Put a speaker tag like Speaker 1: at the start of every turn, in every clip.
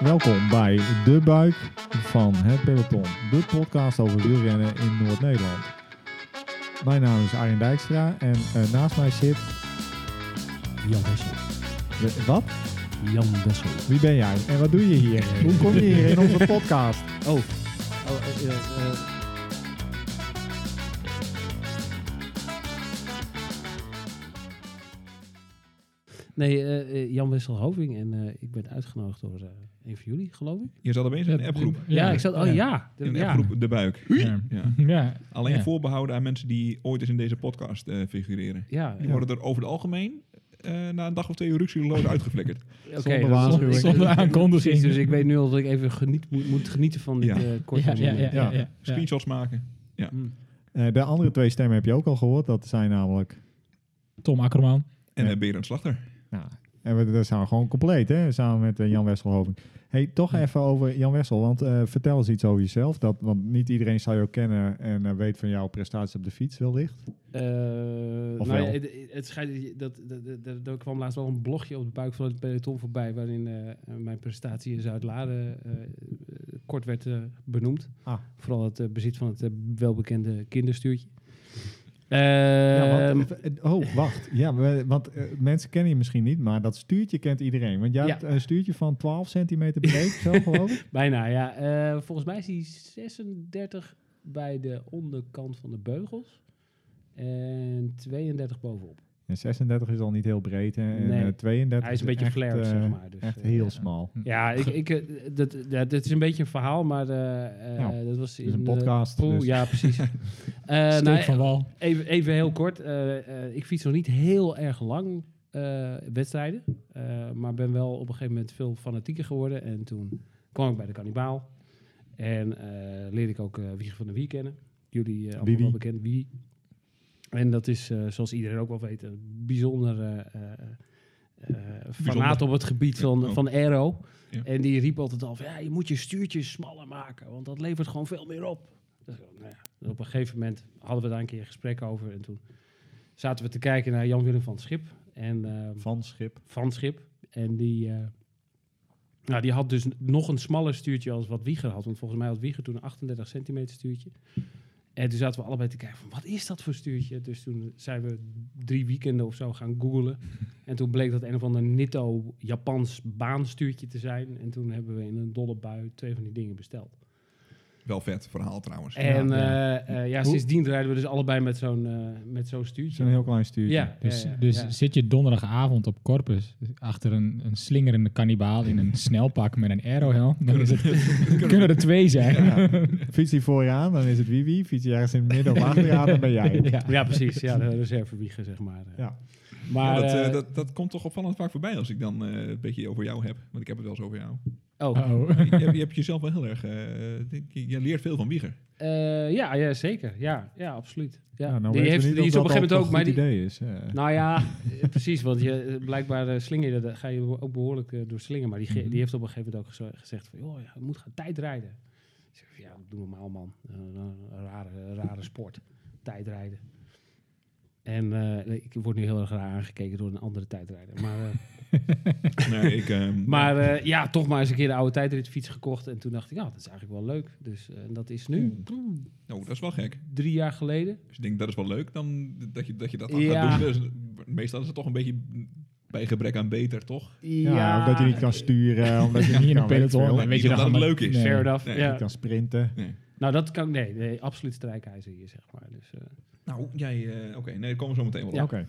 Speaker 1: Welkom bij De Buik van het Peloton, de podcast over wielrennen in Noord-Nederland. Mijn naam is Arjen Dijkstra en eh, naast mij zit...
Speaker 2: Jan Bessel.
Speaker 1: de- Wat?
Speaker 2: Jan Bessel.
Speaker 1: Wie ben jij en wat doe je hier? Hoe kom je hier in onze podcast?
Speaker 2: Oh. oh eh, eh, eh. Nee, eh, eh, Jan Wessel Hoving en eh, ik ben uitgenodigd door eh, een van jullie, geloof ik.
Speaker 3: Je zat opeens in een appgroep.
Speaker 2: Ja, ik zat. Oh ja, de-
Speaker 3: In een
Speaker 2: ja.
Speaker 3: appgroep De Buik.
Speaker 1: Ja.
Speaker 3: Ja.
Speaker 4: Ja,
Speaker 3: Alleen
Speaker 4: Ja.
Speaker 3: voorbehouden aan mensen die ooit eens in deze podcast eh, figureren.
Speaker 2: Ja,
Speaker 3: Die worden er over het algemeen eh, na een dag of twee rukseloos uitgeflikkerd.
Speaker 2: oké,
Speaker 1: Zonder
Speaker 2: dat-
Speaker 1: waarschuwing.
Speaker 2: ik-
Speaker 4: Zonder
Speaker 2: ik-
Speaker 4: aankondiging.
Speaker 2: precies, Dus ik weet nu al dat ik even geniet, moet, moet genieten van dit
Speaker 3: Ja.
Speaker 2: eh, korte
Speaker 4: ja, ja, ja,
Speaker 2: muziek.
Speaker 4: ja, ja.
Speaker 3: Screenshots maken.
Speaker 2: Hm.
Speaker 1: Eh, de andere twee stemmen heb je ook al gehoord, dat zijn namelijk...
Speaker 4: Tom Akkerman.
Speaker 3: En
Speaker 1: Ja.
Speaker 3: eh, Berend Slachter.
Speaker 1: Nou, en we, dat zijn we gewoon compleet, hè? Samen met eh, Jan Wesselhoving. hey, toch even over Jan Wessel, want eh, vertel eens iets over jezelf. Dat, want niet iedereen zal jou kennen en eh, weet van jouw prestaties op de fiets wellicht.
Speaker 2: Eh,
Speaker 1: Of
Speaker 2: nou ja,
Speaker 1: wel?
Speaker 2: het, het schijnt dat, dat, dat, dat- er kwam laatst wel een blogje op de buik van het peloton voorbij, waarin eh, mijn prestatie in Zuid-Laren eh, eh, kort werd eh, benoemd.
Speaker 1: Ah.
Speaker 2: Vooral het eh, bezit van het eh, welbekende kinderstuurtje.
Speaker 1: Ja,
Speaker 2: Ehm,
Speaker 1: want, eh, eh, oh, wacht. Ja, we- want eh, mensen kennen je misschien niet, maar dat stuurtje kent iedereen. Want jij
Speaker 2: Ja.
Speaker 1: hebt een stuurtje van 12 centimeter breed, zo geloof ik.
Speaker 2: bijna, ja. Eh, volgens mij is hij 36 bij de onderkant van de beugels en 32 bovenop.
Speaker 1: En 36 is al niet heel breed. Hè? En
Speaker 2: Nee.
Speaker 1: eh, 32
Speaker 2: Hij is een beetje
Speaker 1: echt,
Speaker 2: flared,
Speaker 1: eh,
Speaker 2: zeg maar. Dus,
Speaker 1: Echt
Speaker 2: eh,
Speaker 1: heel
Speaker 2: ja.
Speaker 1: smal.
Speaker 2: Ja, ik, ik, eh, dat, dat, dat is een beetje een verhaal, maar eh, eh,
Speaker 1: Nou,
Speaker 2: dat was in
Speaker 1: is een
Speaker 2: de-
Speaker 1: podcast,
Speaker 2: Oeh,
Speaker 1: dus.
Speaker 2: Ja, precies. Eh,
Speaker 4: Steek
Speaker 2: nou,
Speaker 4: van Wal.
Speaker 2: even, even heel kort. eh, eh, ik fiets nog niet heel erg lang eh, wedstrijden, eh, maar ben wel op een gegeven moment veel fanatieker geworden. En toen kwam ik bij de Kannibaal en eh, leerde ik ook eh Wieg van de Wie kennen. Jullie eh, allemaal
Speaker 1: Wie, wie?
Speaker 2: wel bekend, Wie. En dat is, eh, zoals iedereen ook wel weet, een bijzonder eh, eh, eh, fanaat op het gebied van,
Speaker 3: Ja, oh.
Speaker 2: van aero.
Speaker 3: Ja.
Speaker 2: En die riep altijd al van, ja, je moet je stuurtjes smaller maken, want dat levert gewoon veel meer op. Dus, ik dacht, nou ja. En op een gegeven moment hadden we daar een keer een gesprek over en toen zaten we te kijken naar Jan-Willem van het Schip en eh,
Speaker 1: Van schip.
Speaker 2: van het Schip. En die, eh, nou, die had dus nog een smaller stuurtje als wat Wieger had, want volgens mij had Wieger toen een 38 centimeter stuurtje. En toen zaten we allebei te kijken van, wat is dat voor stuurtje? Dus toen zijn we drie weekenden of zo gaan googlen. En toen bleek dat een of ander Nitto Japans baanstuurtje te zijn. En toen hebben we in een dolle bui twee van die dingen besteld.
Speaker 3: Wel vet verhaal trouwens.
Speaker 2: En
Speaker 1: ja.
Speaker 2: eh, eh, ja, sindsdien rijden we dus allebei met zo'n eh, met zo'n stuurtje.
Speaker 1: Zo'n heel klein stuurtje.
Speaker 2: Ja,
Speaker 4: Dus,
Speaker 2: ja, ja,
Speaker 4: dus
Speaker 2: ja.
Speaker 4: zit je donderdagavond op Corpus achter een, een slingerende kannibaal in een snelpak met een aerohelm, dan is het, kunnen er twee zijn. Ja,
Speaker 1: Ja. Fiets die voor je aan, dan is het wie wie. Fiets je ergens in het midden of achter je aan, dan ben jij. het.
Speaker 2: Ja, precies. Ja, de reservewieger, zeg maar.
Speaker 1: Ja.
Speaker 2: Maar,
Speaker 3: Ja, dat, eh,
Speaker 2: eh,
Speaker 3: dat, dat komt toch opvallend vaak voorbij als ik dan eh, een beetje over jou heb. Want ik heb het wel eens over jou.
Speaker 2: oh,
Speaker 4: Oh.
Speaker 3: je, hebt- je hebt jezelf wel heel erg... eh, denk je, je leert veel van Wieger.
Speaker 2: eh, ja, ja, zeker. Ja, ja absoluut. Ja.
Speaker 1: Ja, nou weten
Speaker 2: die
Speaker 1: we
Speaker 2: heeft,
Speaker 1: niet
Speaker 2: die
Speaker 1: of
Speaker 2: is op een
Speaker 1: dat
Speaker 2: gegeven moment
Speaker 1: al goed
Speaker 2: ook... Maar die,
Speaker 1: idee is. eh.
Speaker 2: nou ja, eh, precies. Want je, eh, blijkbaar eh, slinger je, daar ga je ook behoorlijk eh, door slingen. Maar die, ge-
Speaker 4: Mhm.
Speaker 2: die heeft op een gegeven moment ook gezo- gezegd van... joh, ja, je moet gaan tijdrijden. Ik zeg, ja, doe normaal man. Eh, een rare, rare sport. Tijdrijden. En eh, ik word nu heel erg raar aangekeken door een andere tijdrijder. Maar... eh,
Speaker 3: nee, ik, ehm,
Speaker 2: Maar eh, ja, toch maar eens een keer de oude tijdritfiets gekocht. En toen dacht ik, ja, dat is eigenlijk wel leuk. Dus eh, en dat is nu
Speaker 1: Mm.
Speaker 3: nou, dat is wel gek.
Speaker 2: drie jaar geleden.
Speaker 3: Dus ik denk, dat is wel leuk dan, dat, je, dat je dat dan
Speaker 2: Ja.
Speaker 3: gaat doen. Dus meestal is het toch een beetje bij gebrek aan beter, toch?
Speaker 2: Nou
Speaker 1: ja, omdat je niet
Speaker 2: Eh,
Speaker 1: kan sturen, omdat je niet
Speaker 4: Hier in
Speaker 1: kan,
Speaker 4: een peloton.
Speaker 1: weet ik
Speaker 4: weet
Speaker 3: Niet
Speaker 4: je nog
Speaker 3: omdat het
Speaker 4: allemaal-
Speaker 3: leuk is.
Speaker 4: Nee.
Speaker 2: Fair enough.
Speaker 3: Nee,
Speaker 1: veel,
Speaker 2: ja.
Speaker 1: niet kan sprinten.
Speaker 2: Nou, dat kan ik. Nee, nee, absoluut strijkijzer hier, zeg maar. Dus, eh,
Speaker 3: Nou, jij... eh, Oké, nee, daar komen we zo meteen wel op.
Speaker 1: Oké.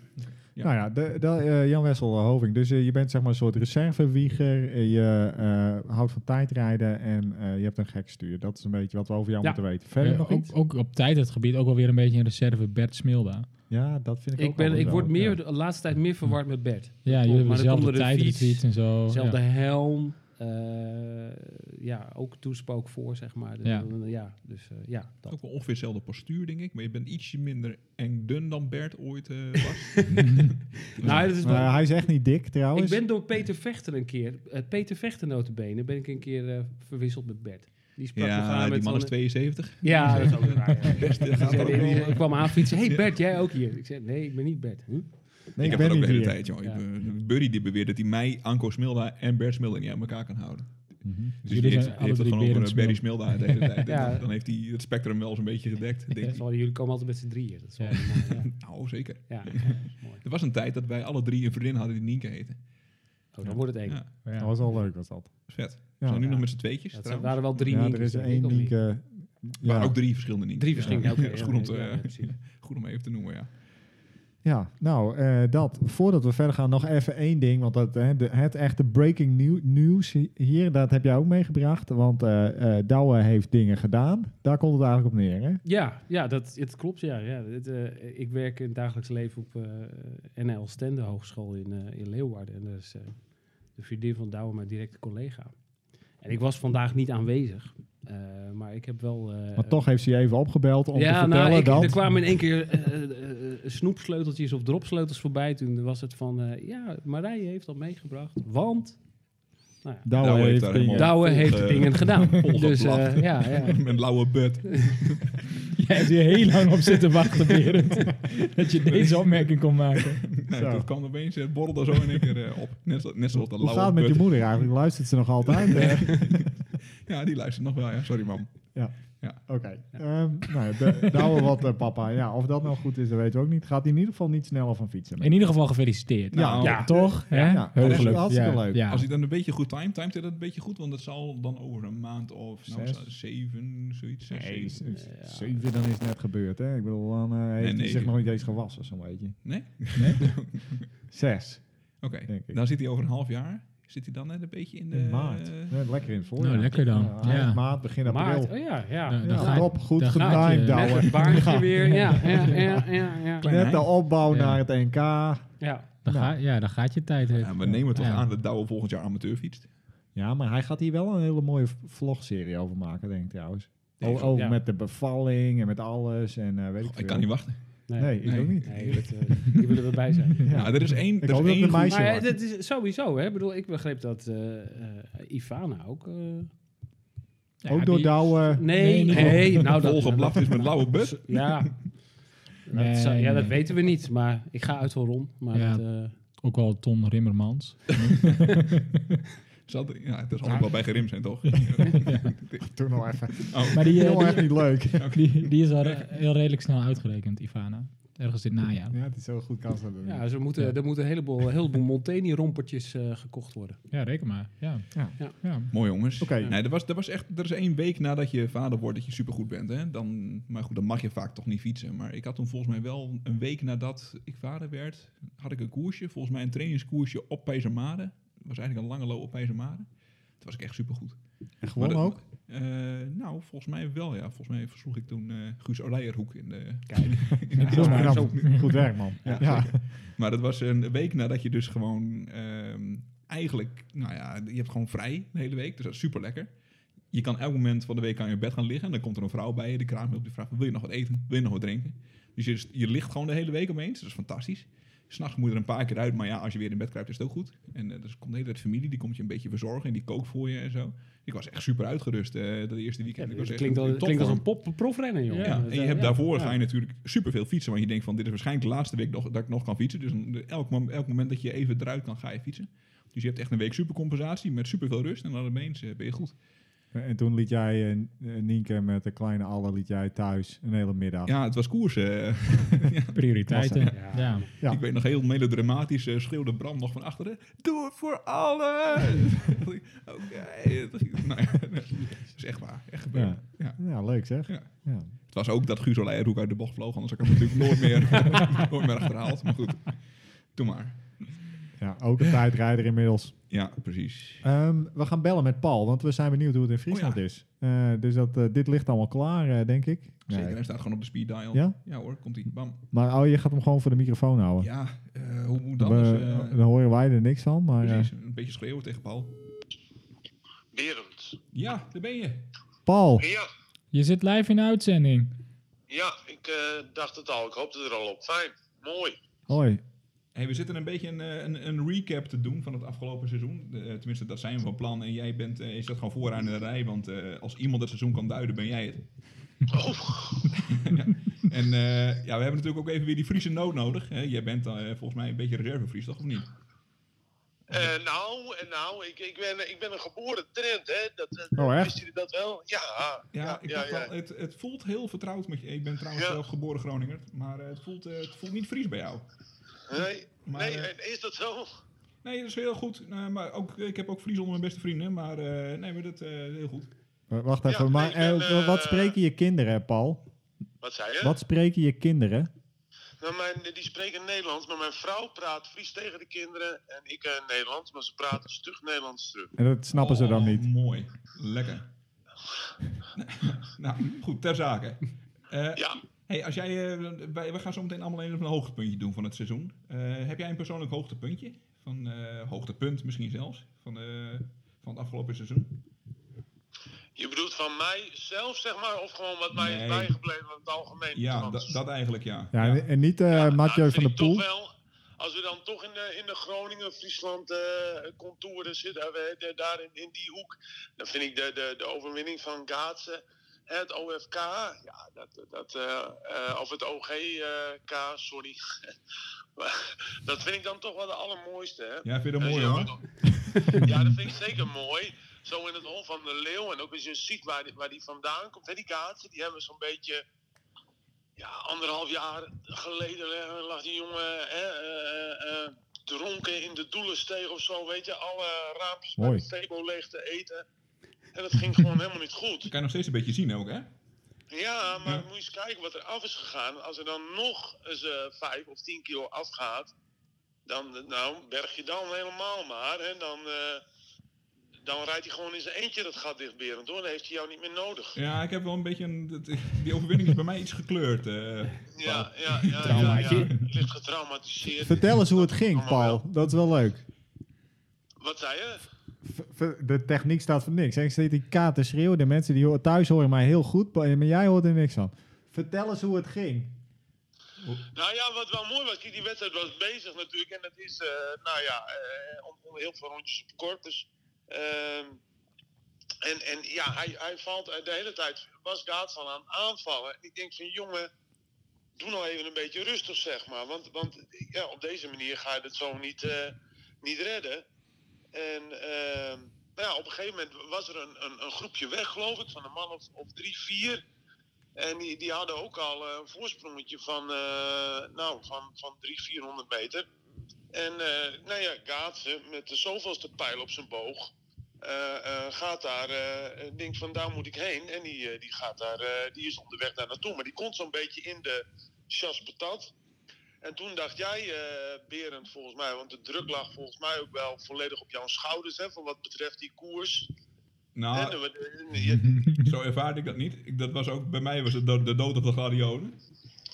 Speaker 3: Ja.
Speaker 1: Nou ja, de, de, eh, Jan Wessel eh, Hoving. Dus eh, je bent zeg maar een soort reservewieger. eh, je eh, houdt van tijdrijden en eh, je hebt een gek stuur. Dat is een beetje wat we over jou
Speaker 2: Ja.
Speaker 1: moeten weten. Verder
Speaker 4: Eh,
Speaker 1: nog
Speaker 4: ook,
Speaker 1: iets?
Speaker 4: ook op tijd het gebied ook wel weer een beetje een reserve Bert Smilda.
Speaker 2: Oh,
Speaker 1: Ja, dat vind ik,
Speaker 2: ik,
Speaker 1: ook wel
Speaker 2: ben, ik
Speaker 1: wel,
Speaker 2: word
Speaker 1: ja. Oh,
Speaker 2: meer, de laatste tijd meer verward met Bert.
Speaker 4: Ja,
Speaker 2: Klopt,
Speaker 4: jullie hebben
Speaker 2: maar dan komt
Speaker 4: dezelfde
Speaker 2: er de
Speaker 4: tijd
Speaker 2: fiets,
Speaker 4: fiets en zo.
Speaker 2: Zelfde
Speaker 4: ja.
Speaker 2: helm. eh, ja, ook toespook voor, zeg maar. Dus,
Speaker 4: Ja.
Speaker 2: eh, ja, dus eh, ja, dat.
Speaker 3: Ook wel ongeveer hetzelfde postuur, denk ik. Maar je bent ietsje minder eng dun dan Bert ooit eh, was.
Speaker 2: Nou, dat is wel-
Speaker 1: Maar Eh, hij is echt niet dik
Speaker 2: ik
Speaker 1: trouwens.
Speaker 2: ben door Peter Vechter een keer, eh, Peter Vechter notabene, ben ik een keer eh, verwisseld met Bert. Die sprak nog aan
Speaker 3: ja, die
Speaker 2: met
Speaker 3: man is
Speaker 2: van-
Speaker 3: 72.
Speaker 2: Ja, dat is ook raar. ja.
Speaker 3: Best, eh,
Speaker 2: Die
Speaker 3: gaat
Speaker 2: zei-
Speaker 3: er ook
Speaker 2: die- die-
Speaker 3: wel.
Speaker 2: ik kwam aanfietsen. Hé hey Bert, jij ook hier? Ik zei, nee, ik ben niet Bert. Hm?
Speaker 1: nee,
Speaker 3: ik
Speaker 1: ik
Speaker 3: heb
Speaker 1: ben
Speaker 3: dat ook
Speaker 1: niet
Speaker 3: de hele
Speaker 1: hier.
Speaker 3: tijd, joh. Ik,
Speaker 2: Ja.
Speaker 3: eh, Buddy die beweert dat hij mij, Anko Smilda en Bert Smilda niet aan elkaar kan houden.
Speaker 1: Mhm.
Speaker 3: Dus
Speaker 4: Jullie
Speaker 3: die heeft,
Speaker 4: zijn
Speaker 3: die
Speaker 4: alle
Speaker 3: heeft het
Speaker 4: drie
Speaker 3: gewoon
Speaker 4: Berend
Speaker 3: over eh, Barry Smilda de hele tijd.
Speaker 2: Ja.
Speaker 3: dan, dan heeft hij het spectrum wel eens een beetje gedekt. denk
Speaker 2: Dat
Speaker 3: ik.
Speaker 2: is wel- jullie komen altijd met z'n drieën. Dat is wel
Speaker 4: Ja.
Speaker 2: mooi,
Speaker 3: Nou, zeker.
Speaker 2: ja. Ja, ja, dat is mooi.
Speaker 3: Er was een tijd dat wij alle drie een vriendin hadden die Nienke heette.
Speaker 2: Oh, dan wordt het één.
Speaker 3: Ja,
Speaker 4: Ja.
Speaker 1: Dat was wel leuk, was dat.
Speaker 3: vet. We
Speaker 1: Ja,
Speaker 3: zijn nu
Speaker 2: Ja.
Speaker 3: nog met z'n tweetjes
Speaker 2: Dat zijn-
Speaker 3: trouwens.
Speaker 2: waren wel drie
Speaker 1: ja er
Speaker 2: Nienkes,
Speaker 1: is
Speaker 2: denk
Speaker 1: één
Speaker 2: ik, of niet?
Speaker 1: Nienke.
Speaker 3: Maar
Speaker 1: Ja,
Speaker 3: ook drie verschillende Nienke.
Speaker 2: Drie verschillende,
Speaker 3: Ja,
Speaker 2: oké,
Speaker 3: dat is goed om, te, eh,
Speaker 2: ja, ja, precies.
Speaker 3: goed om even te noemen, ja.
Speaker 1: ja, nou, eh, dat. Voordat we verder gaan, nog even één ding. Want dat, hè, de, het echte breaking nieuw- nieuws hi- hier, dat heb jij ook meegebracht. Want eh eh Douwe heeft dingen gedaan. Daar komt het eigenlijk op neer, hè?
Speaker 2: Ja, ja dat het klopt. Ja, ja. Het, eh, ik werk in het dagelijks leven op eh, NL Stende Hogeschool in, eh, in Leeuwarden. En dat is eh, de vriendin van Douwe, mijn directe collega. En ik was vandaag niet aanwezig. eh, maar ik heb wel... eh,
Speaker 1: Maar toch heeft ze je even opgebeld om te
Speaker 2: ja,
Speaker 1: vertellen
Speaker 2: nou, ik,
Speaker 1: dat...
Speaker 2: er kwamen in één keer eh, eh, eh, snoepsleuteltjes of dropsleutels voorbij. Toen was het van, eh, ja, Marije heeft dat meegebracht, want... Nou ja,
Speaker 1: Douwe,
Speaker 3: Douwe heeft
Speaker 1: heeft
Speaker 3: daar
Speaker 1: dingen-
Speaker 3: helemaal-
Speaker 2: Douwe heeft
Speaker 3: eh,
Speaker 2: dingen gedaan.
Speaker 3: volgeplakt.
Speaker 2: Dus eh, ja, ja.
Speaker 3: Met lauwe bed.
Speaker 4: Jij hebt hier heel lang op zitten wachten, Berend. dat je deze opmerking kon maken.
Speaker 3: Nee,
Speaker 1: Zo.
Speaker 3: dat kwam opeens, het borrelde zo in één keer eh, op. Net, zo- net zoals de
Speaker 1: Hoe
Speaker 3: lauwe
Speaker 1: gaat het met je
Speaker 3: put.
Speaker 1: moeder eigenlijk? Luistert ze nog altijd? Eh,
Speaker 3: Ja, die luistert nog wel, ja. Sorry, mam.
Speaker 1: Oké. Ehm nou, ja, de- Douwe wat eh, papa. Ja, of dat nou goed is, dat weten we ook niet. Gaat hij in ieder geval niet sneller van fietsen.
Speaker 4: In ieder geval gefeliciteerd.
Speaker 1: Ja.
Speaker 4: Nou,
Speaker 1: Ja.
Speaker 4: toch? hè?
Speaker 1: Ja.
Speaker 4: Heel
Speaker 1: Dat is
Speaker 4: gelukkig.
Speaker 1: hartstikke
Speaker 4: ja.
Speaker 1: leuk.
Speaker 4: Ja.
Speaker 3: Als hij dan een beetje goed timed, timed hij dat een beetje goed? Want dat zal dan over een maand of nou,
Speaker 1: Zes.
Speaker 3: z- zeven, zoiets. zes,
Speaker 1: Nee,
Speaker 3: zeven.
Speaker 1: z- zeven, dan is het net gebeurd, hè? Ik bedoel, dan eh, heeft hij
Speaker 3: negen.
Speaker 1: zich nog niet eens gewassen, zo'n beetje.
Speaker 3: Nee?
Speaker 1: Zes,
Speaker 3: Oké.
Speaker 1: denk ik.
Speaker 3: Dan zit hij over een half jaar. Zit hij dan net een beetje in de...
Speaker 1: in maart.
Speaker 3: eh,
Speaker 1: Nee, lekker in het voorjaar.
Speaker 4: Nou, lekker dan.
Speaker 1: Ja, eind
Speaker 4: Ja.
Speaker 1: maart, begin april.
Speaker 2: Maart, oh ja, ja.
Speaker 4: Ja,
Speaker 1: ja,
Speaker 4: dan ga je-
Speaker 1: top, goed
Speaker 4: dan ga je-
Speaker 1: getimed,
Speaker 4: Net
Speaker 2: Met
Speaker 1: Douwe.
Speaker 2: het baardje weer, ja, ja, ja, ja, ja.
Speaker 3: Klein
Speaker 1: Net de
Speaker 3: haakje.
Speaker 1: opbouw
Speaker 4: Ja.
Speaker 1: naar het NK.
Speaker 2: ja.
Speaker 4: Dan
Speaker 1: Nou.
Speaker 4: ga, ja, dan gaat je tijd.
Speaker 3: ja, we nemen toch
Speaker 4: Ja.
Speaker 3: aan dat Douwe volgend jaar amateur fietst.
Speaker 1: Ja, maar hij gaat hier wel een hele mooie v- vlogserie over maken, denk ik trouwens. O-
Speaker 3: Even,
Speaker 1: over
Speaker 2: ja.
Speaker 1: met de bevalling en met alles en eh, weet ik
Speaker 3: Goh,
Speaker 1: veel.
Speaker 3: ik kan niet wachten.
Speaker 2: Nee,
Speaker 1: Nee, ik
Speaker 3: Nee.
Speaker 1: ook niet.
Speaker 2: Nee, dat, eh, die willen we bij zijn.
Speaker 1: Ja.
Speaker 3: Ja, Nou, er is één...
Speaker 1: Ik
Speaker 3: er is
Speaker 1: hoop dat
Speaker 3: één
Speaker 1: de
Speaker 3: goed-
Speaker 1: meisjes-
Speaker 2: Maar
Speaker 1: Ijsje
Speaker 2: ja,
Speaker 1: wachten.
Speaker 2: dat is sowieso, hè. Ik bedoel, ik begreep dat eh, eh, Ivana ook... eh,
Speaker 1: Ook door Douwe.
Speaker 2: nee,
Speaker 4: niet
Speaker 2: nee, nou dat...
Speaker 3: volgeblad is met lauwe bus.
Speaker 2: Ja.
Speaker 4: Nee,
Speaker 2: dat, zou- ja, dat
Speaker 4: nee.
Speaker 2: weten we niet, maar ik ga uit van Ron. Maar
Speaker 4: Ja.
Speaker 2: dat, eh,
Speaker 4: Ook wel Ton Rimmermans.
Speaker 3: Zal de- Ja, het is altijd wel bij gerim zijn, toch?
Speaker 1: Toen al nou even.
Speaker 3: Oh,
Speaker 4: Maar die, eh,
Speaker 1: Heel
Speaker 4: die,
Speaker 1: erg niet leuk.
Speaker 4: die, die is al re- heel redelijk snel uitgerekend, Ivana. Ergens dit najaar.
Speaker 1: Ja, het is zo goed kans dat we
Speaker 2: ja, ze moeten,
Speaker 4: Ja.
Speaker 2: er moeten een heleboel, een heleboel Monteni-rompertjes eh, gekocht worden.
Speaker 4: Ja, reken maar. Ja.
Speaker 1: Ja.
Speaker 4: ja.
Speaker 3: mooi jongens.
Speaker 1: Oké.
Speaker 3: Nee, er, was, er, was echt, er is één week nadat je vader wordt dat je supergoed bent. Hè? Dan, maar goed, dan mag je vaak toch niet fietsen. Maar ik had toen volgens mij wel een week nadat ik vader werd, had ik een koersje. Volgens mij een trainingskoersje op Pijzermade. Het was eigenlijk een lange loop op Pijzermade. Toen was ik echt supergoed.
Speaker 1: En gewonnen
Speaker 3: Maar dat-
Speaker 1: ook.
Speaker 3: Eh, nou, volgens mij wel ja. Volgens mij versloeg ik toen eh, Guus Olijerhoek in de...
Speaker 1: Ja,
Speaker 4: Heel
Speaker 1: maar
Speaker 4: knap.
Speaker 1: dat- Goed werk, man. Ja.
Speaker 3: Ja, Maar dat was een week nadat je dus gewoon ehm, eigenlijk, nou ja, je hebt gewoon vrij de hele week. Dus dat is super lekker. Je kan elk moment van de week aan je bed gaan liggen. En dan komt er een vrouw bij je, die kraamt op, die vraagt: Wil je nog wat eten? Wil je nog wat drinken? Dus je, je ligt gewoon de hele week opeens. Dat is fantastisch. S'nachts moet je er een paar keer uit, maar ja, als je weer in bed kruipt, is het ook goed. En eh, dus komt de hele tijd familie, die komt je een beetje verzorgen en die kookt voor je en zo. Ik was echt super uitgerust eh dat eerste
Speaker 2: Ja,
Speaker 3: weekend. Ik
Speaker 2: dat
Speaker 3: was echt
Speaker 2: klinkt,
Speaker 3: in-
Speaker 2: al,
Speaker 3: in
Speaker 2: klinkt als
Speaker 3: topvorm.
Speaker 2: een pop, profrenner, joh.
Speaker 4: Ja,
Speaker 3: Ja,
Speaker 2: dat,
Speaker 3: en je
Speaker 2: eh,
Speaker 3: hebt
Speaker 2: ja,
Speaker 3: daarvoor
Speaker 2: ja.
Speaker 3: ga je natuurlijk superveel fietsen. Want je denkt van, dit is waarschijnlijk de laatste week nog, dat ik nog kan fietsen. Dus een- elk, mom- elk moment dat je even eruit kan, ga je fietsen. Dus je hebt echt een week supercompensatie met superveel rust. En dan opeens eh, ben je goed.
Speaker 1: En toen liet jij eh, Nienke met de kleine Alle liet jij thuis een hele middag.
Speaker 3: Ja, het was koers. eh.
Speaker 4: Prioriteiten.
Speaker 1: Klasse.
Speaker 4: Ja.
Speaker 2: Ja.
Speaker 1: Ja.
Speaker 3: Ik weet nog heel melodramatisch eh, schreeuwde Bram nog van achteren. Doe het voor allen! Oké. Nou ja, dat is echt waar. Echt gebeurd.
Speaker 1: Ja.
Speaker 3: Ja.
Speaker 1: Ja, leuk zeg.
Speaker 3: Ja.
Speaker 1: Ja.
Speaker 3: Het was ook dat Guus Oleijerhoek uit de bocht vloog. Anders had ik hem natuurlijk nooit meer, nooit meer achterhaald. Maar goed, doe maar.
Speaker 1: Ja, ook een tijdrijder inmiddels.
Speaker 3: Ja, precies.
Speaker 1: Ehm, we gaan bellen met Paul, want we zijn benieuwd hoe het in Friesland
Speaker 3: Oh ja.
Speaker 1: is. Eh, dus dat, eh, dit ligt allemaal klaar, eh, denk ik.
Speaker 3: Zeker,
Speaker 1: Nee.
Speaker 3: hij staat gewoon op de speed dial.
Speaker 1: Ja?
Speaker 3: hoor, komt ie. Bam.
Speaker 1: Maar oh, je gaat hem gewoon voor de microfoon houden.
Speaker 3: Ja, eh, hoe moet dat?
Speaker 1: We-
Speaker 3: Dus, eh,
Speaker 1: dan horen wij er niks van, maar... eh,
Speaker 3: precies, een beetje schreeuwen tegen Paul.
Speaker 5: Berend.
Speaker 3: Ja, daar ben je.
Speaker 1: Paul,
Speaker 5: Ja,
Speaker 4: Je zit live in de uitzending.
Speaker 5: ja ik eh, dacht het al. Ik hoopte er al op. Fijn. Mooi.
Speaker 1: hoi.
Speaker 3: Hey, we zitten een beetje een, eh, een, een recap te doen van het afgelopen seizoen. Eh, tenminste, dat zijn we van plan. En jij bent, eh, je zat gewoon vooraan in de rij, want eh, als iemand het seizoen kan duiden, ben jij het.
Speaker 5: Oh,
Speaker 3: En eh, ja, we hebben natuurlijk ook even weer die Friese nood nodig. hè. jij bent eh, volgens mij een beetje reservevries, toch? Of niet?
Speaker 5: Eh, nou, eh, nou ik, ik, ben, ik ben een geboren trend, hè. Dat, eh,
Speaker 1: Oh, echt?
Speaker 5: Wisten jullie dat wel? Ja.
Speaker 3: Ja, ik dacht wel, Het, het voelt heel vertrouwd met je. Ik ben trouwens
Speaker 5: Ja.
Speaker 3: zelf geboren Groninger, maar eh, het, voelt, eh, het voelt niet Fries bij jou.
Speaker 5: Nee,
Speaker 3: Maar,
Speaker 5: nee
Speaker 3: eh,
Speaker 5: en is dat zo?
Speaker 3: Nee, dat is heel goed. Eh, maar ook, ik heb ook Fries onder mijn beste vrienden, maar eh, nee, maar dat eh, heel goed.
Speaker 1: W- Wacht
Speaker 5: Ja,
Speaker 1: even,
Speaker 5: nee,
Speaker 1: maar
Speaker 5: ik ben,
Speaker 1: eh, wat
Speaker 5: eh,
Speaker 1: spreken je kinderen, Paul?
Speaker 5: Wat zei je?
Speaker 1: Wat spreken je kinderen?
Speaker 5: Nou, mijn, die spreken Nederlands, maar mijn vrouw praat Fries tegen de kinderen en ik eh, Nederlands, maar ze praten stug Nederlands terug.
Speaker 1: En dat snappen ze dan
Speaker 3: Oh,
Speaker 1: niet.
Speaker 3: Mooi. Lekker. nou, goed, ter zake. Eh,
Speaker 5: Ja,
Speaker 3: hey, als jij, eh, wij, we gaan zo meteen allemaal even een hoogtepuntje doen van het seizoen. Eh, heb jij een persoonlijk hoogtepuntje? Van, eh, hoogtepunt misschien zelfs, van, eh, van het afgelopen seizoen?
Speaker 5: je bedoelt van mij zelf, zeg maar, of gewoon wat mij
Speaker 3: Nee.
Speaker 5: is bijgebleven van het algemeen?
Speaker 3: Ja,
Speaker 5: Frans?
Speaker 3: da- dat eigenlijk ja.
Speaker 1: Ja, en- En niet eh Mathieu
Speaker 5: nou,
Speaker 1: van
Speaker 5: vind
Speaker 1: der Poel.
Speaker 5: ik Toch wel, als we dan toch in de, in de Groningen, Friesland eh contouren zitten, eh, we- de- daar in, in die hoek, dan vind ik de, de, de overwinning van Gaatse, het OFK, ja, dat, dat, eh, eh, of het OGK, sorry. Maar dat vind ik dan toch wel de allermooiste. Hè?
Speaker 3: Ja, vind je dat
Speaker 5: Eh,
Speaker 3: mooi
Speaker 5: ja,
Speaker 3: hoor?
Speaker 5: dat- ja, dat vind ik zeker mooi. Zo in het hol van de leeuw. En ook als je ziet waar die, waar die vandaan komt. Hè, die kaatsen, die hebben zo'n beetje... Ja, anderhalf jaar geleden eh, lag die jongen hè, eh, eh, dronken in de doelensteeg of zo. Weet je, alle raampjes bij
Speaker 1: Mooi.
Speaker 5: de Febo leeg te eten. En dat ging gewoon helemaal niet
Speaker 3: Dat
Speaker 5: goed.
Speaker 3: kan je nog steeds een beetje zien ook, hè?
Speaker 5: Ja, maar
Speaker 3: Ja.
Speaker 5: moet je eens kijken wat er af is gegaan. Als er dan nog eens eh, vijf of tien kilo afgaat, dan eh, nou, berg je dan helemaal maar. Hè? Dan, eh, dan rijdt hij gewoon in zijn eentje dat gat dichtberend door. Dan heeft hij jou niet meer nodig.
Speaker 3: Ja, ik heb wel een beetje een... dat- Die overwinning is bij mij iets gekleurd. eh.
Speaker 5: Ja, ja, ja. ja, ja.
Speaker 4: Traumaatje.
Speaker 5: Je ligt getraumatiseerd.
Speaker 1: Vertel eens hoe het ging,
Speaker 5: Allemaal wel.
Speaker 1: Paul. Dat is wel leuk.
Speaker 5: Wat zei je?
Speaker 1: V- v- De techniek staat voor niks. En ik zit die kaart te schreeuwen. De mensen die ho- thuis horen mij heel goed, pa- maar jij hoort er niks van. Vertel eens hoe het ging.
Speaker 5: Nou ja, wat wel mooi was, kijk, die wedstrijd was bezig natuurlijk. En dat is, eh, nou ja, eh, om, om heel veel rondjes op corpus. Ehm, en, en ja, hij, hij valt eh, de hele tijd, was Gaats al aan het aanvallen. En ik denk van, jongen, doe nou even een beetje rustig, zeg maar. Want, want ja, op deze manier ga je het zo niet, eh, niet redden. En ehm, nou ja, op een gegeven moment was er een, een, een groepje weg, geloof ik, van een man of, of drie, vier. En die, die hadden ook al eh, een voorsprongetje van, eh, nou, van, van 300, 400 meter. En eh, nou ja, Gaatsen met de zoveelste pijl op zijn boog. eh, eh, gaat daar, eh, denkt van daar moet ik heen. En die, eh, die, gaat daar, eh, die is onderweg daar naartoe. Maar die komt zo'n beetje in de chasse patat. En toen dacht jij, eh, Berend, volgens mij, want de druk lag volgens mij ook wel volledig op jouw schouders. Hè, van wat betreft die koers. En,
Speaker 3: Nou,
Speaker 5: eh, je-
Speaker 3: zo ervaarde ik dat niet. Ik, dat was ook, bij mij was het do- de dood op de gladiolen.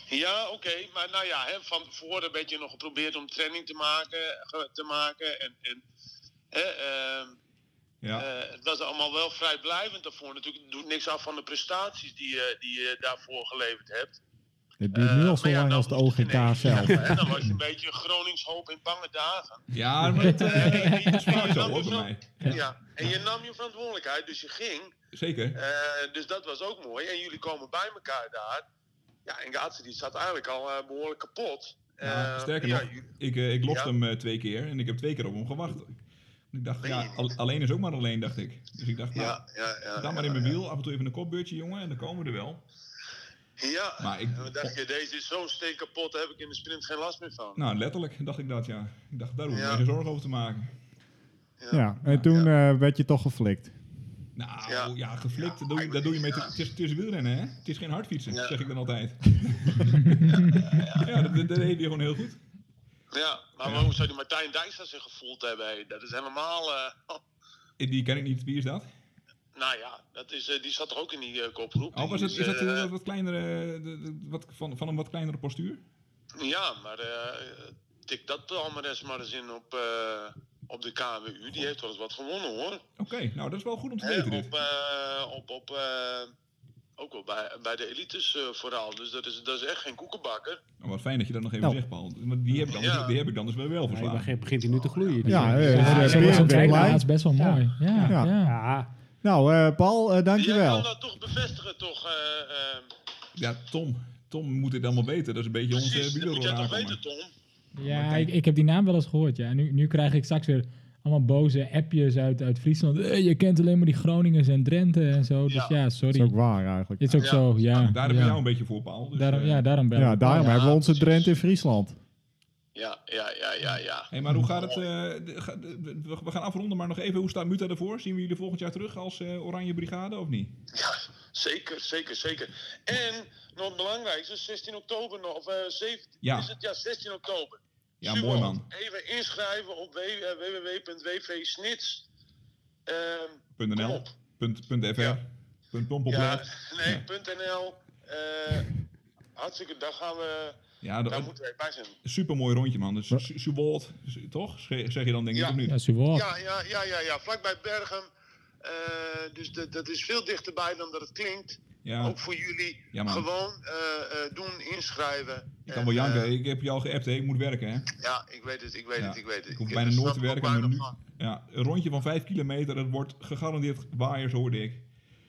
Speaker 5: Ja, oké. Maar nou ja, hè, van tevoren een beetje nog geprobeerd om training te maken. ge- Te maken en, en, hè, ehm,
Speaker 3: Ja.
Speaker 5: eh, het was allemaal wel vrijblijvend daarvoor. Natuurlijk het doet niks af van de prestaties die, je- die je daarvoor geleverd hebt.
Speaker 1: Het duurt nu
Speaker 5: Eh,
Speaker 1: al zo
Speaker 5: maar ja,
Speaker 1: lang
Speaker 5: dan
Speaker 1: als de
Speaker 5: hoeft het
Speaker 1: OGK
Speaker 5: ineens.
Speaker 1: zelf.
Speaker 5: Ja, hè, dan was je een beetje een Gronings hoop in bange dagen.
Speaker 3: Ja, maar dat
Speaker 5: Eh, en je- en je
Speaker 3: smaakt zo
Speaker 5: nam je
Speaker 3: hoor, bij
Speaker 5: verant-
Speaker 3: mij.
Speaker 5: Ja, en je nam je verantwoordelijkheid, dus je ging.
Speaker 3: Zeker.
Speaker 5: Eh, dus dat was ook mooi. En jullie komen bij elkaar daar. Ja, en Gaatse die zat eigenlijk al eh, behoorlijk kapot.
Speaker 3: Ja,
Speaker 5: Eh,
Speaker 3: sterker
Speaker 5: ja,
Speaker 3: nog,
Speaker 5: jullie-
Speaker 3: ik, eh, ik lost
Speaker 5: Ja.
Speaker 3: hem eh, twee keer en ik heb twee keer op hem gewacht. Ik dacht, ja, al- alleen is ook maar alleen, dacht ik. Dus ik dacht, nou,
Speaker 5: Ja, ja, ja.
Speaker 3: dan maar in mijn wiel, af en toe even een kopbeurtje, jongen, en dan komen we er wel.
Speaker 5: Ja,
Speaker 3: Maar ik-
Speaker 5: en dan dacht je, deze is zo'n steen kapot, daar heb ik in de sprint geen last meer van.
Speaker 3: Nou, letterlijk dacht ik dat, ja. Ik dacht, daar hoef ik
Speaker 5: Ja.
Speaker 3: me geen zorgen over te maken.
Speaker 1: Ja, en toen eh, werd je toch geflikt.
Speaker 3: Nou, ja,
Speaker 5: Ja.
Speaker 3: geflikt,
Speaker 5: Ja,
Speaker 3: dat, doe,
Speaker 5: ik-
Speaker 3: dat doe je mee. Het is, het is wielrennen, hè? Het is geen hardfietsen,
Speaker 5: Ja.
Speaker 3: zeg ik dan altijd. ja, dat, dat, dat deed hij gewoon heel goed.
Speaker 5: Ja, maar
Speaker 3: Ja.
Speaker 5: hoe zou die Martijn Dijkstra zich gevoeld hebben? hé? Dat is helemaal... eh,
Speaker 3: Die ken ik niet, wie is dat?
Speaker 5: nou ja, dat is, eh, die zat toch ook in die eh, kopgroep?
Speaker 3: Oh, was
Speaker 5: Die
Speaker 3: dat, is dat
Speaker 5: eh,
Speaker 3: eh, wat kleinere, eh, de- de- wat, van, van een wat kleinere postuur?
Speaker 5: Ja, maar eh, tik dat Palmares maar eens in op, eh, op de KWU. Die heeft wel eens wat gewonnen, hoor.
Speaker 3: Oké, nou dat is wel goed om te
Speaker 5: Hè,
Speaker 3: weten
Speaker 5: op,
Speaker 3: dit.
Speaker 5: eh, op, op, eh, ook wel bij, bij de elites eh, vooral. Dus dat is, dat is echt geen koekenbakker.
Speaker 3: Oh, wat fijn dat je dat nog even
Speaker 1: Nou.
Speaker 3: zegt, Paul. Want die heb ik dan,
Speaker 5: Ja.
Speaker 3: die heb ik dan dus wel
Speaker 2: Hij
Speaker 3: wel verslagen.
Speaker 2: begint- begint hij nu te gloeien. dus-
Speaker 1: Ja, eh,
Speaker 2: ja,
Speaker 1: eh,
Speaker 2: ja,
Speaker 4: Ja, zo'n
Speaker 1: Berend
Speaker 4: zo'n
Speaker 1: weer
Speaker 4: trein
Speaker 1: blij.
Speaker 4: laatst is best wel
Speaker 2: Ja.
Speaker 4: mooi. Ja,
Speaker 1: Ja.
Speaker 4: ja.
Speaker 2: ja.
Speaker 1: Nou, eh, Paul, eh,
Speaker 5: Jij kan
Speaker 1: dankjewel.
Speaker 5: dat toch bevestigen, toch? eh, eh,
Speaker 3: Ja, Tom. Tom moet dit allemaal weten. Dat is een beetje onze
Speaker 5: precies, dat moet jij
Speaker 3: bielorol
Speaker 5: toch
Speaker 3: aankomen.
Speaker 5: weten, Tom?
Speaker 4: Ja, ik, ik heb die naam wel eens gehoord. Ja. En Nu, nu krijg ik straks weer allemaal boze appjes uit, uit Friesland. Eh, je kent alleen maar die Groningers en Drenthe en zo. Dus ja,
Speaker 1: Dat
Speaker 4: sorry.
Speaker 1: is ook waar eigenlijk.
Speaker 4: Het is ook
Speaker 5: Ja.
Speaker 4: zo, ja.
Speaker 3: Daar ben
Speaker 4: ja.
Speaker 3: je Ah, jou een beetje voor, Paul. Dus,
Speaker 4: Daarom,
Speaker 3: eh,
Speaker 4: ja, daarom bel
Speaker 1: ja,
Speaker 4: ik.
Speaker 1: daarom
Speaker 5: Ja,
Speaker 1: hebben we onze
Speaker 5: precies.
Speaker 1: Drenthe in Friesland.
Speaker 5: Ja, ja, ja, ja, ja.
Speaker 3: Hey, maar hoe gaat het? eh, de- ga- de- we, we gaan afronden, maar nog even. Hoe staat Muta ervoor? Zien we jullie volgend jaar terug als eh, Oranje Brigade of niet?
Speaker 5: Ja, zeker, zeker, zeker. En nog het belangrijkste, 16 oktober nog, of eh 17,
Speaker 3: Ja.
Speaker 5: is het? Ja, 16 oktober.
Speaker 3: Ja,
Speaker 5: Super.
Speaker 3: mooi man.
Speaker 5: Even inschrijven op w- eh, www.wvsnits. Ehm, kom
Speaker 3: .nl,
Speaker 5: op.
Speaker 3: punt, punt .fr,
Speaker 5: Ja.
Speaker 3: punt
Speaker 5: Ja,
Speaker 3: pompelplaat.
Speaker 5: nee,
Speaker 3: Ja.
Speaker 5: .nl. Eh, hartstikke, daar gaan we,
Speaker 3: Ja, dat
Speaker 5: daar
Speaker 3: dat-
Speaker 5: moeten we bij zijn.
Speaker 3: supermooi rondje man. Dus Su- Suwold, Su- toch? Zeg zeg je dan denk ik
Speaker 5: Ja.
Speaker 3: of niet?
Speaker 4: Ja, Suwot.
Speaker 5: Ja, ja, ja, ja, ja, vlakbij Bergen. Eh, dus dat, dat is veel dichterbij dan dat het klinkt.
Speaker 3: Ja.
Speaker 5: Ook voor jullie.
Speaker 3: Ja, man.
Speaker 5: Gewoon eh, eh, doen, inschrijven.
Speaker 3: Ik kan
Speaker 5: En,
Speaker 3: wel
Speaker 5: eh,
Speaker 3: janken. Ik heb je al geappt. hè. Ik moet werken hè.
Speaker 5: Ja, ik weet het, ik weet
Speaker 3: Ja.
Speaker 5: het, ik weet het.
Speaker 3: Ik hoef
Speaker 5: heb
Speaker 3: bijna
Speaker 5: er
Speaker 3: nooit te
Speaker 5: snap ik ook
Speaker 3: werken. Maar nu,
Speaker 5: weinig van.
Speaker 3: ja, een rondje van 5 kilometer. Het wordt gegarandeerd waaiers hoorde ik.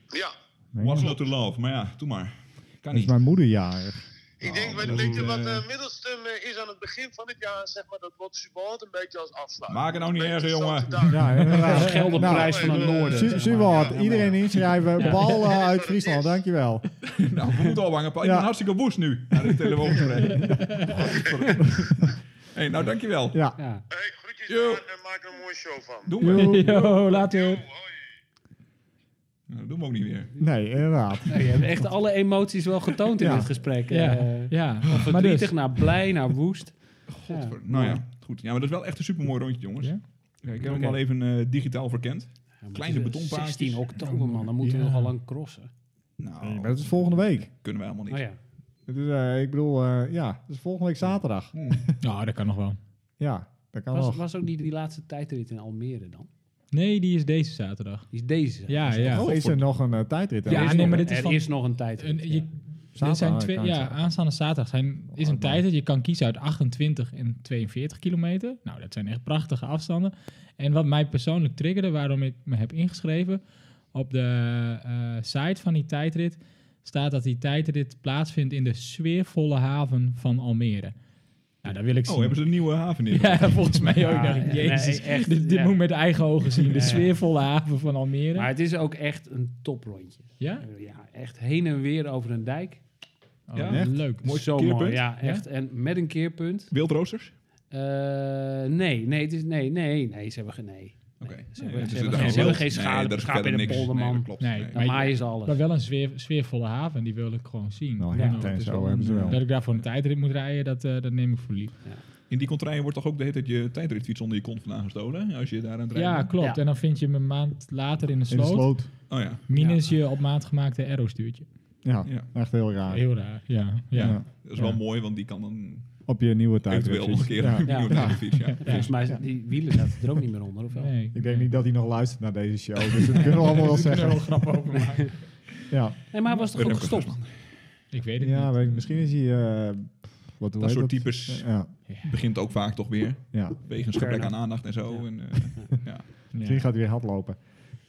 Speaker 5: Ja,
Speaker 1: Nee,
Speaker 3: Was
Speaker 1: dat
Speaker 3: not to love. Maar ja, doe maar. Kan
Speaker 1: is
Speaker 3: niet.
Speaker 1: mijn moeder jarig.
Speaker 5: ik denk,
Speaker 3: Nou, dat
Speaker 5: weet,
Speaker 3: is,
Speaker 5: weet je wat
Speaker 3: eh,
Speaker 5: eh, Middelstum eh, is aan het begin van het jaar, zeg maar, dat wordt Subalt een beetje als afslag.
Speaker 3: Maak het nou niet erger, jongen.
Speaker 1: Ja, inderdaad.
Speaker 2: Gelderprijs
Speaker 5: nou,
Speaker 2: van het
Speaker 5: eh,
Speaker 2: noorden.
Speaker 1: Su-
Speaker 2: zeg
Speaker 1: Suwat,
Speaker 2: maar.
Speaker 1: iedereen inschrijven.
Speaker 4: Ja.
Speaker 1: Paul eh, uit Friesland, dankjewel.
Speaker 3: Nou, we moeten ophangen. Paul. Ik
Speaker 1: Ja.
Speaker 3: ben hartstikke woest nu. Naar de telefoon gereden. hey, nou dankjewel.
Speaker 1: Ja.
Speaker 2: Ja.
Speaker 5: Hey, groetjes
Speaker 3: Yo.
Speaker 5: aan en maak er een mooi show van.
Speaker 3: Doen we.
Speaker 1: Joe.
Speaker 4: Yo, later.
Speaker 5: Hoi.
Speaker 3: Nou, dat doen we ook niet weer.
Speaker 1: Nee, inderdaad.
Speaker 2: Ja, je hebt echt alle emoties wel getoond in
Speaker 1: Ja.
Speaker 2: dit gesprek. eh.
Speaker 4: Ja,
Speaker 2: Van
Speaker 4: ja. Maar
Speaker 2: verdrietig
Speaker 4: dus,
Speaker 2: naar blij, naar woest.
Speaker 3: Godver- nou ja, goed. Ja, maar dat is wel echt een supermooi rondje, jongens.
Speaker 4: Ja?
Speaker 3: Ja, ik heb
Speaker 2: Oké.
Speaker 3: hem al even eh, digitaal verkend.
Speaker 2: Ja, maar
Speaker 3: Kleine
Speaker 2: het is, eh,
Speaker 3: betonpaadjes.
Speaker 2: 16 oktober, man. Dan moeten we
Speaker 4: Ja.
Speaker 2: nogal lang crossen.
Speaker 3: Nou,
Speaker 1: Nee, maar dat is volgende week.
Speaker 3: kunnen wij helemaal niet.
Speaker 2: Oh ja.
Speaker 1: Het is, eh, ik bedoel, eh, ja, dat is volgende week zaterdag.
Speaker 4: nou, dat kan nog wel.
Speaker 1: Ja, dat kan
Speaker 2: Was,
Speaker 1: nog.
Speaker 2: was ook die, die laatste tijdrit in Almere dan?
Speaker 4: Nee, die is deze zaterdag.
Speaker 2: Die is deze.
Speaker 4: Ja, ja.
Speaker 1: Of is er nog een eh, tijdrit?
Speaker 4: Ja,
Speaker 2: Er is
Speaker 4: nee,
Speaker 2: nog-
Speaker 4: maar dit is
Speaker 2: er
Speaker 4: van-
Speaker 2: is nog een tijdrit.
Speaker 4: Een, je,
Speaker 2: ja.
Speaker 4: er zijn
Speaker 1: Zaterdag, Oh,
Speaker 4: twee,
Speaker 1: kan
Speaker 4: ja, ah.
Speaker 1: zaterdag.
Speaker 4: aanstaande zaterdag zijn, is een
Speaker 1: Oh,
Speaker 4: tijd dat je kan kiezen uit 28 en 42 kilometer. Nou, dat zijn echt prachtige afstanden. En wat mij persoonlijk triggerde, waarom ik me heb ingeschreven, op de eh, site van die tijdrit staat dat die tijdrit plaatsvindt in de sfeervolle haven van Almere. Nou, daar wil ik
Speaker 3: Oh,
Speaker 4: zien.
Speaker 3: hebben ze een nieuwe haven neer?
Speaker 4: Ja, volgens mij ook.
Speaker 2: Ja,
Speaker 4: dacht ik,
Speaker 2: nee,
Speaker 4: jezus,
Speaker 2: echt,
Speaker 4: dit, dit
Speaker 2: ja.
Speaker 4: moet ik met eigen ogen zien. De
Speaker 2: Ja, ja.
Speaker 4: sfeervolle haven van Almere.
Speaker 2: Maar het is ook echt een toprondje. Eh,
Speaker 4: ja?
Speaker 2: Ja, echt heen en weer over een dijk.
Speaker 4: Oh,
Speaker 3: Ja?
Speaker 1: Echt?
Speaker 4: leuk.
Speaker 3: Mooi
Speaker 2: Zo mooi.
Speaker 3: keerpunt?
Speaker 2: Ja, echt. En met een keerpunt.
Speaker 3: Wildroosters?
Speaker 2: Eh, nee, nee, het is, nee, nee, nee, ze hebben geen... Nee.
Speaker 3: Oké.
Speaker 2: Ze
Speaker 3: Nee,
Speaker 2: hebben,
Speaker 3: dus
Speaker 2: ze
Speaker 3: er
Speaker 2: hebben geen,
Speaker 3: zit al
Speaker 2: ze hebben
Speaker 3: wild.
Speaker 2: geen
Speaker 3: Nee,
Speaker 2: schaap-
Speaker 3: daar is
Speaker 2: schaap
Speaker 3: verder
Speaker 2: in de
Speaker 3: niks.
Speaker 2: polderman.
Speaker 3: Nee, dat klopt.
Speaker 4: Nee,
Speaker 3: Nee.
Speaker 4: maar
Speaker 2: Dan
Speaker 4: je-
Speaker 2: maaien ze alles.
Speaker 4: Maar wel een sfeer, sfeervolle haven, die wilde ik gewoon zien.
Speaker 1: Nou,
Speaker 4: En
Speaker 1: hemd
Speaker 4: dat
Speaker 1: en
Speaker 4: is
Speaker 1: zo
Speaker 4: wel
Speaker 1: hebben ze
Speaker 4: een- eh,
Speaker 1: wel.
Speaker 4: Dat ik daar voor een tijdrit moet rijden, dat, eh, dat neem ik voor lief.
Speaker 3: In die contraien wordt toch ook de hele tijd je tijdritfiets onder je kont vandaan gestolen? Als je daar aan het rijden
Speaker 4: Ja,
Speaker 3: bent?
Speaker 4: klopt.
Speaker 2: Ja.
Speaker 4: En dan vind je me een maand later in de
Speaker 1: In de
Speaker 4: sloot,
Speaker 1: sloot.
Speaker 3: Oh ja.
Speaker 4: minus je op maat gemaakte arrow-stuurtje.
Speaker 1: Ja,
Speaker 3: Ja.
Speaker 1: echt heel raar.
Speaker 4: Heel raar, ja. ja.
Speaker 1: Ja.
Speaker 3: Dat is wel
Speaker 4: Ja.
Speaker 3: mooi, want die kan dan
Speaker 1: Op je nieuwe tijdrit.
Speaker 3: eventueel nog een keer
Speaker 1: Ja.
Speaker 3: opnieuw
Speaker 2: Ja.
Speaker 3: naar de fiets. Ja.
Speaker 2: Volgens mij, zijn die wielen zaten er ook niet meer onder, of wel?
Speaker 4: Nee,
Speaker 1: Ik denk niet dat hij nog luistert naar deze show. Dus dat kunnen we allemaal wel
Speaker 4: er wel
Speaker 1: zeggen.
Speaker 4: grap over maken.
Speaker 1: Ja,
Speaker 2: Nee, maar hij was toch ook
Speaker 3: Remco
Speaker 2: gestopt?
Speaker 3: Stersman.
Speaker 4: Ik weet het
Speaker 1: ja
Speaker 4: niet.
Speaker 1: weet ik, misschien is hij... eh, wat hoe
Speaker 3: Dat
Speaker 1: heet
Speaker 3: soort types
Speaker 1: Ja,
Speaker 3: begint ook vaak toch weer.
Speaker 1: ja.
Speaker 3: Wegens
Speaker 2: Fair
Speaker 3: gebrek aan
Speaker 2: enough.
Speaker 3: aandacht en zo. En, eh, ja.
Speaker 4: Ja.
Speaker 1: Misschien gaat hij weer hardlopen.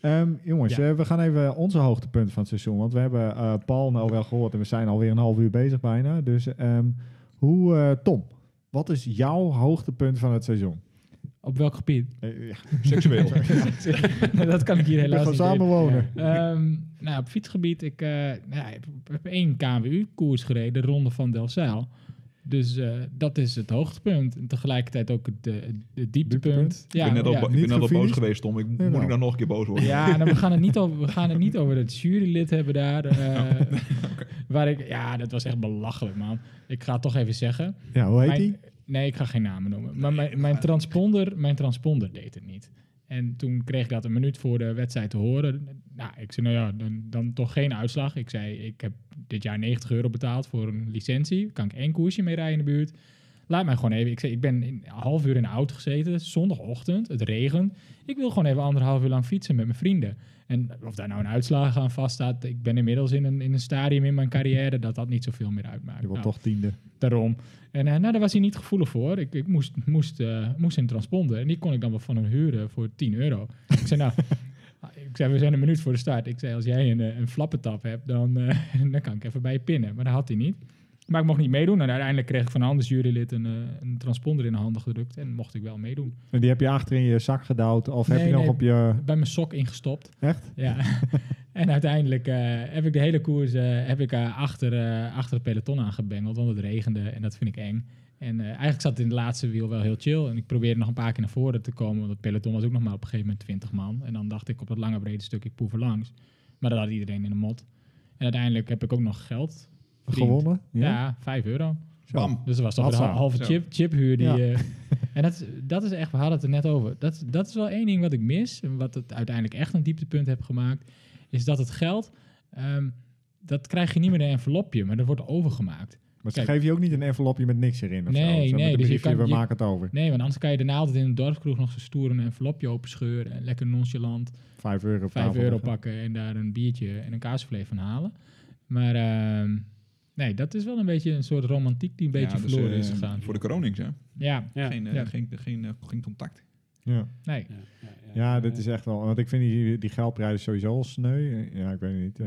Speaker 1: Ehm, jongens,
Speaker 4: Ja.
Speaker 1: eh, we gaan even onze hoogtepunt van het seizoen. Want we hebben eh, Paul nou wel gehoord en we zijn alweer een half uur bezig bijna. Dus ehm, hoe, eh, Tom, wat is jouw hoogtepunt van het seizoen?
Speaker 4: Op welk gebied?
Speaker 1: Eh, ja,
Speaker 3: Seksueel.
Speaker 4: dat kan ik hier
Speaker 1: we
Speaker 4: helaas
Speaker 1: gaan
Speaker 4: niet
Speaker 1: samen
Speaker 4: in.
Speaker 1: wonen.
Speaker 4: Ehm, nou, op fietsgebied, ik eh, nou, ik heb- heb één KWU-koers gereden, de Ronde van Delzijl. Dus eh, dat is het hoogtepunt. En tegelijkertijd ook het, eh, het dieptepunt.
Speaker 1: Dieptepunt.
Speaker 4: Ja,
Speaker 3: ik ben net al,
Speaker 4: ja.
Speaker 3: bo- ik
Speaker 1: Niet
Speaker 3: ben net al boos
Speaker 1: gefinished?
Speaker 3: geweest, Tom. Ik,
Speaker 1: Nee,
Speaker 3: moet
Speaker 1: nou.
Speaker 3: ik dan nog een keer boos worden?
Speaker 4: Ja, nou, we, gaan het niet over, we gaan het niet over het jurylid hebben daar. eh,
Speaker 3: Oh.
Speaker 4: Waar ik, ja, dat was echt belachelijk, man. Ik ga het toch even zeggen.
Speaker 1: Ja, hoe heet
Speaker 4: Mijn-
Speaker 1: hij?
Speaker 4: Nee, ik ga geen namen noemen. Maar mijn, mijn,
Speaker 3: maar-
Speaker 4: transponder, mijn transponder deed het niet. En toen kreeg ik dat een minuut voor de wedstrijd te horen. Nou, ik zei, nou ja, dan, dan toch geen uitslag. Ik zei, ik heb dit jaar 90 euro betaald voor een licentie. Kan ik één koersje mee rijden in de buurt? Laat mij gewoon even. Ik zei, ik ben een half uur in de auto gezeten. Zondagochtend, het regent. Ik wil gewoon even anderhalf uur lang fietsen met mijn vrienden. En of daar nou een uitslag aan vaststaat. Ik ben inmiddels in een, in een stadium in mijn carrière dat dat niet zoveel meer uitmaakt.
Speaker 1: Je wordt
Speaker 4: Nou,
Speaker 1: toch tiende.
Speaker 4: Daarom. En eh, nou, daar was hij niet gevoelig voor. Ik, ik moest, moest, eh, moest in transponder. En die kon ik dan wel van hem huren voor 10 euro. ik zei, nou, ik zei, we zijn een minuut voor de start. Ik zei, als jij een, eh, een flappentap hebt, dan, eh, dan kan ik even bij je pinnen. Maar dat had hij niet. Maar ik mocht niet meedoen. En uiteindelijk kreeg ik van een ander jurylid een, eh, een transponder in de hand gedrukt. En mocht ik wel meedoen.
Speaker 1: En die heb je achter in je zak gedouwd of heb
Speaker 4: Nee,
Speaker 1: je nog
Speaker 4: nee.
Speaker 1: op je...
Speaker 4: Bij mijn sok ingestopt.
Speaker 1: Echt?
Speaker 4: Ja. en uiteindelijk eh, heb ik de hele koers eh, heb ik, eh, achter, eh, achter het peloton aangebengeld. Want het regende en dat vind ik eng. En eh, eigenlijk zat het in het laatste wiel wel heel chill. En ik probeerde nog een paar keer naar voren te komen. Want het peloton was ook nog maar op een gegeven moment 20 man. En dan dacht ik op dat lange brede stuk, ik poef er langs. Maar dat had iedereen in de mot. En uiteindelijk heb ik ook nog geld. verdiend.
Speaker 1: Gewonnen?
Speaker 4: Ja, 5 euro.
Speaker 1: Zo.
Speaker 3: Bam.
Speaker 4: Dus dat was toch
Speaker 1: Had
Speaker 4: een
Speaker 1: ze.
Speaker 4: hal- halve
Speaker 3: Zo.
Speaker 4: chip, chiphuur. Die,
Speaker 1: Ja.
Speaker 4: eh, en dat, is- dat is echt, we hadden het er net over. Dat, is- dat is wel één ding wat ik mis. En wat het uiteindelijk echt een dieptepunt heb gemaakt. Is dat het geld, ehm, dat krijg je niet meer in een envelopje. Maar dat wordt overgemaakt.
Speaker 1: Maar ze
Speaker 4: Kijk.
Speaker 1: geven je ook niet een envelopje met niks erin of zo.
Speaker 4: Nee,
Speaker 1: Zo met
Speaker 4: nee,
Speaker 1: een
Speaker 4: dus je
Speaker 1: briefje,
Speaker 4: kan-
Speaker 1: we
Speaker 4: je-
Speaker 1: maken het over.
Speaker 4: Nee, want anders kan je daarna altijd in de dorpskroeg nog zo stoer een envelopje openscheuren. En lekker nonchalant
Speaker 1: Vijf euro op
Speaker 4: 5
Speaker 1: tafel
Speaker 4: euro
Speaker 1: leggen.
Speaker 4: pakken en daar een biertje en een kaasvlees van halen. Maar ehm, nee, dat is wel een beetje een soort romantiek die een beetje
Speaker 3: Ja, dus,
Speaker 4: verloren
Speaker 3: eh,
Speaker 4: is gegaan.
Speaker 3: Voor de Gronings, hè?
Speaker 4: Ja,
Speaker 2: Ja.
Speaker 3: Geen, eh,
Speaker 4: Ja.
Speaker 3: geen, geen, eh, geen contact.
Speaker 1: Ja.
Speaker 4: nee.
Speaker 2: Ja, Eh,
Speaker 1: ja, dat is echt wel... Want ik vind die, die geldprijzen sowieso al sneu. Ja, ik weet niet. eh,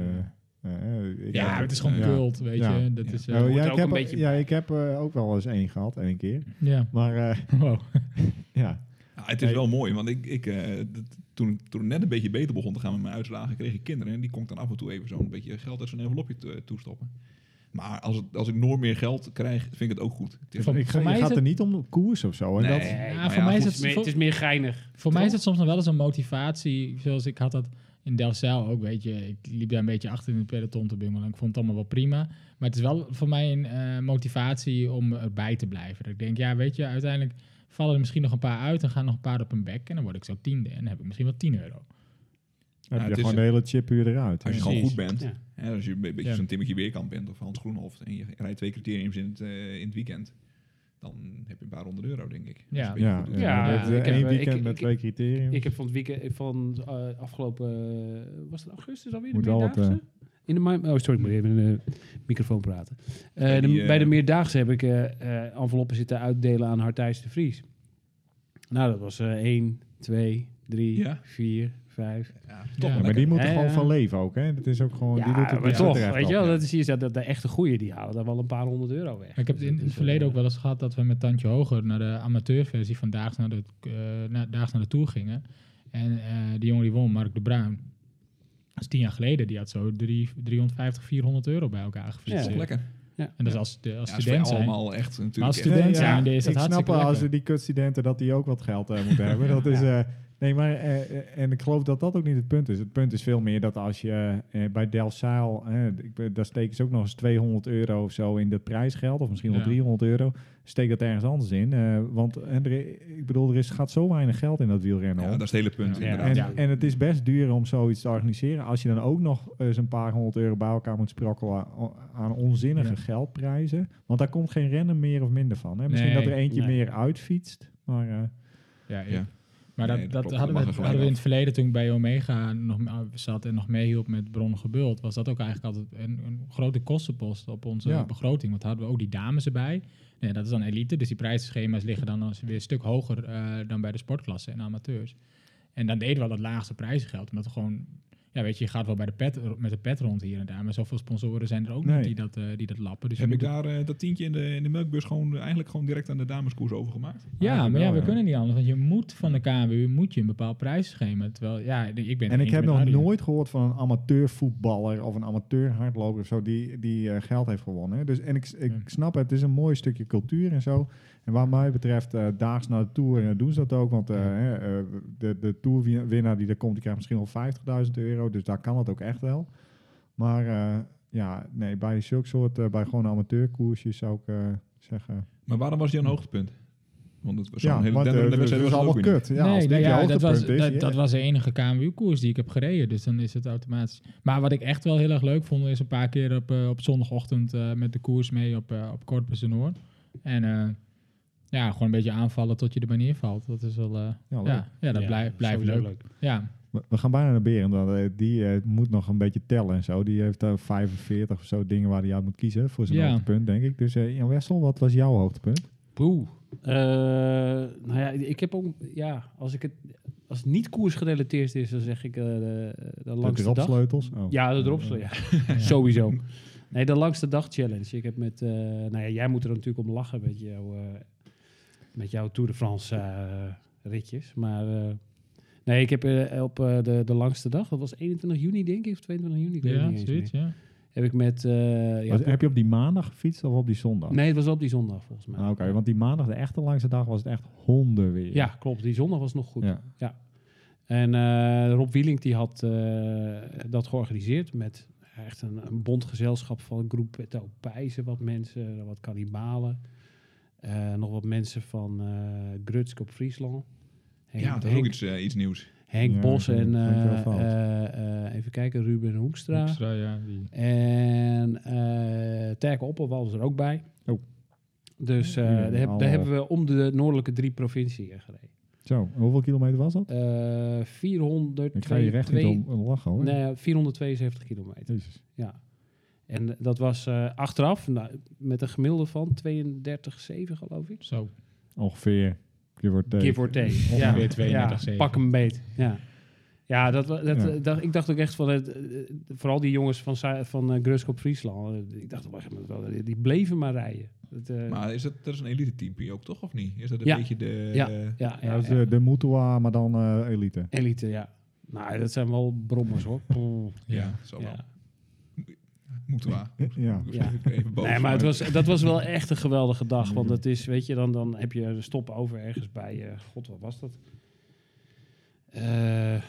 Speaker 1: eh, ik-
Speaker 4: Ja, het is gewoon
Speaker 1: Ja.
Speaker 4: cult, weet
Speaker 1: Ja.
Speaker 4: je. Dat
Speaker 3: Ja.
Speaker 4: is... eh,
Speaker 1: Nou,
Speaker 2: hoort
Speaker 1: ja,
Speaker 2: er
Speaker 1: ik
Speaker 2: ook
Speaker 1: heb,
Speaker 2: een beetje
Speaker 1: ja,
Speaker 2: bij. Mm.
Speaker 1: ik heb eh, ook wel eens één gehad, één keer.
Speaker 4: ja.
Speaker 1: Maar eh,
Speaker 4: Wow.
Speaker 1: ja,
Speaker 3: Ja, het is
Speaker 1: Nee.
Speaker 3: wel mooi, want ik, ik, eh, dat- toen, toen het net een beetje beter begon te gaan met mijn uitslagen, kreeg ik kinderen. En die kon ik dan af en toe even zo'n beetje geld uit zo'n envelopje to- toestoppen. Maar als, het, als ik nooit meer geld krijg, vind ik het ook goed. Het is-
Speaker 4: Van-
Speaker 1: ik ga,
Speaker 4: voor mij
Speaker 1: je
Speaker 4: is
Speaker 1: gaat
Speaker 4: het-
Speaker 1: er niet om koers of zo. En
Speaker 3: Nee.
Speaker 1: dat,
Speaker 2: Nee,
Speaker 4: Ja,
Speaker 2: maar
Speaker 4: voor mij is
Speaker 2: goed,
Speaker 4: het-
Speaker 2: meer-
Speaker 4: voor-
Speaker 2: het is meer geinig.
Speaker 4: Voor mij is dat soms nog wel eens een motivatie. Zoals ik had dat in Delcel ook, weet je. Ik liep daar een beetje achter in het peloton te bungelen. Ik vond het allemaal wel prima. Maar het is wel voor mij een eh, motivatie om erbij te blijven. Dat ik denk, ja, weet je, uiteindelijk vallen er misschien nog een paar uit... en gaan nog een paar op hun bek. En dan word ik zo tiende. En dan heb ik misschien wel 10 euro.
Speaker 1: heb
Speaker 3: Ja,
Speaker 1: je
Speaker 3: het is-
Speaker 1: gewoon de hele chip huur eruit.
Speaker 3: Als je
Speaker 1: Ja.
Speaker 3: gewoon
Speaker 4: Precies.
Speaker 3: goed bent,
Speaker 2: Ja.
Speaker 3: hè, als je een beetje
Speaker 4: Ja.
Speaker 3: zo'n Timmetje Weerkamp bent of Hans Groenhoft en je rijdt twee criteriums in het, eh, in het weekend, dan heb je een paar honderd euro, denk ik. Als je
Speaker 4: Ja.
Speaker 3: een beetje
Speaker 1: Ja,
Speaker 3: goed doet.
Speaker 1: ja,
Speaker 2: Ja,
Speaker 1: met, eh,
Speaker 2: ik heb,
Speaker 1: één
Speaker 2: eh,
Speaker 1: weekend
Speaker 2: ik-
Speaker 1: met
Speaker 2: ik-
Speaker 1: twee criteria.
Speaker 2: Ik heb van het weekend van eh, afgelopen. eh, was het augustus alweer?
Speaker 1: Moet
Speaker 2: de
Speaker 1: wel wat, eh,
Speaker 2: meerdaagse? in de mi- oh, sorry, ik moet even in de microfoon praten. Eh,
Speaker 3: Bij
Speaker 2: de-
Speaker 3: die, eh,
Speaker 2: bij de meerdaagse heb ik eh, eh, enveloppen zitten uitdelen aan Hartijs de Vries. Nou, dat was 1, 2, 3,
Speaker 3: Ja.
Speaker 2: 4, 5.
Speaker 3: Ja, toch
Speaker 4: Ja,
Speaker 3: wel
Speaker 1: maar die
Speaker 3: lekker.
Speaker 1: moet er
Speaker 2: Ja,
Speaker 1: gewoon
Speaker 2: ja.
Speaker 1: van leven ook, hè? Dat is ook gewoon... die doet
Speaker 2: Eh, Ja,
Speaker 1: het
Speaker 2: maar
Speaker 1: ja,
Speaker 2: toch,
Speaker 1: terecht
Speaker 2: weet je
Speaker 1: ook,
Speaker 2: wel,
Speaker 1: ja.
Speaker 2: dat is hier dat, dat de echte goeie die halen daar wel een paar honderd euro weg.
Speaker 4: Maar ik heb het
Speaker 2: Dus
Speaker 4: in
Speaker 2: dat
Speaker 4: het
Speaker 2: is,
Speaker 4: verleden
Speaker 2: eh,
Speaker 4: ook wel eens gehad dat we met Tandje Hoger naar de amateurversie van Daags naar de, eh naar, Daags naar de Tour gingen. En eh, die jongen die won, Mark de Bruin, dat is tien jaar geleden, die had zo drie, 350, 400 euro bij elkaar
Speaker 3: Toch
Speaker 4: geflitst.
Speaker 2: Ja.
Speaker 3: lekker.
Speaker 4: En dat is als, de, als
Speaker 3: Ja, dat is voor
Speaker 4: student zijn.
Speaker 3: allemaal echt natuurlijk
Speaker 4: Als
Speaker 3: echt-
Speaker 4: student-
Speaker 1: Nee,
Speaker 4: zijn, die is dat
Speaker 1: ik snap
Speaker 4: hartstikke
Speaker 1: wel als
Speaker 4: lekker.
Speaker 1: die kutstudenten dat die ook wat geld eh, moeten hebben. Dat is, eh, nee, maar, eh, eh, en ik geloof dat dat ook niet het punt is. Het punt is veel meer dat als je eh, bij Delzaal, eh, ik ben- daar steken ze ook nog eens 200 euro of zo in dat prijsgeld, of misschien wel
Speaker 4: Ja.
Speaker 1: 300 euro. Steek dat ergens anders in. eh, want eh, er, i- ik bedoel, er is, gaat zo weinig geld in dat wielrennen.
Speaker 3: Ja,
Speaker 1: om.
Speaker 3: dat is het hele punt,
Speaker 4: Ja.
Speaker 3: inderdaad.
Speaker 1: en,
Speaker 4: ja.
Speaker 1: en het is best duur om zoiets te organiseren. Als je dan ook nog eens een paar honderd euro bij elkaar moet sprokkelen aan- aan onzinnige
Speaker 4: Ja.
Speaker 1: geldprijzen. Want daar komt geen rennen meer of minder van. Hè? Misschien
Speaker 4: Nee,
Speaker 1: dat er eentje
Speaker 2: nee.
Speaker 1: meer uitfietst. Maar eh,
Speaker 4: Ja, ik-
Speaker 3: Ja.
Speaker 4: Maar dat,
Speaker 3: Nee, dat
Speaker 4: dat
Speaker 3: klopt.
Speaker 4: hadden,
Speaker 3: Dat
Speaker 4: we,
Speaker 3: mag er gelijk
Speaker 4: hadden we in
Speaker 3: af.
Speaker 4: het verleden toen ik bij Omega nog m- zat en nog meehielp met Bron Gebult, was dat ook eigenlijk altijd een, een grote kostenpost op onze
Speaker 1: Ja.
Speaker 4: begroting. Want hadden we ook die dames erbij. Nee, dat is dan elite, dus die prijsschema's liggen dan als weer een stuk hoger eh, dan bij de sportklassen en amateurs. En dan deden we al dat laagste prijsgeld, omdat we gewoon, ja weet je, je gaat wel bij de pet, met de pet rond hier en daar, maar zoveel sponsoren zijn er ook
Speaker 1: Nee.
Speaker 4: niet die dat, eh, die dat lappen. Dus je
Speaker 3: Heb ik
Speaker 4: moet-
Speaker 3: daar eh, dat tientje in de, in de melkbus gewoon, eh, eigenlijk gewoon direct aan de dameskoers overgemaakt?
Speaker 4: ja,
Speaker 1: Eigenlijk
Speaker 4: maar ja,
Speaker 1: wel,
Speaker 4: we
Speaker 1: ja.
Speaker 4: kunnen niet anders, want je moet van de KNWU moet je een bepaald prijsschema. Terwijl, ja, ik ben
Speaker 1: en ik
Speaker 4: eens
Speaker 1: heb
Speaker 4: met
Speaker 1: nog
Speaker 4: Arjen.
Speaker 1: nooit gehoord van een amateur voetballer of een amateur hardloper of zo die, die eh, geld heeft gewonnen. hè. Dus, en ik, ik
Speaker 4: Ja.
Speaker 1: snap het, het is een mooi stukje cultuur en zo. En wat mij betreft, eh, daags naar de Tour eh, doen ze dat ook. Want eh, hè, eh, de, de Tourwinnaar die er komt, die krijgt misschien wel 50.000 euro. Dus daar kan het ook echt wel. Maar eh, ja, nee, bij zulke soort, eh, bij gewoon amateurkoersjes zou ik eh, zeggen...
Speaker 3: Maar waarom was die een hoogtepunt? Want het was zo'n
Speaker 1: ja,
Speaker 3: hele
Speaker 1: want eh,
Speaker 3: denderende
Speaker 1: dat
Speaker 3: wedstrijd
Speaker 1: is
Speaker 3: was het
Speaker 1: allemaal
Speaker 3: ook
Speaker 1: kut.
Speaker 3: weer
Speaker 1: Ja,
Speaker 4: nee,
Speaker 1: als dit
Speaker 4: nou
Speaker 1: je
Speaker 4: ja, dat,
Speaker 1: hoogtepunt
Speaker 4: was,
Speaker 1: is...
Speaker 4: dat,
Speaker 1: ja.
Speaker 4: dat was de enige KMU-koers die ik heb gereden. Dus dan is het automatisch. Maar wat ik echt wel heel erg leuk vond, is een paar keer op, eh, op zondagochtend eh, met de koers mee op, eh op Corpus de Noord. En eh, ja, gewoon een beetje aanvallen tot je er maar neervalt. Dat is wel. eh,
Speaker 1: Ja, leuk.
Speaker 4: ja, ja, dat
Speaker 2: ja,
Speaker 4: blijft blijft
Speaker 2: sowieso
Speaker 4: leuk. Ja,
Speaker 1: We we gaan bijna naar Berend, want eh, die eh, moet nog een beetje tellen en zo. Die heeft eh, 45 of zo dingen waar hij uit moet kiezen voor zijn
Speaker 4: Ja.
Speaker 1: hoogtepunt, denk ik. Dus eh Jan Wessel, wat was jouw hoogtepunt?
Speaker 2: Poeh. Eh, nou ja, ik heb ook... Ja, als, ik het, als het niet koersgerelateerd is, dan zeg ik eh de, de
Speaker 1: De
Speaker 2: langste dag.
Speaker 1: dropsleutels? Oh.
Speaker 2: Ja, de dropsleutels. Ja. Sowieso. Nee, de langste dag challenge. Ik heb met, eh, nou ja, jij moet er natuurlijk om lachen met, jou, eh, met jouw Tour de France eh, ritjes. Maar eh, nee, ik heb eh, op eh, de, de langste dag, dat was 21 juni denk ik, of 22 juni, ik weet het
Speaker 4: Ja,
Speaker 2: niet eens
Speaker 4: zoiets,
Speaker 2: meer.
Speaker 4: ja.
Speaker 2: Heb ik met, eh, ja,
Speaker 1: Was- heb je op die maandag gefietst of op die zondag?
Speaker 2: nee, het was op die zondag volgens mij.
Speaker 1: Ah, Oké, want die maandag, de echte langste dag, was het echt honden weer.
Speaker 2: Ja, klopt. Die zondag was nog goed.
Speaker 1: Ja.
Speaker 2: En eh, Rob Wielink die had eh, dat georganiseerd met echt een, een bondgezelschap van groep Petto Pijzen, wat mensen, wat kannibalen. Eh, nog wat mensen van eh Grutsk op Friesland. Henk,
Speaker 3: Ja, dat is ook
Speaker 2: Henk,
Speaker 3: iets, eh, iets nieuws.
Speaker 2: Henk
Speaker 1: Ja,
Speaker 2: Bos
Speaker 1: dat
Speaker 2: en
Speaker 1: klinkt wel
Speaker 2: eh,
Speaker 1: fout.
Speaker 2: eh, eh, even kijken, Ruben Hoekstra.
Speaker 4: Hoekstra, ja, die-
Speaker 2: En eh Terke Opperwal was er ook bij.
Speaker 1: Oh.
Speaker 2: Dus eh,
Speaker 1: Die
Speaker 2: daar, heb-
Speaker 1: allemaal-
Speaker 2: daar hebben we om de noordelijke drie provinciën gereden.
Speaker 1: Zo, en hoeveel kilometer was dat?
Speaker 2: Eh, 400
Speaker 1: Ik ga hier echt niet om, om lachen hoor.
Speaker 2: nee, 472 kilometer.
Speaker 1: Jezus.
Speaker 2: Ja. En dat was eh, achteraf nou, met een gemiddelde van 32,7 geloof ik.
Speaker 4: Zo,
Speaker 1: Ongeveer. Give or take.
Speaker 2: Give or take. ja.
Speaker 4: ongeveer 32
Speaker 2: ja,
Speaker 4: zeven.
Speaker 2: pak hem beet. Ja, ja, dat, wa- dat,
Speaker 1: Ja.
Speaker 2: eh, dacht, ik dacht ook echt van... Het, eh, eh, vooral die jongens van, Sa- van eh, Grusk op Friesland. eh, Ik dacht op een gegeven moment wel, eh, die bleven maar rijden. Dat, eh,
Speaker 3: Maar is dat, dat is een elite team ook, toch? Of niet? Is dat een
Speaker 2: Ja.
Speaker 3: beetje de... eh,
Speaker 2: ja, ja,
Speaker 1: Ja,
Speaker 2: ja,
Speaker 1: dat is
Speaker 2: ja.
Speaker 1: de, de Mutua, maar dan eh, elite.
Speaker 2: Elite, ja. Nou, dat zijn wel brommers hoor. Poeh,
Speaker 3: Ja,
Speaker 4: Ja.
Speaker 3: zo wel.
Speaker 2: ja.
Speaker 3: Moeten we.
Speaker 1: Ja.
Speaker 3: Ik was
Speaker 2: Ja.
Speaker 3: even boos,
Speaker 2: Nee, maar het was, dat was wel echt een geweldige dag. Want dat is, weet je, dan, dan heb je een stop over ergens bij. eh, God, wat was dat? Eh, eh,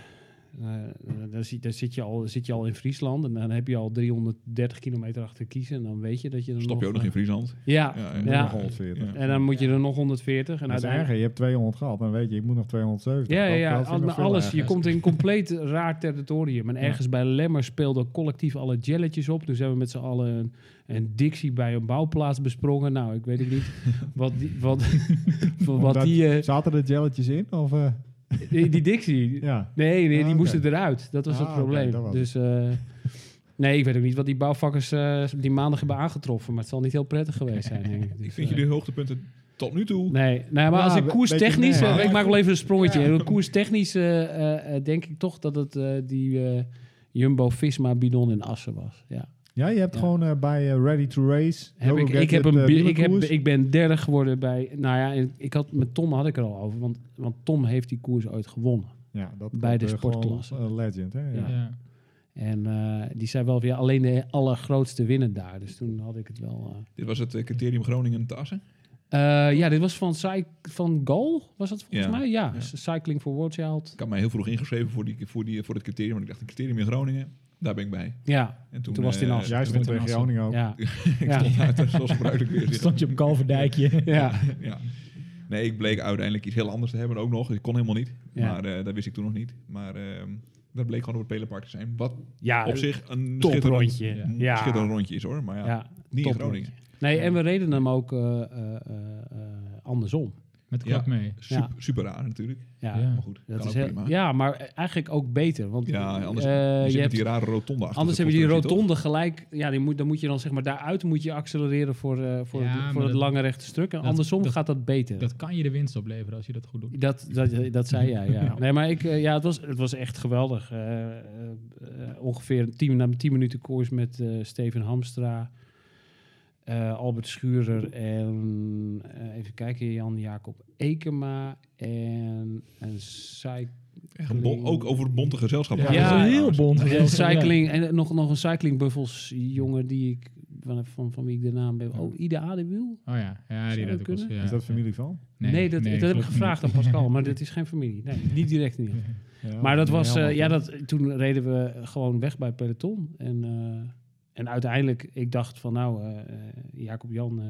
Speaker 2: dan, zit, dan zit, je al, zit je al in Friesland en dan heb je al 330 kilometer achter kiezen. En dan weet je dat je dan
Speaker 3: Stop je ook nog in
Speaker 2: eh,
Speaker 3: Friesland?
Speaker 2: Ja,
Speaker 3: Ja,
Speaker 2: ja,
Speaker 3: en
Speaker 1: Nog 140.
Speaker 3: Ja.
Speaker 2: En dan moet je er nog 140. En
Speaker 1: Dat is erger.
Speaker 2: uiteindelijk...
Speaker 1: Je hebt 200 gehad, dan weet je, ik moet nog 270.
Speaker 2: Ja, ja,
Speaker 1: Dat-
Speaker 2: ja,
Speaker 1: dat vind ik
Speaker 2: al-
Speaker 1: nog veel
Speaker 2: alles.
Speaker 1: erger.
Speaker 2: Je komt in compleet raar territorium. En ergens bij Lemmer speelden collectief alle jelletjes op. Dus hebben we met z'n allen een, een Dixie bij een bouwplaats besprongen. Nou, ik weet het niet. Wat die, wat, wat
Speaker 1: Omdat-
Speaker 2: die, eh,
Speaker 1: Zaten er jelletjes in? Of, eh,
Speaker 2: die, die Dixie.
Speaker 1: ja.
Speaker 2: Nee, nee,
Speaker 1: Ah,
Speaker 2: die
Speaker 1: oké.
Speaker 2: moesten eruit. Dat was
Speaker 1: Ah,
Speaker 2: het probleem.
Speaker 1: oké, dat was
Speaker 2: dus eh, nee, ik weet ook niet wat die bouwvakkers eh, die maandag hebben aangetroffen. Maar het zal niet heel prettig geweest zijn, denk ik. Dus,
Speaker 3: Ik vind
Speaker 2: eh,
Speaker 3: jullie hoogtepunten tot nu toe...
Speaker 2: Nee, nee maar
Speaker 1: Ja,
Speaker 2: als ik
Speaker 1: be-
Speaker 2: koerstechnisch...
Speaker 1: beetje-
Speaker 2: eh,
Speaker 1: nee.
Speaker 2: ik maak wel even een sprongetje. Koerstechnisch eh, eh, eh, denk ik toch dat het eh, die eh, Jumbo-Visma bidon in Assen was. Ja.
Speaker 1: ja, je hebt
Speaker 2: Ja.
Speaker 1: gewoon eh, bij eh, Ready to Race...
Speaker 2: Heb
Speaker 1: Go
Speaker 2: ik,
Speaker 1: Get
Speaker 2: ik, heb
Speaker 1: It,
Speaker 2: een,
Speaker 1: eh,
Speaker 2: bi- ik, heb,
Speaker 1: wielerkoers.
Speaker 2: ik ben derde geworden bij... Nou ja, en ik had, met Tom had ik er al over. Want, want Tom heeft die koers ooit gewonnen.
Speaker 1: ja, dat
Speaker 2: bij de
Speaker 1: eh, gewoon,
Speaker 2: sportklasse.
Speaker 1: eh, legend, hè? Ja.
Speaker 2: Ja.
Speaker 4: Ja.
Speaker 2: En eh, die zei wel weer alleen de allergrootste winnen daar. Dus toen had ik het wel... eh.
Speaker 3: Dit was het eh, criterium Groningen te Assen.
Speaker 2: Eh, ja, dit was van, Cy- van Goal, was dat volgens
Speaker 3: Ja,
Speaker 2: mij? Ja,
Speaker 3: ja.
Speaker 2: Cycling for War Child.
Speaker 3: Ik had mij heel vroeg ingeschreven voor, die, voor, die, voor het criterium. Want ik dacht, een criterium in Groningen, daar ben ik bij.
Speaker 2: Ja,
Speaker 3: En
Speaker 2: Toen was het in
Speaker 3: eh,
Speaker 2: Assen.
Speaker 1: Jij
Speaker 3: toen-
Speaker 1: stond tegen Groningen ook.
Speaker 2: ja.
Speaker 3: ik
Speaker 2: Ja.
Speaker 3: stond uit, zoals gebruikelijk weer.
Speaker 4: Stond je op Kalverdijkje.
Speaker 2: ja.
Speaker 3: ja. Nee, ik bleek uiteindelijk iets heel anders te hebben ook nog. Ik kon helemaal niet.
Speaker 2: Ja.
Speaker 3: Maar eh, dat wist ik toen nog niet. Maar ehm, dat bleek gewoon op het Pelenpark te zijn. Wat
Speaker 2: Ja,
Speaker 3: op zich een schitterend,
Speaker 2: toprondje. Ja.
Speaker 3: een schitterend rondje is hoor. Maar ja,
Speaker 2: Ja,
Speaker 3: niet in
Speaker 2: toprondje.
Speaker 3: Groningen.
Speaker 2: Nee, en we reden hem ook eh, eh, eh, eh, andersom.
Speaker 4: Met klok
Speaker 3: Ja.
Speaker 4: mee.
Speaker 3: Super,
Speaker 2: Ja.
Speaker 3: super raar natuurlijk.
Speaker 2: Ja,
Speaker 4: Ja.
Speaker 3: Maar goed,
Speaker 2: dat
Speaker 3: kan
Speaker 2: is
Speaker 3: ook
Speaker 2: heel-
Speaker 3: prima.
Speaker 2: ja, maar eigenlijk ook beter. Want
Speaker 3: Ja, anders
Speaker 2: eh,
Speaker 3: je
Speaker 2: je
Speaker 3: zit met
Speaker 2: hebt,
Speaker 3: die rare rotonde achter.
Speaker 2: anders
Speaker 3: de
Speaker 2: hebben die
Speaker 3: constructie, toch?
Speaker 2: rotonde gelijk. Ja, die moet, dan moet je dan zeg maar daaruit moet je accelereren voor, eh, voor,
Speaker 4: Ja,
Speaker 2: het-
Speaker 4: maar
Speaker 2: voor het
Speaker 4: dat-
Speaker 2: lange rechte stuk. En
Speaker 4: dat-
Speaker 2: andersom
Speaker 4: dat-
Speaker 2: gaat dat beter.
Speaker 4: Dat kan je de winst opleveren als je dat goed doet.
Speaker 2: Dat, dat, dat zei jij, Mhm. ja. Nee, maar ik, eh, ja, het, was, het was echt geweldig. Eh, eh, eh, ongeveer 10, na 10 minuten koers met eh, Steven Hamstra, eh, Albert Schurer en eh, even kijken, Jan-Jacob Ekema en een cy-
Speaker 3: Echt een bon- ook over het bonte gezelschap.
Speaker 2: Ja, Ja, dat is heel
Speaker 4: bond.
Speaker 2: en cycling en eh, nog, nog een cyclingbuffels jongen die ik van, van, van wie ik de naam ben. Oh, Ida Adewiel?
Speaker 4: Oh ja, ja
Speaker 2: Zou
Speaker 4: die dat
Speaker 2: dat
Speaker 4: ook wel eens,
Speaker 2: kunnen?
Speaker 4: ja.
Speaker 1: Is dat familie van?
Speaker 2: Nee, dat, dat heb ik
Speaker 4: klopt niet.
Speaker 2: gevraagd aan Pascal, maar dit is geen familie. Nee, niet direct in ieder geval.
Speaker 1: Ja,
Speaker 2: Maar dat
Speaker 1: nee,
Speaker 2: was, eh,
Speaker 1: helemaal
Speaker 2: ja,
Speaker 1: goed.
Speaker 2: dat, toen reden we gewoon weg bij het peloton. En, eh, en uiteindelijk, ik dacht van nou, eh, eh, Jacob Jan eh,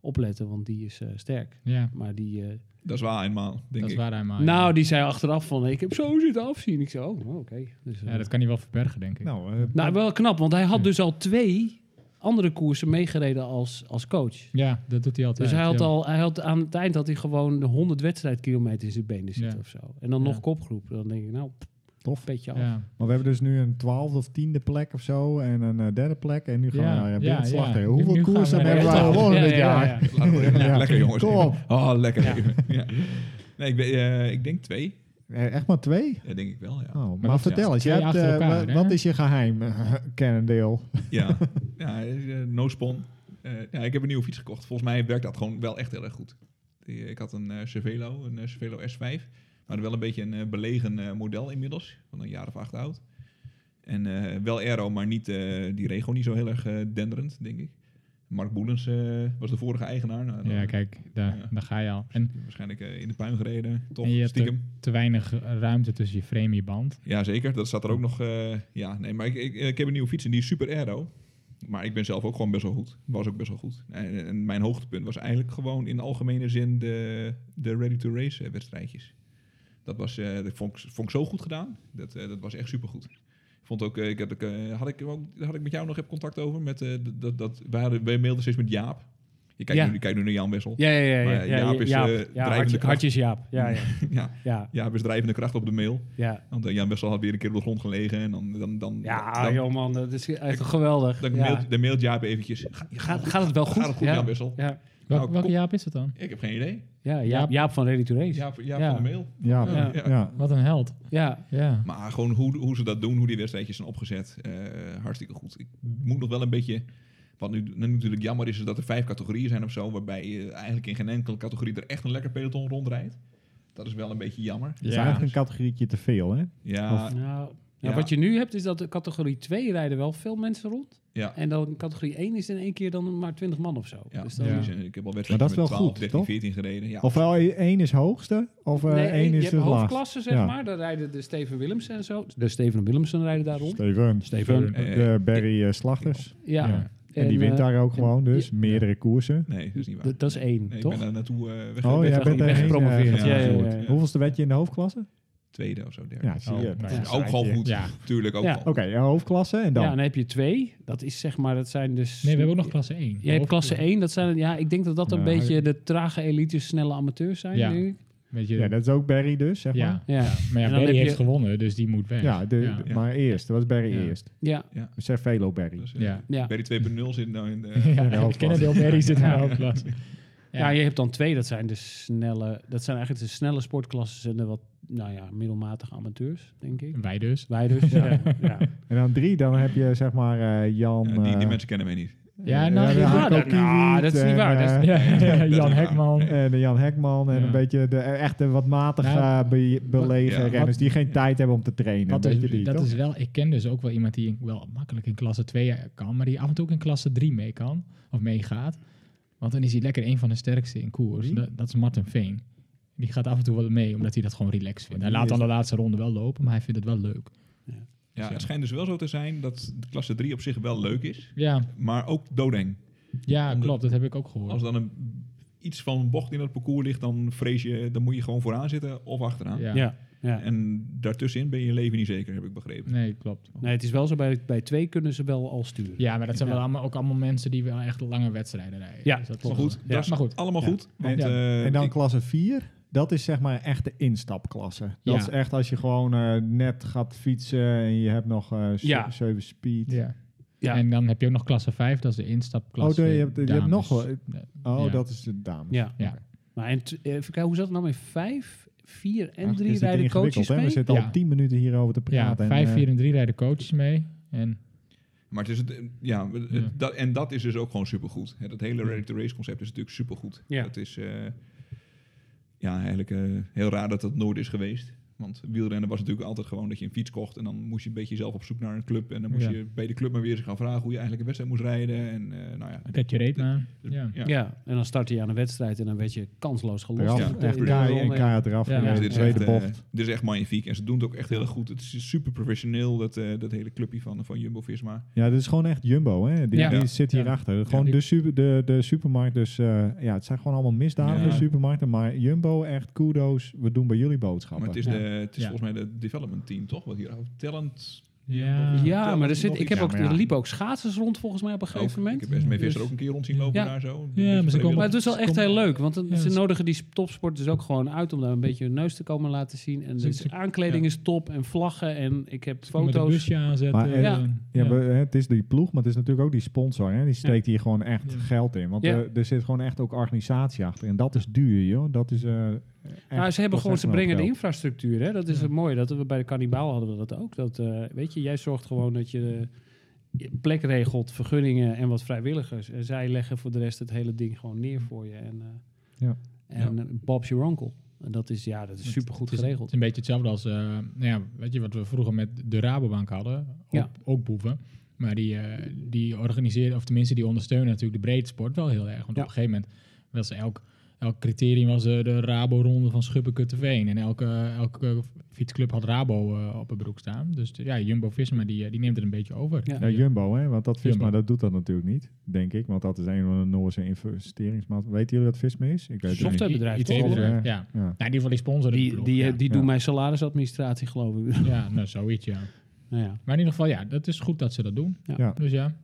Speaker 2: opletten, want die is eh, sterk.
Speaker 4: Ja,
Speaker 2: Maar die, eh,
Speaker 4: Ah,
Speaker 3: Dat is waar eenmaal, denk
Speaker 4: dat is
Speaker 3: ik.
Speaker 4: waar hij maar.
Speaker 2: nou, die zei achteraf van, ik heb zo zitten afzien. Ik zei, oh, oké. Dus, eh,
Speaker 4: Ja, dat kan hij wel verbergen, denk ik.
Speaker 1: Nou, eh,
Speaker 2: Nou, wel knap, want hij had dus al twee andere koersen meegereden als, als coach.
Speaker 4: Ja, dat doet hij altijd.
Speaker 2: Dus hij had
Speaker 4: ja.
Speaker 2: al, hij had, aan het eind had hij gewoon de 100 wedstrijdkilometer in zijn benen zitten
Speaker 4: Ja.
Speaker 2: of zo. En dan
Speaker 4: Ja.
Speaker 2: nog kopgroep. Dan denk ik, nou,
Speaker 1: tof.
Speaker 2: petje af.
Speaker 4: Ja.
Speaker 1: Maar we hebben dus nu een twaalfde of tiende plek of zo en een eh, derde plek. En nu gaan
Speaker 4: Ja,
Speaker 1: we naar
Speaker 4: ja,
Speaker 1: ja, slag.
Speaker 4: ja.
Speaker 1: tegen.
Speaker 4: Nu
Speaker 1: Hoeveel
Speaker 4: gaan we
Speaker 1: koersen
Speaker 4: naar
Speaker 1: hebben we
Speaker 4: Bertelsdag.
Speaker 1: gewonnen
Speaker 2: Ja,
Speaker 1: dit
Speaker 2: ja, ja,
Speaker 1: jaar?
Speaker 2: ja.
Speaker 3: Laten we-
Speaker 1: Ja.
Speaker 3: Lekker jongens.
Speaker 1: Kom op.
Speaker 3: Oh, lekker.
Speaker 2: Ja.
Speaker 3: Ja. Nee, ik, ben, eh, ik denk twee.
Speaker 1: Eh, Echt maar twee?
Speaker 3: Ja, denk ik wel, ja.
Speaker 1: Oh, maar,
Speaker 4: dat-
Speaker 1: vertel eens,
Speaker 4: twee
Speaker 1: jij hebt,
Speaker 4: achter
Speaker 1: eh,
Speaker 4: elkaar,
Speaker 1: wa-
Speaker 4: hè?
Speaker 1: wat is je geheim, eh, Cannondale?
Speaker 3: Ja, ja eh, no spon. Eh, ja, ik heb een nieuwe fiets gekocht. Volgens mij werkt dat gewoon wel echt heel erg goed. Die, eh, ik had een eh Cervelo, een eh, Cervelo S5. Maar wel een beetje een eh, belegen eh, model inmiddels. Van een jaar of acht oud. En eh, wel aero, maar niet, eh, die regio niet zo heel erg eh, denderend, denk ik. Mark Boelens eh, was de vorige eigenaar. Nou, dan-
Speaker 4: Ja, kijk, daar,
Speaker 3: Ja.
Speaker 4: daar ga je al. En,
Speaker 3: Waarschijnlijk eh, in de puin gereden, toch?
Speaker 4: en je hebt eh,
Speaker 3: Stiekem.
Speaker 4: te, te weinig ruimte tussen je frame en je band.
Speaker 3: Ja, zeker. Dat staat er ook nog. eh, ja, nee, maar ik, ik, ik heb een nieuwe fiets en die is super aero. Maar ik ben zelf ook gewoon best wel goed. Was ook best wel goed. En, en mijn hoogtepunt was eigenlijk gewoon in algemene zin de, de ready-to-race eh, wedstrijdjes. Dat, was, eh, dat vond, ik, vond ik zo goed gedaan. Dat, eh, dat was echt super goed. Vond ook, eh, ik had, ik, eh, had, ik, ook- had ik met jou nog even contact over? Met, eh, dat, dat, dat, wij, hadden, wij mailden steeds met Jaap. Je kijkt,
Speaker 2: Ja.
Speaker 3: nu, je kijkt nu naar Jan Wessel. Ja.
Speaker 2: Ja, ja, ja. ja,
Speaker 3: Maar
Speaker 2: ja,
Speaker 3: Jaap is,
Speaker 2: Jaap,
Speaker 3: eh,
Speaker 2: ja,
Speaker 3: drijvende
Speaker 2: hartje-
Speaker 3: kracht.
Speaker 2: hartjes Jaap. Ja, ja,
Speaker 3: ja.
Speaker 2: ja.
Speaker 3: Jaap is drijvende kracht op de mail.
Speaker 2: ja.
Speaker 3: Want eh, Jan Wessel had weer een keer op de grond gelegen. En dan, dan, dan,
Speaker 2: Ja,
Speaker 3: dan,
Speaker 2: joh man, dat is echt geweldig.
Speaker 3: Dan
Speaker 2: Ja.
Speaker 3: mailt, dan mailt Jaap eventjes. Ga-
Speaker 2: Gaat, gaat het wel goed?
Speaker 3: Gaat het goed,
Speaker 2: ja.
Speaker 3: Jan Wessel?
Speaker 2: Ja,
Speaker 4: Wel-
Speaker 3: Nou,
Speaker 4: welke
Speaker 3: kom-
Speaker 4: Jaap is het dan?
Speaker 3: Ik heb geen idee.
Speaker 2: ja Jaap,
Speaker 4: Jaap-
Speaker 2: Jaap van Ready to Race. Ja.
Speaker 3: Jaap, Jaap
Speaker 2: Ja.
Speaker 3: van de mail.
Speaker 1: Ja,
Speaker 3: Ja.
Speaker 1: ja. ja.
Speaker 4: Wat een held.
Speaker 2: Ja.
Speaker 4: Ja.
Speaker 3: Maar gewoon hoe, hoe ze dat doen, hoe die wedstrijdjes zijn opgezet, eh, hartstikke goed. Ik moet nog wel een beetje... Wat nu, nu natuurlijk jammer is, is dat er vijf categorieën zijn of zo... waarbij je eigenlijk in geen enkele categorie er echt een lekker peloton rondrijdt. Dat is wel een beetje jammer.
Speaker 1: is
Speaker 4: Ja.
Speaker 1: eigenlijk een categorietje te veel, hè?
Speaker 3: Ja,
Speaker 2: Nou,
Speaker 3: Ja.
Speaker 2: Wat je nu hebt is dat de categorie 2 rijden wel veel mensen rond.
Speaker 3: Ja.
Speaker 2: En dan categorie 1 is in één keer dan maar 20 man of zo.
Speaker 3: ja,
Speaker 2: Dus dan,
Speaker 4: Ja.
Speaker 3: precies. En ik heb al wedstrijden
Speaker 1: Maar dat is wel
Speaker 3: met 12,
Speaker 1: goed,
Speaker 3: 13,
Speaker 1: toch?
Speaker 3: 14 gereden. Ja,
Speaker 1: Ofwel e- één is hoogste, of eh
Speaker 2: Nee,
Speaker 1: één
Speaker 2: je
Speaker 1: is
Speaker 2: hebt
Speaker 1: de laagste.
Speaker 2: hoofdklassen, zeg
Speaker 1: Ja.
Speaker 2: maar. Daar rijden de Steven Willemsen en zo. De Steven Willemsen rijden daar rond.
Speaker 1: Steven.
Speaker 2: Steven.
Speaker 3: Eh,
Speaker 1: De Barry eh, Slachters.
Speaker 2: Ja.
Speaker 1: Ja. En, die wint
Speaker 2: eh,
Speaker 1: daar ook
Speaker 2: en-
Speaker 1: gewoon, dus
Speaker 2: ja.
Speaker 1: meerdere koersen.
Speaker 3: nee, dat is niet waar.
Speaker 2: d- dat is één,
Speaker 3: nee,
Speaker 2: toch?
Speaker 3: ik ben daar naartoe eh weg.
Speaker 1: Oh, jij
Speaker 2: bent wel
Speaker 1: bent
Speaker 2: goed
Speaker 1: daarheen
Speaker 2: weggepromoveerd.
Speaker 1: eh,
Speaker 3: Ja, ja, ja,
Speaker 1: gevoerd.
Speaker 2: ja.
Speaker 1: Hoeveelste werd je in de hoofdklasse?
Speaker 3: Tweede of zo, derde.
Speaker 1: Ja, zie je.
Speaker 4: Oh,
Speaker 1: dat
Speaker 4: nou,
Speaker 1: is
Speaker 3: ook gewoon goed,
Speaker 4: Ja.
Speaker 3: tuurlijk ook
Speaker 2: Ja.
Speaker 3: wel.
Speaker 1: Oké, ja, hoofdklasse en dan?
Speaker 2: Ja, en dan heb je 2. Dat is zeg maar, dat zijn dus...
Speaker 4: Nee, we hebben ook nog klasse 1.
Speaker 2: Je hebt klasse 1, dat zijn, ja, ik denk dat dat een
Speaker 1: Ja,
Speaker 2: beetje de trage elites, snelle amateurs zijn.
Speaker 4: Ja.
Speaker 2: denk ik.
Speaker 4: Weet je,
Speaker 1: Ja,
Speaker 4: ja,
Speaker 1: dat is ook Barry dus, zeg maar.
Speaker 4: ja.
Speaker 2: Ja.
Speaker 4: Maar ja,
Speaker 2: En dan
Speaker 4: Barry
Speaker 2: heb
Speaker 4: heeft
Speaker 2: je-
Speaker 4: gewonnen, dus die moet weg.
Speaker 1: Ja, de,
Speaker 4: Ja.
Speaker 1: de- maar eerst. Dat was Barry
Speaker 4: Ja.
Speaker 1: eerst.
Speaker 2: ja,
Speaker 1: Cervelo Barry.
Speaker 3: Dus, eh,
Speaker 4: Ja.
Speaker 2: ja.
Speaker 3: Barry 2.0 zit nou in de...
Speaker 4: Ja,
Speaker 1: de
Speaker 4: het
Speaker 1: hoofdklasse.
Speaker 4: Kennendeel Berry zit in de hoofdklasse.
Speaker 2: Ja. je hebt dan twee, dat zijn de snelle, dat zijn eigenlijk de snelle sportklassen en de wat, nou ja, middelmatige amateurs, denk ik.
Speaker 4: Wij dus.
Speaker 2: Wij dus. ja. Ja.
Speaker 1: En dan drie, dan heb je zeg maar eh, Jan...
Speaker 3: Ja, die, die
Speaker 1: eh,
Speaker 3: mensen kennen mij niet.
Speaker 4: Ja,
Speaker 1: eh,
Speaker 4: nou,
Speaker 1: ja,
Speaker 4: ja,
Speaker 1: Harco
Speaker 2: dat- nou,
Speaker 1: Kiewiet
Speaker 2: dat is niet
Speaker 1: en,
Speaker 2: waar, dat is-
Speaker 1: eh,
Speaker 4: Ja,
Speaker 3: is
Speaker 4: Jan
Speaker 3: waar.
Speaker 4: Hekman.
Speaker 1: En Eh, de Jan Hekman en
Speaker 4: Ja.
Speaker 1: een beetje de eh, echte wat matig
Speaker 4: Nou,
Speaker 1: eh, be- belegen
Speaker 3: ja.
Speaker 1: renners die geen
Speaker 4: Ja.
Speaker 1: tijd hebben om te trainen.
Speaker 4: Dat,
Speaker 1: een
Speaker 4: is,
Speaker 1: beetje die,
Speaker 4: dat
Speaker 1: toch?
Speaker 4: is wel, ik ken dus ook wel iemand die in- wel makkelijk in klasse 2 kan, maar die af en toe ook in klasse 3 mee kan, of meegaat. Want dan is hij lekker een van de sterkste in koers.
Speaker 1: Wie?
Speaker 4: Dat, dat is Martin Veen. Die gaat af en toe wel mee, omdat hij dat gewoon relaxed vindt. Hij
Speaker 1: Die
Speaker 4: laat
Speaker 1: is-
Speaker 4: dan de laatste ronde wel lopen, maar hij vindt het wel leuk.
Speaker 3: Ja, het schijnt dus wel zo te zijn dat de klasse 3 op zich wel leuk is,
Speaker 4: Ja,
Speaker 3: maar ook dodeng.
Speaker 4: ja
Speaker 3: Omdat-
Speaker 4: klopt, dat heb ik ook
Speaker 3: Als
Speaker 4: gehoord.
Speaker 3: dan een, iets van een bocht in het parcours ligt, dan vrees je, dan moet je gewoon vooraan zitten of achteraan.
Speaker 4: Ja.
Speaker 2: Ja, ja.
Speaker 3: En daartussenin ben je je leven niet zeker, heb ik begrepen.
Speaker 4: Nee, klopt.
Speaker 2: Nee, het is wel zo, bij, bij twee kunnen ze wel al sturen.
Speaker 4: Ja, maar dat zijn
Speaker 2: Ja.
Speaker 4: wel allemaal, ook allemaal mensen die wel echt lange wedstrijden rijden. Dus
Speaker 2: Ja,
Speaker 4: dat
Speaker 3: Maar
Speaker 4: klopt
Speaker 3: goed,
Speaker 4: wel.
Speaker 2: Ja,
Speaker 3: dat is
Speaker 4: maar goed.
Speaker 3: allemaal
Speaker 2: Ja.
Speaker 3: goed. Want,
Speaker 4: Ja.
Speaker 3: eh,
Speaker 1: En dan
Speaker 3: ik-
Speaker 1: klasse 4, dat is zeg maar echt de instapklasse. Dat
Speaker 4: Ja.
Speaker 1: is echt als je gewoon eh, net gaat fietsen en je hebt nog eh
Speaker 2: Ja.
Speaker 1: 7 speed.
Speaker 4: Ja.
Speaker 2: Ja.
Speaker 4: En dan heb je ook nog klasse 5, dat is de instapklasse.
Speaker 1: Oh, nee, je hebt- je hebt
Speaker 4: dames.
Speaker 1: nog wel- Oh,
Speaker 4: Ja.
Speaker 1: dat is de dame.
Speaker 2: Ja.
Speaker 4: Ja.
Speaker 2: Maar en t- even kijken, hoe zat het nou in vijf, vier en
Speaker 1: Ach,
Speaker 2: drie
Speaker 1: is dit
Speaker 2: rijden
Speaker 1: ingewikkeld,
Speaker 2: coaches
Speaker 1: hè?
Speaker 2: mee?
Speaker 1: We zitten al
Speaker 4: Ja.
Speaker 1: 10 minuten hierover te
Speaker 4: Ja,
Speaker 1: praten. en,
Speaker 4: 5,
Speaker 1: eh,
Speaker 4: 4 en 3 rijden coaches mee. En
Speaker 3: Maar het is het, eh, ja, het-
Speaker 4: Ja.
Speaker 3: Dat, en dat is dus ook gewoon supergoed. Hè, Dat hele ready-to-race concept is natuurlijk supergoed.
Speaker 2: Ja.
Speaker 3: Dat is eh, ja, eigenlijk eh, heel raar dat dat nooit is geweest. Want wielrennen was natuurlijk altijd gewoon dat je een fiets kocht... en dan moest je een beetje zelf op zoek naar een club... en dan moest
Speaker 4: Ja.
Speaker 3: je bij de club maar weer eens gaan vragen... hoe je eigenlijk een wedstrijd moest rijden. En, eh, nou ja,
Speaker 4: dat je reed maar. Ja.
Speaker 3: ja.
Speaker 2: Ja. en dan startte je aan een wedstrijd en dan werd je kansloos gelost.
Speaker 1: eraf,
Speaker 3: Ja,
Speaker 2: in de-
Speaker 1: echt
Speaker 2: in de
Speaker 1: kei- en
Speaker 2: ronde.
Speaker 1: keihard eraf.
Speaker 4: Ja,
Speaker 1: gereden,
Speaker 2: maar
Speaker 3: Dus
Speaker 1: de
Speaker 3: dit, is
Speaker 1: tweede
Speaker 3: echt, eh,
Speaker 1: bocht.
Speaker 3: dit is echt magnifiek. En ze doen het ook echt heel erg goed. Het is super professioneel, dat, eh, dat hele clubje van, van Jumbo-Visma.
Speaker 1: Ja, dit is gewoon echt Jumbo, hè? Die,
Speaker 4: Ja.
Speaker 1: die
Speaker 3: Ja.
Speaker 1: zit hierachter. Gewoon
Speaker 4: die-
Speaker 1: de, super, de, de supermarkt, dus eh, ja, het zijn gewoon allemaal misdadigers,
Speaker 3: Ja.
Speaker 1: supermarkten. Maar Jumbo, echt kudos, we doen bij jullie
Speaker 3: Maar
Speaker 1: boodschappen.
Speaker 3: het is,
Speaker 4: Ja.
Speaker 3: de, het is
Speaker 4: Ja.
Speaker 3: volgens mij de development team, toch? Wat hier talent...
Speaker 4: Ja.
Speaker 2: Ja, maar er,
Speaker 3: Nog
Speaker 2: zit, ik
Speaker 3: iets.
Speaker 2: heb
Speaker 1: Ja,
Speaker 2: ook,
Speaker 1: maar ja.
Speaker 2: er liepen ook schaatsers rond volgens mij op een
Speaker 3: Ook,
Speaker 2: gegeven
Speaker 3: ik
Speaker 2: moment.
Speaker 3: heb SMV Visser
Speaker 2: Dus-
Speaker 3: ook een keer rond zien lopen
Speaker 2: Ja.
Speaker 3: daar zo. Een
Speaker 4: Ja,
Speaker 3: beetje
Speaker 4: maar ze komen
Speaker 2: Maar het is wel
Speaker 4: Ze
Speaker 2: echt
Speaker 4: komen-
Speaker 2: heel leuk, want dan-
Speaker 4: Ja,
Speaker 2: ze
Speaker 4: ze-
Speaker 2: nodigen die topsporters ook gewoon uit om daar een beetje hun neus te komen laten zien. En
Speaker 4: Ze-
Speaker 2: de
Speaker 4: ze-
Speaker 2: aankleding is top en vlaggen en ik heb
Speaker 4: Met een
Speaker 2: foto's.
Speaker 4: busje aanzetten.
Speaker 1: Maar, eh,
Speaker 4: ja.
Speaker 1: Ja, we- hè, het is die ploeg, maar het is natuurlijk ook die sponsor. Hè? Die steekt hier gewoon echt
Speaker 4: Ja.
Speaker 1: geld in. Want
Speaker 2: Ja.
Speaker 1: eh, er zit gewoon echt ook organisatie achter. En dat is duur, joh. Dat is... eh, echt
Speaker 2: nou, ze hebben gewoon, ze
Speaker 1: ontzettend
Speaker 2: brengen de
Speaker 1: veel.
Speaker 2: infrastructuur. Hè? Dat is het mooie. Dat we bij de kannibaal hadden we dat ook. Dat, eh, weet je, jij zorgt gewoon dat je eh, plek regelt, vergunningen en wat vrijwilligers. En zij leggen voor de rest het hele ding gewoon neer voor je. En, eh,
Speaker 1: Mm. Ja.
Speaker 2: en eh, Bob's your uncle. En dat is, ja, dat is supergoed
Speaker 4: Het is- Het
Speaker 2: geregeld.
Speaker 4: is een beetje hetzelfde als, eh, nou ja, weet je, wat we vroeger met de Rabobank hadden. Ook,
Speaker 2: Ja.
Speaker 4: ook boeven. Maar die, eh die organiseren, of tenminste die ondersteunen natuurlijk de breedte sport wel heel erg. Want
Speaker 2: Ja.
Speaker 4: op een gegeven moment was elk, elk criterium was eh, de Rabo-ronde van Schuppen-Kutteveen. En elke, elke fietsclub had Rabo eh, op het broek staan. Dus de- ja, Jumbo-Visma die, eh, die neemt het een beetje over.
Speaker 2: Ja.
Speaker 1: Ja, Nou, Jumbo, hè? Want dat Visma,
Speaker 4: Jumbo.
Speaker 1: dat doet dat natuurlijk niet, denk ik. Want dat is een van de Noorse investeringsmaatschappijen. Weten jullie wat Visma is? Ik weet het niet.
Speaker 2: Softwarebedrijf,
Speaker 4: I-
Speaker 2: toch?
Speaker 4: IT-bedrijf,
Speaker 1: Ja.
Speaker 4: ja. Nou,
Speaker 1: Ja.
Speaker 4: in ieder geval die sponsoren. de
Speaker 2: Die,
Speaker 4: ploeg,
Speaker 2: die,
Speaker 4: ja.
Speaker 2: die
Speaker 1: ja.
Speaker 2: doen mijn salarisadministratie, geloof ik.
Speaker 4: ja, nou zoiets ja.
Speaker 2: nou ja.
Speaker 4: Maar in ieder geval, ja, dat is goed dat ze dat doen.
Speaker 2: Ja.
Speaker 1: Ja.
Speaker 4: Dus ja,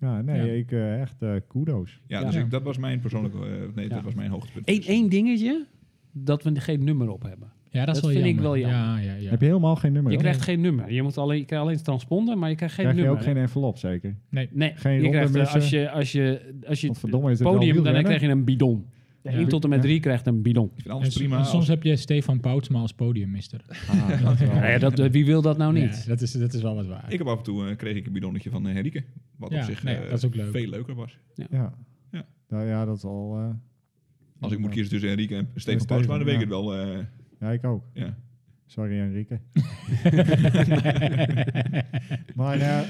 Speaker 1: Ja, nee,
Speaker 4: Ja.
Speaker 1: ik eh, echt eh, kudo's.
Speaker 3: Ja,
Speaker 4: Ja.
Speaker 3: dus
Speaker 4: Ja.
Speaker 3: ik, dat was mijn persoonlijke... eh, nee,
Speaker 2: Ja.
Speaker 3: dat was mijn hoogtepunt.
Speaker 2: Eén één dingetje, dat we geen nummer op hebben.
Speaker 4: ja dat is
Speaker 2: Dat
Speaker 4: wel
Speaker 2: vind ik
Speaker 4: jammer.
Speaker 2: wel jammer.
Speaker 4: Ja, ja, ja.
Speaker 1: Heb je helemaal geen nummer?
Speaker 2: Je
Speaker 1: hoor.
Speaker 2: krijgt geen nummer. Je, moet alleen, je krijgt alleen het transponder, maar je krijgt geen
Speaker 1: Krijg je
Speaker 2: nummer.
Speaker 1: ook geen envelop, zeker?
Speaker 2: Nee,
Speaker 1: Geen
Speaker 2: je krijgt, eh,
Speaker 1: ronde
Speaker 2: als je, als je, als je
Speaker 1: Want
Speaker 2: het
Speaker 1: verdomme is het wel
Speaker 2: podium, dan
Speaker 1: wielrennen.
Speaker 2: krijg je een bidon. Ja,
Speaker 4: Ja.
Speaker 2: 1 tot en met
Speaker 1: Ja.
Speaker 2: 3 krijgt een bidon.
Speaker 3: Ik vind alles
Speaker 4: En s-
Speaker 3: prima.
Speaker 4: en
Speaker 3: als-
Speaker 4: soms heb je Stefan Poutsma als podiummister.
Speaker 1: Ah, dat wel.
Speaker 2: Nou ja, dat, eh, wie wil dat nou niet?
Speaker 4: Ja, dat, is, dat is wel wat waar.
Speaker 3: Ik heb af en toe eh, kreeg ik een bidonnetje van eh, Henrike. Wat
Speaker 4: Ja,
Speaker 3: op zich
Speaker 4: nee,
Speaker 3: eh,
Speaker 4: dat is ook leuk.
Speaker 3: veel leuker was.
Speaker 1: Ja.
Speaker 3: Ja.
Speaker 1: Nou ja, dat is al... eh,
Speaker 3: Als ik moet kiezen tussen Henrike en Steven
Speaker 1: Steven,
Speaker 3: Pausma, dan weet ik
Speaker 1: ja.
Speaker 3: het wel. eh,
Speaker 1: Ja, ik ook.
Speaker 3: ja.
Speaker 1: Sorry, Enrique. maar, eh,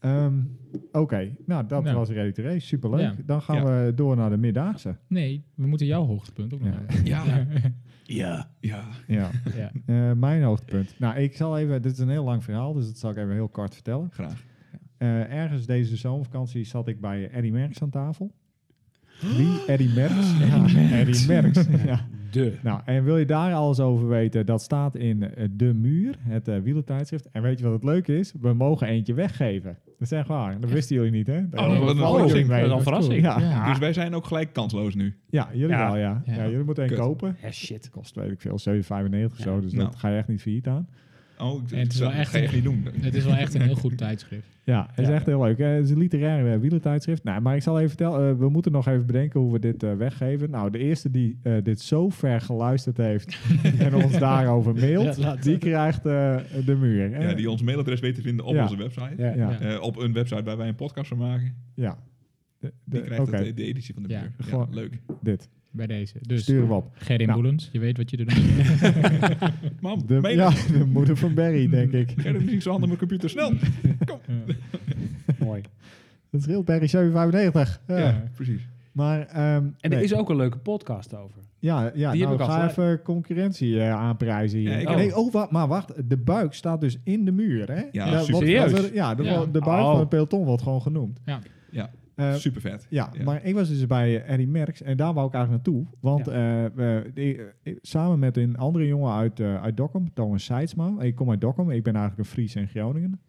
Speaker 1: ehm, oké. Nou, dat
Speaker 4: Nou.
Speaker 1: was Ready to Race. Superleuk.
Speaker 4: Ja.
Speaker 1: Dan gaan
Speaker 3: Ja.
Speaker 1: we door naar de middagse.
Speaker 4: Nee, we moeten jouw hoogtepunt ook nog
Speaker 1: Ja.
Speaker 4: hebben.
Speaker 3: Ja. Ja. Ja.
Speaker 1: Ja.
Speaker 4: Ja.
Speaker 1: Eh, mijn hoogtepunt. Nou, ik zal even... Dit is een heel lang verhaal, dus dat zal ik even heel kort vertellen.
Speaker 3: Graag.
Speaker 1: Eh, ergens deze zomervakantie zat ik bij Eddie Merckx aan tafel. Wie? Eddie Merckx? Ja, Eddie Merckx. ja.
Speaker 2: De.
Speaker 1: Nou, en wil je daar alles over weten? Dat staat in eh, De Muur, het eh wielertijdschrift. En weet je wat het leuke is? We mogen eentje weggeven. Dat is echt waar. Dat wisten jullie niet, hè? Daar
Speaker 3: Oh, wat een verrassing.
Speaker 2: Dat is al verrassing.
Speaker 1: Ja,
Speaker 3: Dus
Speaker 1: ja.
Speaker 3: wij zijn ook gelijk kansloos nu.
Speaker 1: jullie
Speaker 2: Ja.
Speaker 1: wel, ja.
Speaker 4: Ja.
Speaker 1: ja. Jullie moeten één
Speaker 3: Kut.
Speaker 1: kopen.
Speaker 2: Ja, shit.
Speaker 1: Kost, weet ik veel, 7,95 of zo. Dus
Speaker 3: Nou.
Speaker 1: dat ga je echt niet failliet aan.
Speaker 3: Oh, ik-
Speaker 4: En het is wel
Speaker 3: dat
Speaker 4: echt
Speaker 3: ga je
Speaker 4: een-
Speaker 3: echt niet doen.
Speaker 4: Het is wel echt een heel goed tijdschrift.
Speaker 1: Ja, het is
Speaker 4: Ja.
Speaker 1: echt heel leuk. Eh, het is een literaire eh, wielertijdschrift. Nou, maar ik zal even vertellen, eh, we moeten nog even bedenken hoe we dit eh, weggeven. Nou, de eerste die eh, dit zo ver geluisterd heeft en ons daarover mailt,
Speaker 4: Ja, laat-
Speaker 1: die krijgt eh, de muur. hè?
Speaker 3: Ja, die ons mailadres weet te vinden op
Speaker 1: Ja.
Speaker 3: onze website.
Speaker 1: Ja, ja.
Speaker 3: Eh, op een website waar wij een podcast van maken.
Speaker 1: De- de-
Speaker 3: Die
Speaker 1: Oké,
Speaker 3: krijgt het- de editie van de
Speaker 4: Ja,
Speaker 3: muur. Ja,
Speaker 1: gewoon-
Speaker 3: leuk.
Speaker 1: dit.
Speaker 4: Bij deze. Dus
Speaker 1: Sturen we op.
Speaker 4: Gerrit
Speaker 1: Nou.
Speaker 4: Boelens, je weet wat je er doet.
Speaker 3: Mam,
Speaker 1: De,
Speaker 3: mail
Speaker 1: ja,
Speaker 3: ons.
Speaker 1: de moeder van Barry, denk ik.
Speaker 3: Gerrit heeft niet zo handen mijn computer snel.
Speaker 2: Mooi.
Speaker 1: Dat is heel Barry 795. Ja.
Speaker 3: Ja, precies.
Speaker 1: Maar, ehm,
Speaker 2: En er
Speaker 1: nee.
Speaker 2: is ook een leuke podcast over.
Speaker 1: Ja, ja
Speaker 2: Die heb
Speaker 1: nou,
Speaker 2: ik al
Speaker 1: ga
Speaker 2: gelijk.
Speaker 1: even concurrentie eh, aanprijzen hier.
Speaker 3: Ja, ik
Speaker 1: oh.
Speaker 2: ook.
Speaker 1: Nee, oh, wa- maar wacht. De buik staat dus in de muur, hè?
Speaker 3: Ja,
Speaker 1: wat-
Speaker 2: serieus?
Speaker 1: wat er- ja, de,
Speaker 4: Ja.
Speaker 1: de buik
Speaker 2: Oh.
Speaker 1: van het peloton wordt gewoon genoemd.
Speaker 4: Ja.
Speaker 3: Ja.
Speaker 1: Eh,
Speaker 3: Super vet.
Speaker 1: ja,
Speaker 3: Ja.
Speaker 1: maar ik was dus bij eh, Eddie Merckx en daar wou ik eigenlijk naartoe. Want eh, eh, die, eh, ik- samen met een andere jongen uit, eh uit Dokkum, Thomas Seidsma. Ik kom uit Dokkum, ik ben eigenlijk een Fries en Groningen.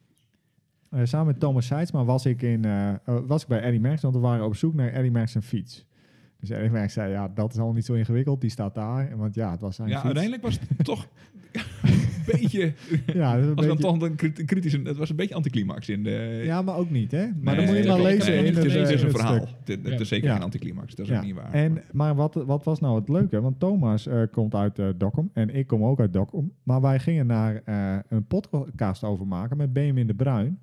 Speaker 1: Eh, samen met Thomas Seidsma was ik, in, eh, eh, was ik bij Eddie Merckx, want we waren op zoek naar Eddie Merckx en fiets. Dus Eddie Merckx zei, ja, dat is allemaal niet zo ingewikkeld, die staat daar. En Want ja, het was zijn
Speaker 3: Ja,
Speaker 1: fiets.
Speaker 3: uiteindelijk was het toch een beetje...
Speaker 1: Ja, dat is een
Speaker 3: Was dan
Speaker 1: beetje-
Speaker 3: toch een krit- kritische... Het was een beetje anticlimax in de...
Speaker 1: ja, maar ook niet, hè? Maar
Speaker 3: Nee,
Speaker 1: dan moet je
Speaker 3: dat
Speaker 1: maar
Speaker 3: klopt.
Speaker 1: lezen
Speaker 3: Nee,
Speaker 1: in het,
Speaker 3: Het
Speaker 1: eh,
Speaker 3: is
Speaker 1: in
Speaker 3: een
Speaker 1: het stuk.
Speaker 3: verhaal. Het het is zeker
Speaker 1: Ja.
Speaker 3: geen anticlimax. Dat is
Speaker 1: Ja.
Speaker 3: ook niet waar.
Speaker 1: En, maar wat, wat was nou het leuke? Want Thomas eh, komt uit eh Dokkum en ik kom ook uit Dokkum. Maar wij gingen naar eh, een podcast over maken met Benjamin de Bruin.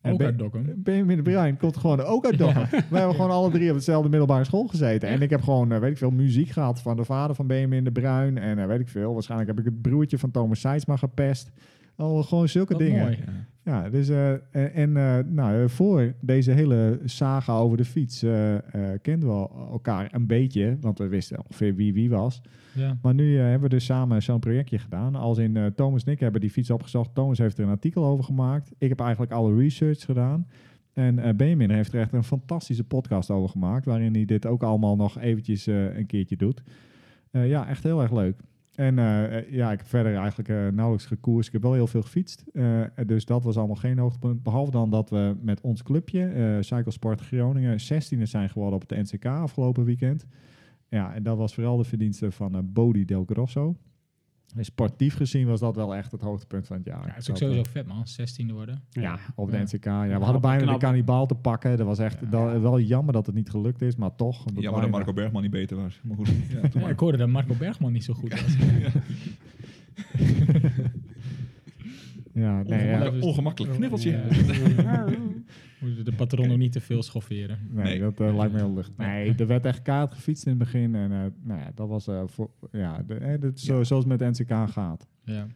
Speaker 1: En
Speaker 4: Ook
Speaker 1: Ben-
Speaker 4: uit Dokkum.
Speaker 1: Benjamin de Bruin komt gewoon ook uit Dokkum. Wij hebben gewoon alle drie op dezelfde middelbare school gezeten. En ik heb gewoon, eh, weet ik veel, muziek gehad van de vader van Benjamin de Bruin. En eh, weet ik veel, waarschijnlijk heb ik het broertje van Thomas Seidsma gepest. Al gewoon zulke
Speaker 4: Wat
Speaker 1: dingen.
Speaker 4: mooi.
Speaker 1: Ja, dus eh, en, en, eh, nou, eh, voor deze hele saga over de fiets eh, eh, kenden we al- elkaar een beetje, want we wisten ongeveer wie wie was.
Speaker 4: Ja.
Speaker 1: Maar nu eh, hebben we dus samen zo'n projectje gedaan. Als in eh, Thomas en ik hebben die fiets opgezocht. Thomas heeft er een artikel over gemaakt. Ik heb eigenlijk alle research gedaan. En eh Benjamin heeft er echt een fantastische podcast over gemaakt, waarin hij dit ook allemaal nog eventjes eh, een keertje doet. Eh, ja, echt heel erg leuk. En eh, eh, ja, ik heb verder eigenlijk eh, nauwelijks gekoerst. Ik heb wel heel veel gefietst. Eh, dus dat was allemaal geen hoogtepunt. Behalve dan dat we met ons clubje, eh Cyclesport Groningen, 16e zijn geworden op het NCK afgelopen weekend. Ja, en dat was vooral de verdienste van eh Bodie Del Grosso. En sportief gezien was dat wel echt het hoogtepunt van het jaar.
Speaker 4: Ja, het is
Speaker 1: Dat,
Speaker 4: ook
Speaker 1: eh,
Speaker 4: sowieso vet, man. 16e worden.
Speaker 1: Ja, op de
Speaker 4: Ja.
Speaker 1: NCK. Ja, we hadden bijna
Speaker 2: knap.
Speaker 1: de kannibaal te pakken. Dat was echt dat- wel jammer dat het niet gelukt is, maar toch. we
Speaker 3: Jammer dat
Speaker 1: bijna-
Speaker 3: Marco Bergman niet beter was. Maar goed, ja, doe
Speaker 4: Ja,
Speaker 3: maar.
Speaker 4: ik hoorde dat Marco Bergman niet zo goed was.
Speaker 1: Ja, nee, ja,
Speaker 4: Ongelooflijk.
Speaker 3: Een ongemakkelijk kniffeltje.
Speaker 4: Moeten de patroon ook niet te veel schofferen.
Speaker 1: nee,
Speaker 3: Nee.
Speaker 1: dat eh, lijkt me heel lucht. Nee, er werd echt kaart gefietst in het begin. En eh, nou ja, dat was eh, voor, ja, de, eh, dat is zo, zoals het met NCK gaat.
Speaker 4: Ja.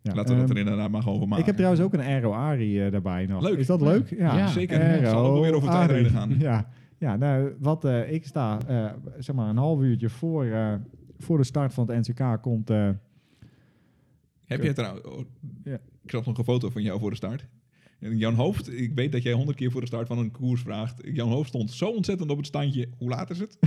Speaker 1: Ja,
Speaker 3: Laten we
Speaker 1: ehm,
Speaker 3: dat er inderdaad maar gewoon van maken.
Speaker 1: Ik heb trouwens ook een Aero Ari eh, daarbij nog.
Speaker 3: Leuk.
Speaker 1: Is dat leuk? Ja,
Speaker 4: Ja,
Speaker 3: zeker. Ik zal ook wel weer over
Speaker 1: Aero
Speaker 3: tijdrijden
Speaker 1: Ari.
Speaker 3: gaan.
Speaker 1: Ja, ja nou, wat, eh, ik sta eh, zeg maar een half uurtje voor, eh, voor de start van het NCK komt... eh,
Speaker 3: Heb jij trouwens... oh,
Speaker 1: Ja.
Speaker 3: Ik zag nog een foto van jou voor de start. En Jan Hoofd, ik weet dat jij honderd keer voor de start van een koers vraagt. Jan Hoofd stond zo ontzettend op het standje. Hoe laat is het?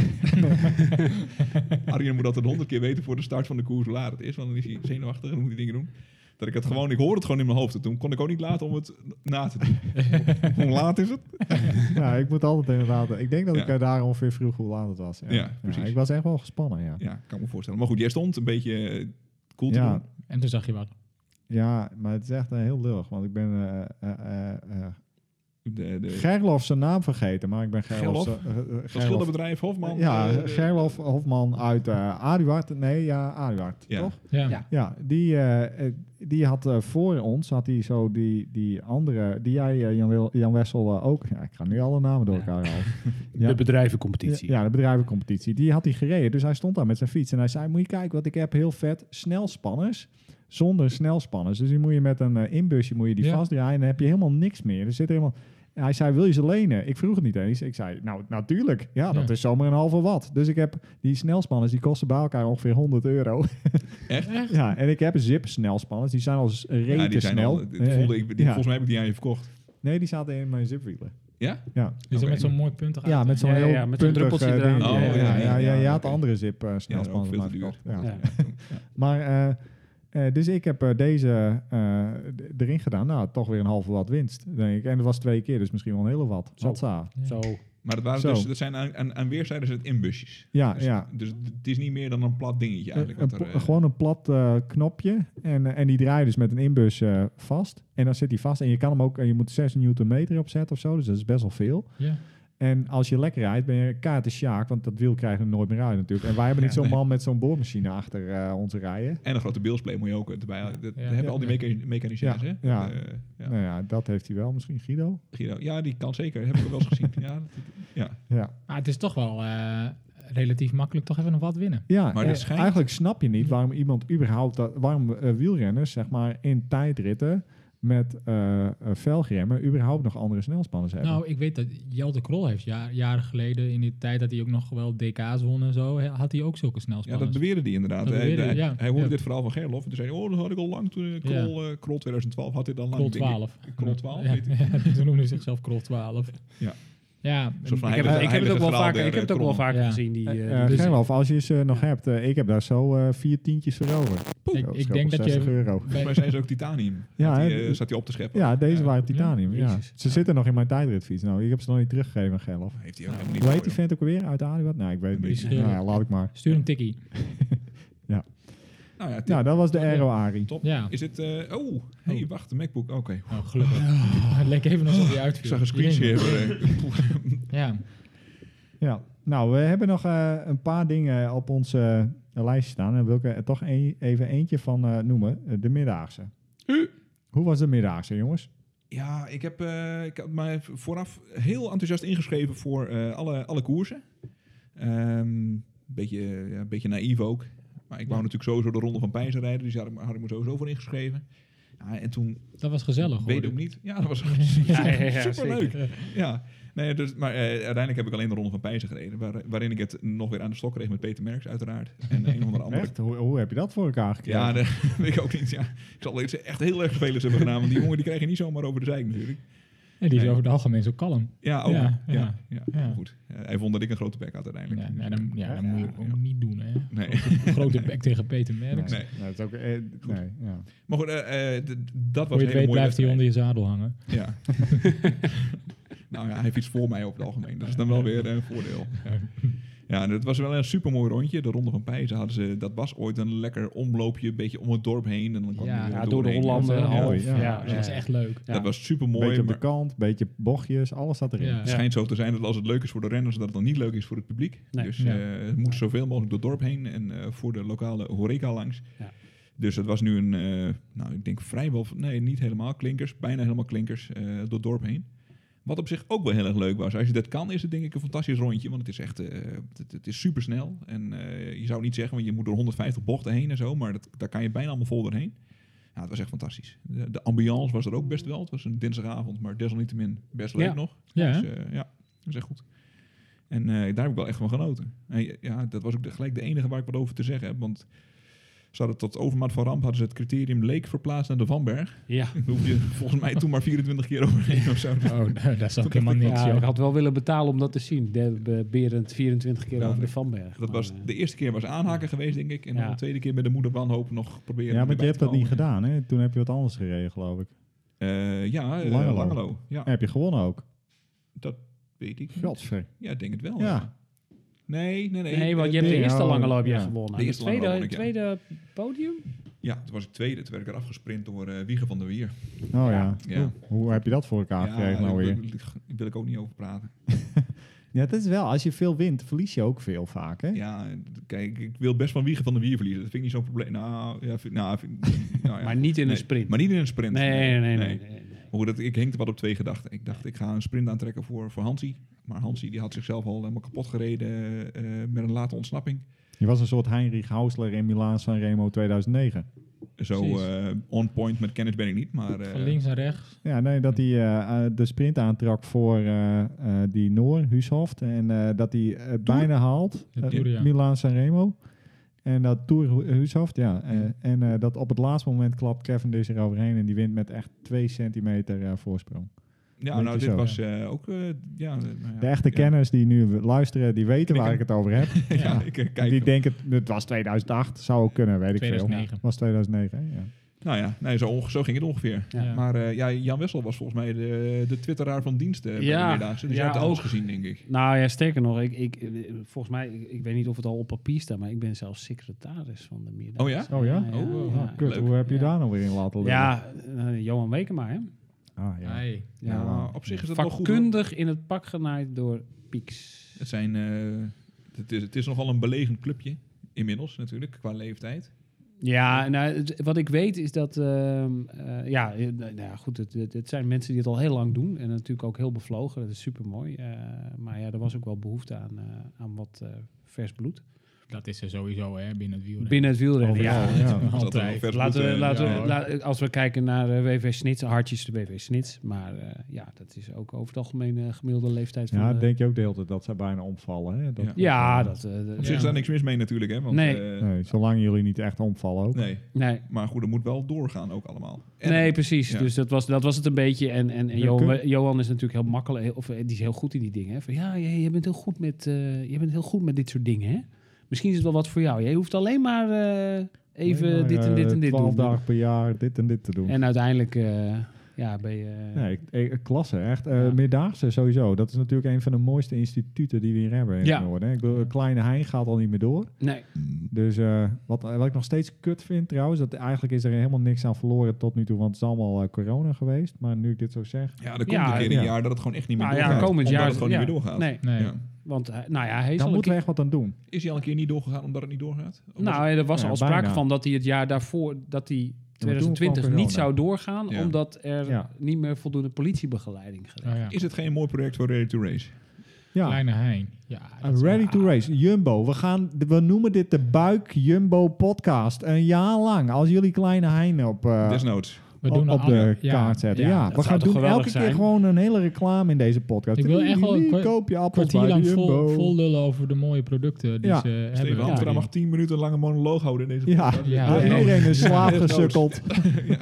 Speaker 3: Arjen moet altijd honderd keer weten voor de start van de koers hoe laat het is. Want dan is hij zenuwachtig en moet hij dingen doen. Dat ik het gewoon, ik hoorde het gewoon in mijn hoofd. En toen kon ik ook niet laten om het na te doen. hoe laat is het?
Speaker 1: ja, ik moet altijd inderdaad. Ik denk dat ik
Speaker 3: Ja.
Speaker 1: eh, daar ongeveer vroeg hoe laat het was. Ja,
Speaker 3: Ja, precies.
Speaker 1: ik was echt wel gespannen, ja.
Speaker 3: Ja, kan ik me voorstellen. Maar goed, jij stond een beetje eh, cool te
Speaker 1: Ja.
Speaker 3: doen.
Speaker 4: En toen zag je wat.
Speaker 1: Ja, maar het is echt eh, heel lullig, want ik ben eh, eh, eh, eh,
Speaker 3: De, de
Speaker 1: Gerlof zijn naam vergeten, maar ik ben Gerlof.
Speaker 3: Gerlof?
Speaker 1: eh, eh, Gerlof.
Speaker 3: van schilderbedrijf Hofman.
Speaker 1: Ja,
Speaker 3: eh, de-
Speaker 1: Gerlof Hofman uit eh Aduard. Nee, ja, Aduard,
Speaker 3: Ja.
Speaker 1: toch?
Speaker 4: Ja.
Speaker 2: Ja.
Speaker 1: Ja, die, eh, eh, die had eh, voor ons, had hij zo die, die andere, die jij, eh, Jan, Wil- Jan Wessel, eh, ook. Ja, ik ga nu alle namen door
Speaker 2: Ja.
Speaker 1: elkaar halen.
Speaker 2: De bedrijvencompetitie.
Speaker 1: Ja, ja, de bedrijvencompetitie. Die had hij gereden. Dus hij stond daar met zijn fiets. En hij zei, moet je kijken wat ik heb. Heel vet. Snelspanners. Zonder snelspanners. Dus die moet je met een eh, inbusje moet je die
Speaker 4: Ja.
Speaker 1: vastdraaien. En dan heb je helemaal niks meer. Er zit helemaal... En Hij zei, wil je ze lenen? Ik vroeg het niet eens. Ik zei, nou, natuurlijk. Ja, dat
Speaker 4: Ja.
Speaker 1: is zomaar een halve wat. Dus ik heb die snelspanners, die kosten bij elkaar ongeveer 100 euro.
Speaker 3: Echt?
Speaker 1: Ja, en ik heb zip snelspanners. Die zijn al s- rete
Speaker 3: Ja, die zijn
Speaker 1: snel.
Speaker 3: al- dit voelde ik, die-
Speaker 1: Ja.
Speaker 3: Volgens mij heb ik die aan je verkocht.
Speaker 1: Nee, die zaten in mijn zipwielen.
Speaker 3: Ja?
Speaker 1: Ja.
Speaker 4: Die zijn
Speaker 3: Oké.
Speaker 4: met zo'n mooi puntig
Speaker 1: Ja, met zo'n
Speaker 2: Ja, ja,
Speaker 1: heel
Speaker 2: ja, met zo'n
Speaker 1: punterig,
Speaker 2: druppeltje
Speaker 1: eh,
Speaker 2: eraan.
Speaker 1: ding. ja,
Speaker 3: Oh, ja,
Speaker 1: ja,
Speaker 3: nee,
Speaker 1: ja,
Speaker 3: ja,
Speaker 1: je had
Speaker 3: oké.
Speaker 1: andere zip eh
Speaker 3: ook
Speaker 1: snelspannen
Speaker 3: veel te
Speaker 1: maar
Speaker 3: duur.
Speaker 1: verkocht. Ja.
Speaker 2: Ja.
Speaker 1: Maar, eh, eh, dus ik heb eh, deze eh, d- erin gedaan. Nou, toch weer een halve wat winst, denk ik. En dat was twee keer, dus misschien wel een hele wat.
Speaker 2: Zo.
Speaker 1: Hatsa.
Speaker 2: Zo.
Speaker 3: Maar dat, waren
Speaker 1: Zo.
Speaker 3: dus, dat zijn aan, aan, aan weerszijden zijn het inbusjes.
Speaker 1: Ja,
Speaker 3: Dus,
Speaker 1: ja.
Speaker 3: dus het het is niet meer dan een plat dingetje eigenlijk.
Speaker 1: Een
Speaker 3: wat
Speaker 1: pl-
Speaker 3: er, eh,
Speaker 1: gewoon een plat eh, knopje. En, eh, en die draai je dus met een inbus eh, vast. En dan zit die vast. En je kan hem ook, en je moet 6 newtonmeter opzetten of zo. Dus dat is best wel veel.
Speaker 4: Ja.
Speaker 1: En als je lekker rijdt, ben je kaart de sjaak. Want dat wiel krijgen we nooit meer uit natuurlijk. En wij hebben niet zo'n
Speaker 3: nee.
Speaker 1: man met zo'n boormachine achter eh, ons rijden.
Speaker 3: En een grote beeldsplay moet je ook eh, erbij halen. Dat
Speaker 4: Ja.
Speaker 3: hebben
Speaker 4: Ja.
Speaker 3: al die mecha- mechaniciërs,
Speaker 1: Ja.
Speaker 3: hè?
Speaker 1: Ja.
Speaker 3: Eh, ja.
Speaker 1: Nou ja, dat heeft hij wel misschien, Guido.
Speaker 3: Guido. ja, die kan zeker. Heb ik wel eens gezien. Ja, dat- ja.
Speaker 1: Ja,
Speaker 4: Maar het is toch wel eh, relatief makkelijk toch even nog wat winnen.
Speaker 1: ja
Speaker 3: Maar
Speaker 1: eh,
Speaker 3: dat schijnt-
Speaker 1: eigenlijk snap je niet waarom iemand überhaupt... Dat, waarom eh, wielrenners, zeg maar, in tijdritten met eh eh, velgremmen... überhaupt nog andere snelspanners hebben.
Speaker 4: Nou, ik weet dat Jelte Krol heeft ja- jaren geleden, in die tijd dat hij ook nog wel DK's won en zo, he- had hij ook zulke
Speaker 3: ja,
Speaker 4: snelspanners.
Speaker 3: dat beweerde die inderdaad.
Speaker 4: Dat
Speaker 3: hij,
Speaker 4: beweerde
Speaker 3: hij,
Speaker 4: die, ja.
Speaker 3: hij hoorde
Speaker 4: Ja.
Speaker 3: dit verhaal van Gerlof. En toen zei hij, oh, dat had ik al lang toen eh, Krol, eh, Krol 2012 had dit dan lang.
Speaker 4: Krol
Speaker 3: denk ik.
Speaker 4: 12.
Speaker 3: Krol 12,
Speaker 4: Ja,
Speaker 3: weet ik.
Speaker 4: ja, toen noemde hij zichzelf Krol 12.
Speaker 3: Ja.
Speaker 4: ja
Speaker 3: Een soort van
Speaker 2: Ik heb,
Speaker 3: heilige-
Speaker 2: het, ik heb het ook wel
Speaker 3: heilige graal
Speaker 2: vaker,
Speaker 3: der,
Speaker 2: ik heb het ook
Speaker 3: eh,
Speaker 2: wel vaker
Speaker 4: Ja.
Speaker 2: gezien. Die, eh,
Speaker 1: Eh,
Speaker 2: die-
Speaker 4: dus-
Speaker 1: Gerlof, als je ze nog hebt, eh, ik heb daar zo eh, vier tientjes voor over.
Speaker 4: Ik-
Speaker 1: Zo,
Speaker 4: ik
Speaker 1: zo,
Speaker 4: denk dat je-
Speaker 1: 60 euro.
Speaker 4: bij-
Speaker 3: Volgens mij zijn ze ook titanium.
Speaker 1: Ja,
Speaker 3: Ja, die,
Speaker 1: hè, dus-
Speaker 3: eh, zat hij op te scheppen.
Speaker 1: Ja, deze waren titanium.
Speaker 4: Ja,
Speaker 1: Ja,
Speaker 4: jezus.
Speaker 1: Ze zitten nog in mijn tijdritfiets. Nou, ik heb ze nog niet teruggegeven aan Gerlof.
Speaker 3: Heeft hij ook helemaal niet
Speaker 1: Hoe
Speaker 3: voor,
Speaker 1: heet die vent ook alweer uit Aduard? Nou, ik weet het niet.
Speaker 4: Die
Speaker 1: Nou
Speaker 4: schreeuwt.
Speaker 1: ja, laat ik maar.
Speaker 4: Stuur een tikkie.
Speaker 3: joh. Nou ja,
Speaker 1: Nou, dat was de Aero Ari.
Speaker 3: top.
Speaker 4: Ja.
Speaker 3: Is dit... eh, oh, hey, wacht, de MacBook. Oké.
Speaker 4: Oh, gelukkig. Het leek even alsof hij uitviel.
Speaker 3: Ik zag een
Speaker 4: Jeetje.
Speaker 3: screensaver. eh, poeh.
Speaker 4: Ja.
Speaker 1: Ja, nou, we hebben nog eh, een paar dingen op onze eh, lijst staan. En wil ik er toch een- even eentje van eh, noemen. Eh, De middagse.
Speaker 3: U.
Speaker 1: Hoe was de middagse, jongens?
Speaker 3: Ja, ik heb, eh, ik heb mij vooraf heel enthousiast ingeschreven voor eh, alle, alle koersen. Ehm beetje, ja, een beetje naïef ook. Maar ik wou natuurlijk sowieso de Ronde van Pijzen rijden. Dus daar had ik, me- had ik me sowieso voor ingeschreven. Ja, en toen
Speaker 4: Dat was gezellig.
Speaker 3: weet ik
Speaker 4: hoor.
Speaker 3: ook niet. Ja, dat was
Speaker 2: Ja, ja, ja,
Speaker 3: superleuk.
Speaker 4: zeker.
Speaker 3: Ja, nee, dus, maar eh, uiteindelijk heb ik alleen de Ronde van Pijzen gereden. waar- waarin ik het nog weer aan de stok kreeg met Peter Merks uiteraard. En een of andere andere
Speaker 1: Echt? Hoe, hoe heb je dat voor elkaar gekregen?
Speaker 3: Ja, dat weet ik ook niet. Ja. Ik zal iets echt heel erg vervelends hebben gedaan. Want die jongen die krijg je niet zomaar over de zijk natuurlijk.
Speaker 4: En die is
Speaker 3: Nee.
Speaker 4: over het algemeen zo kalm.
Speaker 3: Ja, ook. Ja,
Speaker 4: Ja,
Speaker 3: ja,
Speaker 4: ja.
Speaker 3: maar
Speaker 4: Ja.
Speaker 3: goed. Eh, hij vond dat ik een grote bek had uiteindelijk.
Speaker 4: Ja, nee, dan, ja, dat
Speaker 1: Ja,
Speaker 4: moet je ook
Speaker 3: ja.
Speaker 4: niet doen, hè.
Speaker 3: Nee.
Speaker 4: Grote bek tegen Peter
Speaker 1: Nee,
Speaker 4: Merks.
Speaker 3: Nee.
Speaker 1: nee, dat is ook... eh, nee, ja.
Speaker 3: Maar goed, eh, eh, d- d- dat was
Speaker 4: Voor je
Speaker 3: een
Speaker 4: het
Speaker 3: hele
Speaker 4: weet
Speaker 3: mooie
Speaker 4: blijft hij
Speaker 3: wedstrijd.
Speaker 4: onder je zadel hangen.
Speaker 3: Ja. Nou ja, hij fietst voor mij over het algemeen. Dat is dan wel weer eh, een voordeel. Ja, en het was wel een supermooi rondje. De Ronde van Pijzen hadden ze... Dat was ooit een lekker omloopje, een beetje om het dorp heen. En dan kwam je
Speaker 4: Ja,
Speaker 3: weer
Speaker 2: Ja, door de
Speaker 3: doorheen.
Speaker 2: Hollanden.
Speaker 4: Ja,
Speaker 2: half,
Speaker 1: mooi, ja.
Speaker 2: ja,
Speaker 4: Dus dat is
Speaker 2: ja.
Speaker 4: echt leuk.
Speaker 2: Ja.
Speaker 3: Dat was supermooi.
Speaker 1: beetje op
Speaker 3: maar-
Speaker 1: de kant, beetje bochtjes, alles zat erin.
Speaker 4: Ja.
Speaker 3: Het schijnt zo te zijn dat als het leuk is voor de renners, dat het dan niet leuk is voor het publiek.
Speaker 2: Nee.
Speaker 3: Dus
Speaker 4: Ja.
Speaker 3: eh, het moet zoveel mogelijk door het dorp heen en eh, voor de lokale horeca langs.
Speaker 2: Ja.
Speaker 3: Dus het was nu een, eh, nou ik denk vrijwel, nee niet helemaal klinkers, bijna helemaal klinkers eh, door het dorp heen. Wat op zich ook wel heel erg leuk was. Als je dat kan, is het denk ik een fantastisch rondje. Want het is echt, eh, het, het is supersnel. En eh, je zou het niet zeggen, want je moet door 150 bochten heen en zo. Maar dat, daar kan je bijna allemaal vol doorheen. Ja, het was echt fantastisch. De, de ambiance was er ook best wel. Het was een dinsdagavond, maar desalniettemin best leuk
Speaker 2: Ja.
Speaker 3: nog.
Speaker 4: Ja,
Speaker 3: Dus,
Speaker 4: hè?
Speaker 3: eh, ja, dat is echt goed. En eh, daar heb ik wel echt van genoten. En je- ja, dat was ook de- gelijk de enige waar ik wat over te zeggen heb. Want ze hadden tot overmaat van ramp hadden ze het criterium Leek verplaatst naar de Vanberg.
Speaker 2: Ja.
Speaker 3: Daar hoef je volgens mij toen maar 24 keer overheen of zo.
Speaker 4: Oh, daar- daar zat helemaal niks,
Speaker 2: Ja, ik
Speaker 4: joh.
Speaker 2: had wel willen betalen om dat te zien. De, be- Berend 24 keer
Speaker 3: Ja,
Speaker 2: over de
Speaker 3: nee.
Speaker 2: Vanberg.
Speaker 3: Dat
Speaker 2: Maar,
Speaker 3: was,
Speaker 2: eh,
Speaker 3: de eerste keer was aanhaken geweest, denk ik. En dan
Speaker 2: Ja.
Speaker 3: de tweede keer bij de moeder wanhoop nog proberen.
Speaker 1: Ja, want je
Speaker 3: erbij
Speaker 1: hebt
Speaker 3: te
Speaker 1: dat niet
Speaker 3: komen.
Speaker 1: gedaan, hè? Toen heb je wat anders gereden, geloof ik.
Speaker 3: Eh, ja, eh,
Speaker 1: Langelo.
Speaker 3: Langelo. Ja,
Speaker 1: En heb je gewonnen ook.
Speaker 3: weet ik.
Speaker 1: Godver.
Speaker 3: Ja, ik denk het wel.
Speaker 1: Ja.
Speaker 3: Nee, nee, Eh, nee.
Speaker 2: Nee, want je hebt
Speaker 1: nee,
Speaker 2: de eerste
Speaker 1: oh,
Speaker 2: lange loop jij
Speaker 1: ja.
Speaker 2: gewonnen.
Speaker 3: De eerste lange
Speaker 2: tweede,
Speaker 3: loop won ik, ja.
Speaker 2: tweede podium?
Speaker 3: Ja, toen was ik tweede. Toen werd ik eraf gesprint door eh Wieger van der Wier.
Speaker 1: Oh ja.
Speaker 3: Ja.
Speaker 1: Hoe, hoe heb je dat voor elkaar gekregen nou
Speaker 3: daar
Speaker 1: weer?
Speaker 3: wil, daar wil ik ook niet over praten.
Speaker 1: Ja, dat is wel. Als je veel wint, verlies je ook veel vaak, hè?
Speaker 3: Ja, kijk, ik wil best van Wiegen van de Wier verliezen. Dat vind ik niet zo'n probleem. Nou, ja, vind, nou, vind, nou ja.
Speaker 2: Maar niet in
Speaker 3: Nee,
Speaker 2: een sprint.
Speaker 3: Maar niet in een sprint.
Speaker 2: nee, nee, nee. nee, nee, nee.
Speaker 3: Maar goed, dat, ik hinkte wat op twee gedachten. Ik dacht, ik ga een sprint aantrekken voor, voor Hansi. Maar Hansi die had zichzelf al helemaal kapot gereden eh, met een late ontsnapping.
Speaker 1: Je was een soort Heinrich Hausler in Milaan San Remo 2009.
Speaker 3: Zo
Speaker 4: Precies.
Speaker 3: eh, on point met kennis ben ik niet, maar... eh,
Speaker 4: Van links naar rechts.
Speaker 1: Ja, nee, dat hij eh, eh, de sprint aantrak voor eh, eh, die Noor, Huushoft. En eh, dat hij eh, bijna haalt,
Speaker 4: De
Speaker 1: eh,
Speaker 4: Tour, ja.
Speaker 1: Milaan San Remo. En dat Tour Hu- Huushoft, ja. eh, en eh, dat op het laatste moment klapt Cavendish er overheen en die wint met echt twee centimeter eh, voorsprong.
Speaker 3: ja,
Speaker 1: weet je
Speaker 3: nou, dit
Speaker 1: zo.
Speaker 3: was eh, ook... eh, ja, nou ja,
Speaker 1: De echte
Speaker 3: ja.
Speaker 1: kenners die nu luisteren, die weten waar ik
Speaker 3: Knikken.
Speaker 1: het over heb.
Speaker 3: Ja,
Speaker 4: Ja.
Speaker 3: ik eh, kijk
Speaker 1: Die denken, het was 2008, zou ook kunnen, weet ik veel.
Speaker 4: 2009.
Speaker 1: was 2009, hè? ja.
Speaker 3: Nou ja, nee, zo, onge- zo ging het ongeveer.
Speaker 2: Ja.
Speaker 4: Ja.
Speaker 3: Maar eh, ja, Jan Wessel was volgens mij de, de twitteraar van dienst eh, bij
Speaker 2: Ja,
Speaker 3: de Meerdaagse. Dus
Speaker 2: ja,
Speaker 3: jij hebt alles
Speaker 2: ook.
Speaker 3: gezien, denk ik.
Speaker 2: Nou ja, sterker nog, ik, ik, eh, volgens mij, ik, ik weet niet of het al op papier staat, maar ik ben zelfs secretaris van de Meerdaad.
Speaker 3: Oh ja?
Speaker 1: Oh ja?
Speaker 2: Ja,
Speaker 3: Oh,
Speaker 2: ja,
Speaker 1: Ah, kut,
Speaker 3: leuk.
Speaker 1: hoe heb je
Speaker 2: Ja.
Speaker 1: daar nou weer in laten liggen?
Speaker 2: Ja, eh, Johan Wekema, hè?
Speaker 1: Ah, ja.
Speaker 4: Hey.
Speaker 2: Ja.
Speaker 3: Ja,
Speaker 1: maar-
Speaker 3: Ah, op zich is dat wel goed. hoor.
Speaker 2: Vakkundig in het pak genaaid door Pieks.
Speaker 3: Het, zijn, eh, het, is, het is nogal een belegend clubje. Inmiddels natuurlijk, qua leeftijd.
Speaker 2: Ja, nou, het- wat ik weet is dat... ehm, eh, ja, eh, nou ja, goed, het, het, het zijn mensen die het al heel lang doen. En natuurlijk ook heel bevlogen. Dat is supermooi. mooi. maar ja, er was ook wel behoefte aan, eh, aan wat eh, vers bloed.
Speaker 4: Dat is er sowieso, hè, binnen het wielrennen.
Speaker 2: Binnen het wielrennen, ja.
Speaker 1: Overal, ja.
Speaker 3: Dus dat er wel
Speaker 4: Altijd.
Speaker 3: vers
Speaker 2: Laten
Speaker 3: bloed,
Speaker 2: we,
Speaker 3: eh,
Speaker 2: laten
Speaker 3: ja,
Speaker 2: we,
Speaker 3: hoor.
Speaker 2: la- als we kijken naar eh, WV Snits, hartjes de WV Snits. Maar eh, ja, dat is ook over het algemeen eh, gemiddelde leeftijd van...
Speaker 1: Ja,
Speaker 2: eh,
Speaker 1: denk je ook de hele tijd dat ze bijna omvallen. Hè? Dat,
Speaker 3: Ja.
Speaker 2: ja, dat... eh, de-
Speaker 3: Op zich is
Speaker 2: ja.
Speaker 3: daar niks mis mee natuurlijk, hè? Want,
Speaker 2: Nee.
Speaker 3: eh,
Speaker 1: Nee, zolang jullie niet echt omvallen ook.
Speaker 3: nee.
Speaker 2: Nee.
Speaker 3: Maar goed, het moet wel doorgaan ook allemaal. En-
Speaker 2: nee, precies.
Speaker 3: ja.
Speaker 2: Dus dat was, dat was het een beetje. En, en, en
Speaker 1: Ja,
Speaker 2: Johan,
Speaker 1: kun-
Speaker 2: Johan is natuurlijk heel makkelijk, heel- of eh, die is heel goed in die dingen. Hè? Van, ja, je, je bent heel goed met, eh, je bent heel goed met dit soort dingen. Hè? Misschien is het wel wat voor jou. Jij hoeft alleen maar eh, even
Speaker 1: Nee, maar,
Speaker 2: dit en dit
Speaker 1: eh,
Speaker 2: en dit
Speaker 1: 12
Speaker 2: doen.
Speaker 1: dagen per jaar dit en dit te doen.
Speaker 2: En uiteindelijk eh, ja, ben je...
Speaker 1: Nee, ik- ik- klasse, echt. Eh
Speaker 2: Ja.
Speaker 1: Meerdaagse sowieso. Dat is natuurlijk een van de mooiste instituten die we hier hebben in
Speaker 2: Ja.
Speaker 1: het noorden. hè. Ik bedoel, Kleine Hein gaat al niet meer door.
Speaker 2: nee.
Speaker 1: Dus eh, wat, wat ik nog steeds kut vind trouwens, dat eigenlijk is er helemaal niks aan verloren tot nu toe, want het is allemaal eh, corona geweest. Maar nu ik dit zo zeg,
Speaker 3: Ja, er komt
Speaker 2: Ja,
Speaker 3: een keer
Speaker 1: ja.
Speaker 3: een jaar dat het gewoon echt niet meer
Speaker 2: Nou ja,
Speaker 3: doorgaat.
Speaker 2: komend
Speaker 3: omdat
Speaker 2: jaar-
Speaker 3: het gewoon
Speaker 2: ja.
Speaker 3: niet meer doorgaat.
Speaker 2: Nee,
Speaker 4: Nee.
Speaker 3: Ja.
Speaker 2: want eh, nou ja, hij is
Speaker 1: daar
Speaker 2: al een
Speaker 1: moeten
Speaker 2: keer-
Speaker 1: we echt wat aan doen.
Speaker 3: Is hij al een keer niet doorgegaan omdat het niet doorgaat? Of was
Speaker 2: Nou, er was
Speaker 1: Ja,
Speaker 2: al sprake
Speaker 1: bijna.
Speaker 2: van dat hij het jaar daarvoor, dat hij
Speaker 1: toen kwam
Speaker 2: 2020 niet
Speaker 1: corona.
Speaker 2: zou doorgaan,
Speaker 3: Ja.
Speaker 2: omdat er
Speaker 1: Ja.
Speaker 2: niet meer voldoende politiebegeleiding
Speaker 4: Oh,
Speaker 2: gedaan.
Speaker 4: ja.
Speaker 3: het- Is het geen mooi project voor Ready to Race?
Speaker 1: Ja,
Speaker 4: Kleine Hein. Ja, dat
Speaker 1: I'm
Speaker 4: is-
Speaker 1: ready to race. Jumbo. We, gaan, we noemen dit de Buik Jumbo podcast. Een jaar lang. Als jullie kleine hein op, eh,
Speaker 3: Desnoods.
Speaker 4: we
Speaker 1: op-
Speaker 4: doen
Speaker 1: op
Speaker 4: een
Speaker 1: de
Speaker 4: ander-
Speaker 1: kaart zetten. Ja, we
Speaker 2: zou
Speaker 1: gaan
Speaker 2: toch
Speaker 1: doen
Speaker 2: geweldig
Speaker 1: elke keer
Speaker 2: zijn?
Speaker 1: gewoon een hele reclame in deze podcast.
Speaker 4: Ik wil echt wel een
Speaker 1: Jullie
Speaker 4: kwa-
Speaker 1: koop je appels
Speaker 4: kwartier
Speaker 1: bij
Speaker 4: lang
Speaker 1: de Jumbo.
Speaker 4: vol, vol lullen over de mooie producten die
Speaker 1: Ja.
Speaker 4: ze hebben.
Speaker 3: Steven Amsterdam mag 10 minuten een lange monoloog houden in deze
Speaker 1: Ja,
Speaker 3: podcast.
Speaker 4: Ja.
Speaker 1: ja,
Speaker 4: Ja.
Speaker 1: iedereen is slaap
Speaker 3: Ja.
Speaker 1: gesukkeld.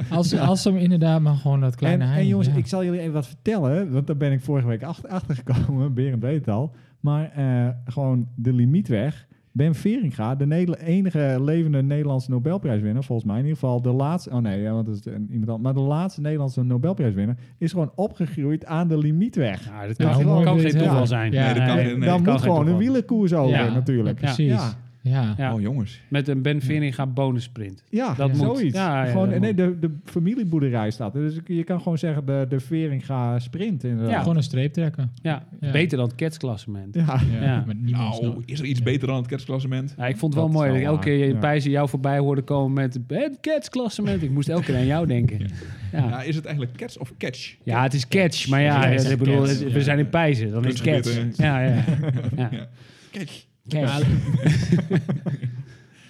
Speaker 4: Als, als ze hem inderdaad maar gewoon dat
Speaker 1: En,
Speaker 4: kleine hein.
Speaker 1: en jongens,
Speaker 4: ja.
Speaker 1: ik zal jullie even wat vertellen. Want daar ben ik vorige week achter, achtergekomen. Berend weet het al. Maar eh, gewoon de limietweg. Ben Veringa, de Neder- enige levende Nederlandse Nobelprijswinnaar, volgens mij in ieder geval de laatste, oh nee, ja, want dat is eh, iemand anders, maar de laatste Nederlandse Nobelprijswinnaar is gewoon opgegroeid aan de limietweg.
Speaker 2: Ja, Nou, dat
Speaker 1: Ja,
Speaker 2: kan,
Speaker 1: hoe
Speaker 2: kan
Speaker 1: mooi
Speaker 2: geen
Speaker 1: dit is.
Speaker 2: toeval
Speaker 1: Ja.
Speaker 2: zijn.
Speaker 4: Ja,
Speaker 3: Nee, dat kan
Speaker 2: nee.
Speaker 3: geen- nee,
Speaker 1: Daar moet
Speaker 2: kan geen
Speaker 1: gewoon een
Speaker 2: toeval.
Speaker 1: wielerkoers over
Speaker 4: Ja,
Speaker 1: natuurlijk.
Speaker 4: precies. Ja.
Speaker 1: Ja.
Speaker 2: Ja.
Speaker 3: Oh jongens.
Speaker 2: Met een Ben Veringa bonusprint.
Speaker 1: Ja,
Speaker 2: Dat moet.
Speaker 1: zoiets.
Speaker 2: Ja, ja,
Speaker 1: gewoon,
Speaker 2: dat
Speaker 1: nee,
Speaker 2: moet.
Speaker 1: de, de familieboerderij staat er. Dus je kan gewoon zeggen de, de Veringa sprint.
Speaker 2: Ja.
Speaker 1: Inderdaad.
Speaker 4: Gewoon een streep trekken.
Speaker 2: Ja,
Speaker 4: Ja.
Speaker 2: beter dan het ketsklassement.
Speaker 1: Ja.
Speaker 4: Ja,
Speaker 2: Ja.
Speaker 4: Met niemand
Speaker 3: Nou,
Speaker 4: snapt.
Speaker 3: is er iets beter dan het kerstklassement?
Speaker 2: Ja, ik vond het wel
Speaker 1: Dat is
Speaker 2: mooi.
Speaker 1: wel
Speaker 2: dat ik elke
Speaker 1: waar,
Speaker 2: keer
Speaker 1: ja.
Speaker 2: in Pijzen jou voorbij hoorde komen met het ketsklassement. Ik moest elke keer aan jou denken. Ja, ja.
Speaker 3: Ja, is het eigenlijk catch of catch?
Speaker 2: het is catch. Maar ja,
Speaker 4: Ja, het is
Speaker 2: ik bedoel,
Speaker 4: catch,
Speaker 2: het-
Speaker 4: ja.
Speaker 2: we zijn in Pijzen. Dan is
Speaker 3: Kunstgebied,
Speaker 2: catch.
Speaker 3: hè?
Speaker 2: Ja, ja. ja.
Speaker 3: Ja. Catch.
Speaker 2: Catch.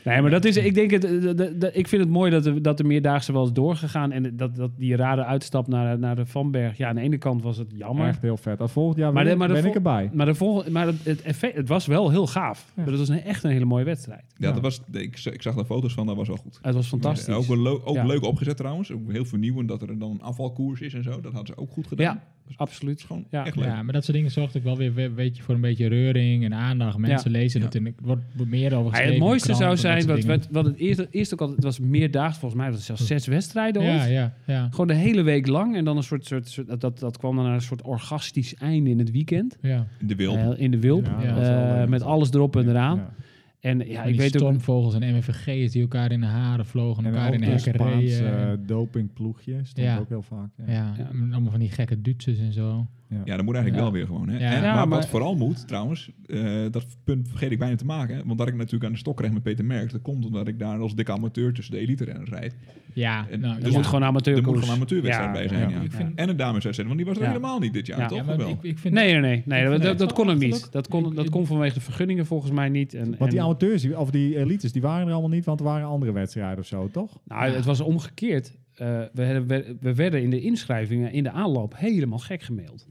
Speaker 2: Nee, maar dat is, ik denk het, dat- dat- dat- ik vind het mooi dat de, dat de meerdaagse wel is doorgegaan. En dat, dat die rare uitstap naar, naar de Vanberg. Ja, aan de ene kant was het jammer.
Speaker 1: Echt heel vet. Dat volgend jaar
Speaker 2: Maar
Speaker 1: ben,
Speaker 2: de- maar de
Speaker 1: ben ik
Speaker 2: vol-
Speaker 1: erbij.
Speaker 2: Maar, de volgende, maar het, het, effect, het was wel heel gaaf.
Speaker 1: Ja.
Speaker 2: Dat was een, echt een hele mooie wedstrijd.
Speaker 3: Ja, dat was, ik, z- ik zag daar foto's van, dat was wel goed.
Speaker 2: Het was fantastisch.
Speaker 3: Ja, ook wel leu- ook
Speaker 2: Ja.
Speaker 3: leuk opgezet trouwens. Ook heel vernieuwend dat er dan een afvalkoers is en zo. Dat hadden ze ook goed gedaan.
Speaker 2: Ja.
Speaker 3: Dat is
Speaker 2: Absoluut.
Speaker 3: gewoon
Speaker 2: Ja.
Speaker 3: echt leuk.
Speaker 4: Ja, maar dat soort dingen zorgt ook wel weer we- weet je, voor een beetje reuring en aandacht. Mensen lezen
Speaker 3: Ja.
Speaker 4: het en er wordt wordt meer
Speaker 2: Ja,
Speaker 4: over geschreven.
Speaker 2: het
Speaker 4: in de
Speaker 2: mooiste
Speaker 4: krant,
Speaker 2: zou
Speaker 4: dat
Speaker 2: zijn,
Speaker 4: soort
Speaker 2: wat,
Speaker 4: dingen.
Speaker 2: wat, wat het eerst, eerst ook al, het was meerdaags volgens mij, dat was zelfs zes wedstrijden ooit.
Speaker 4: Ja, ja, ja.
Speaker 2: Gewoon de hele week lang en dan een soort, soort, soort- dat- dat, dat kwam dan naar een soort orgastisch einde in het weekend.
Speaker 4: ja.
Speaker 3: De wild.
Speaker 2: Eh, in de Wilp,
Speaker 1: Ja,
Speaker 4: dat
Speaker 2: Eh,
Speaker 1: was wel leuk.
Speaker 2: met alles erop en eraan.
Speaker 1: Ja.
Speaker 2: En ja, ik weet ook...
Speaker 4: stormvogels en MVG's die elkaar in de haren vlogen,
Speaker 1: En
Speaker 4: elkaar
Speaker 1: ook
Speaker 4: in de
Speaker 1: een
Speaker 4: hekken
Speaker 1: Spaans
Speaker 4: reden.
Speaker 1: eh, dopingploegje stond
Speaker 4: Ja.
Speaker 1: ook heel vaak. Ja.
Speaker 4: ja,
Speaker 2: Ja.
Speaker 4: en allemaal van die gekke Duitsers en zo.
Speaker 3: Ja, dat moet eigenlijk wel
Speaker 4: Ja.
Speaker 3: weer gewoon. Hè?
Speaker 4: Ja.
Speaker 3: En-
Speaker 2: Ja,
Speaker 3: maar,
Speaker 2: maar-
Speaker 3: wat vooral moet, trouwens, eh, dat punt vergeet ik bijna te maken. hè, Want dat ik natuurlijk aan de stok kreeg met Peter Merck, dat komt omdat ik daar als dikke amateur tussen de elite renners rijd.
Speaker 4: Ja,
Speaker 3: En
Speaker 4: nou,
Speaker 3: er
Speaker 2: Er
Speaker 4: ja.
Speaker 2: moet gewoon
Speaker 3: Er
Speaker 2: amateur
Speaker 3: moet gewoon een amateurwedstrijd bij zijn. Ja.
Speaker 4: Ik vind-
Speaker 3: En een dameswedstrijd, want die was er
Speaker 2: Ja.
Speaker 3: helemaal niet dit jaar,
Speaker 2: Ja.
Speaker 3: toch?
Speaker 4: Ja,
Speaker 3: Of
Speaker 4: maar
Speaker 3: wel?
Speaker 4: ik, ik vind
Speaker 2: Nee, nee, nee. nee dat,
Speaker 4: vind
Speaker 2: dat,
Speaker 4: het
Speaker 2: dat
Speaker 4: wel
Speaker 2: kon ook niet.
Speaker 4: achterlijk.
Speaker 2: Dat kon,
Speaker 4: Ik-
Speaker 2: dat
Speaker 4: ik-
Speaker 2: kon vanwege de vergunningen volgens mij niet. En,
Speaker 1: Want die
Speaker 2: en-
Speaker 1: amateurs, die- of die elites, die waren er allemaal niet, want er waren andere wedstrijden of zo, toch?
Speaker 2: Nou, het was omgekeerd. Eh, we, hebben- we, we werden in de inschrijvingen, in de aanloop, helemaal gek gemaild.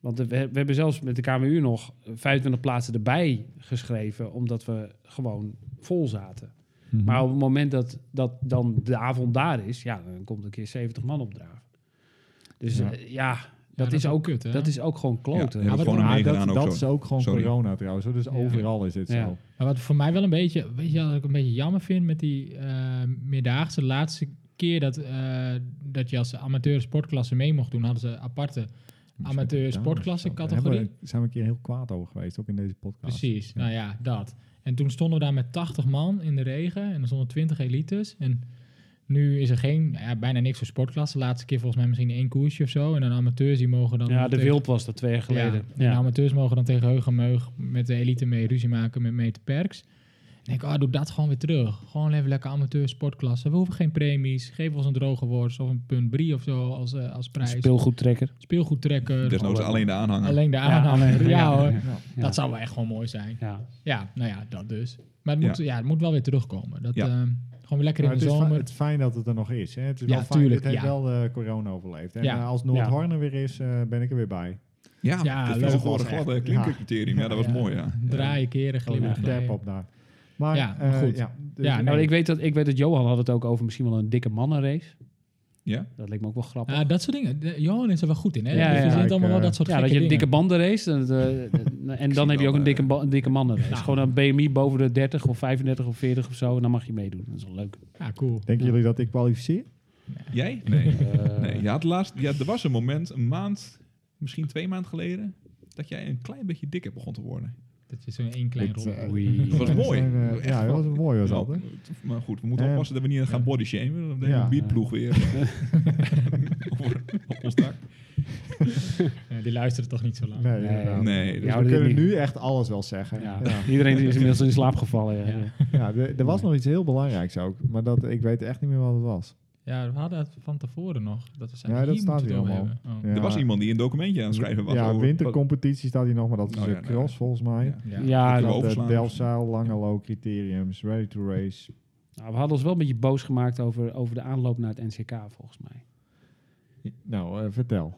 Speaker 2: Want we, we hebben zelfs met de KWU nog 25 plaatsen erbij geschreven, omdat we gewoon vol zaten.
Speaker 4: Mhm.
Speaker 2: Maar op het moment dat, dat dan de avond daar is, ja, dan komt een keer 70 man opdraven. Dus eh,
Speaker 1: Ja.
Speaker 2: ja, dat,
Speaker 4: dat
Speaker 2: is
Speaker 4: is
Speaker 2: ook,
Speaker 4: kut, hè?
Speaker 2: dat is ook gewoon kloten.
Speaker 3: Ja, heb ik
Speaker 1: Ja,
Speaker 3: gewoon aan meegedaan
Speaker 1: Ah, dat,
Speaker 3: ook
Speaker 1: dat
Speaker 3: zo.
Speaker 1: is ook gewoon
Speaker 3: Sorry.
Speaker 1: corona trouwens. hoor. Dus overal is dit
Speaker 2: Ja.
Speaker 1: zo.
Speaker 4: Maar wat voor mij wel een beetje, weet je wat ik een beetje jammer vind met die eh meerdaagse de laatste keer dat, eh, dat je als amateur sportklasse mee mocht doen, hadden ze aparte amateur sportklasse
Speaker 1: Daar
Speaker 4: categorie.
Speaker 1: hebben we- zijn we een keer heel kwaad over geweest, ook in deze podcast.
Speaker 4: Precies,
Speaker 1: Ja.
Speaker 4: nou ja, dat. En toen stonden we daar met 80 man in de regen en er stonden 20 elites. En nu is er geen, nou ja, bijna niks voor sportklasse. De laatste keer volgens mij misschien één koersje of zo. En dan amateurs die mogen dan...
Speaker 2: Ja, de
Speaker 4: tegen-
Speaker 2: Wilp was dat twee jaar geleden.
Speaker 4: Ja, en de amateurs mogen dan tegen heug en meug met de elite mee ruzie maken met Mete Perks. En ik, ah, doe dat gewoon weer terug. Gewoon even lekker amateur sportklasse. We hoeven geen premies. Geef ons een droge worst of een punt brie of zo als, eh, als prijs.
Speaker 2: Speelgoedtrekker.
Speaker 4: Speelgoedtrekker.
Speaker 3: Desnoods alleen de aanhanger.
Speaker 4: Alleen de aanhanger. Ja,
Speaker 2: alleen- ja.
Speaker 4: hoor.
Speaker 1: Ja.
Speaker 2: Ja.
Speaker 4: Dat zou wel echt gewoon mooi zijn.
Speaker 2: Ja.
Speaker 4: Ja, nou ja, dat dus. Maar het moet, ja. het moet wel weer terugkomen. Dat,
Speaker 3: Ja.
Speaker 4: ehm, gewoon weer lekker
Speaker 1: Maar
Speaker 4: in
Speaker 1: het,
Speaker 4: de
Speaker 1: is fi-
Speaker 4: zomer.
Speaker 1: het is fijn dat het er nog is. Hè? Het is
Speaker 4: Ja,
Speaker 1: wel fijn.
Speaker 4: tuurlijk,
Speaker 1: Dit heeft
Speaker 4: ja.
Speaker 1: wel eh, corona overleefd. En
Speaker 4: Ja.
Speaker 1: eh, als Noordhoorn er weer is, eh, ben ik er weer bij.
Speaker 3: Ja,
Speaker 4: Ja,
Speaker 3: dat
Speaker 4: leuk
Speaker 3: was een
Speaker 4: was
Speaker 3: gore
Speaker 1: echt.
Speaker 3: gladde
Speaker 1: Ja.
Speaker 3: klinkercriterium. Ja, dat was
Speaker 4: Ja.
Speaker 3: mooi, ja.
Speaker 4: Draaien, keren,
Speaker 2: Oh,
Speaker 1: Gewoon
Speaker 4: glimlachen.
Speaker 1: een dap op daar. Maar,
Speaker 4: Ja, maar
Speaker 1: eh,
Speaker 4: goed.
Speaker 1: ja, dus-
Speaker 4: Ja,
Speaker 2: Nou,
Speaker 4: Nee.
Speaker 2: ik, weet dat, ik weet dat Johan had het ook over misschien wel een dikke mannenrace.
Speaker 3: Ja?
Speaker 2: Dat leek me ook wel grappig.
Speaker 4: Ah, dat soort dingen. De- Johan is er wel goed in, hè?
Speaker 2: Ja,
Speaker 4: dus
Speaker 2: ja,
Speaker 4: je ziet
Speaker 1: ik,
Speaker 4: allemaal wel
Speaker 1: eh,
Speaker 4: dat soort
Speaker 2: ja,
Speaker 4: gekke
Speaker 2: dat je een dikke
Speaker 4: dingen.
Speaker 2: banden race. En, eh, en dan heb je ook een dikke, ba- een dikke mannenrace.
Speaker 4: Nou.
Speaker 2: Gewoon een BMI boven de 30 of 35 of 40 of zo. En dan mag je meedoen. Dat is wel leuk.
Speaker 4: Ja, cool.
Speaker 1: Denken jullie dat ik kwalificeer?
Speaker 3: Jij? Nee.
Speaker 2: Eh,
Speaker 3: nee. Je had laatst, ja, er was een moment, een maand, misschien twee maanden geleden, dat jij een klein beetje dikker begon te worden.
Speaker 4: Dat je zo'n één klein
Speaker 1: Dat,
Speaker 4: rol.
Speaker 1: eh,
Speaker 2: Oei.
Speaker 3: Dat was mooi.
Speaker 1: Ja, dat zijn, eh,
Speaker 3: Echt
Speaker 1: ja, dat
Speaker 3: wel-
Speaker 1: was een mooi was
Speaker 3: Nou,
Speaker 1: dat. hè?
Speaker 3: t- maar goed, we moeten
Speaker 1: Eh,
Speaker 3: oppassen dat we niet gaan body shamen. Dan hebben we
Speaker 1: Ja.
Speaker 3: een bierploeg weer over, op ons dak.
Speaker 4: die luisteren toch niet zo lang.
Speaker 1: Nee,
Speaker 2: Nee.
Speaker 1: inderdaad.
Speaker 3: Nee,
Speaker 1: Dus
Speaker 3: dat-
Speaker 2: Ja,
Speaker 1: we
Speaker 2: dit
Speaker 1: kunnen
Speaker 2: niet.
Speaker 1: nu echt alles wel zeggen.
Speaker 2: ja.
Speaker 1: Ja.
Speaker 2: Iedereen is inmiddels in slaap gevallen. Ja.
Speaker 4: Ja.
Speaker 1: Ja, er er was nog iets heel belangrijks ook, maar dat, ik weet echt niet meer wat het was.
Speaker 4: Ja, we hadden het van tevoren nog. Dat we zeiden,
Speaker 1: Ja, dat
Speaker 4: hier
Speaker 1: staat
Speaker 4: moeten we
Speaker 1: hier
Speaker 4: het over
Speaker 1: allemaal.
Speaker 4: hebben. Oh.
Speaker 1: Ja.
Speaker 3: er was iemand die een documentje aan het schrijven was.
Speaker 1: Ja,
Speaker 3: over-
Speaker 1: wintercompetitie staat hier nog, maar dat is
Speaker 3: Oh,
Speaker 1: de
Speaker 3: ja, nee,
Speaker 1: cross
Speaker 3: nee.
Speaker 1: volgens mij.
Speaker 3: Ja.
Speaker 2: Ja.
Speaker 1: Ja,
Speaker 3: Kunnen
Speaker 1: dat,
Speaker 3: we
Speaker 1: eh,
Speaker 3: overslaan?
Speaker 1: Delfzijl, Langelo, criteriums, ready to race.
Speaker 2: Nou, we hadden ons wel een beetje boos gemaakt over, over de aanloop naar het NCK volgens mij.
Speaker 1: Nou, eh, vertel.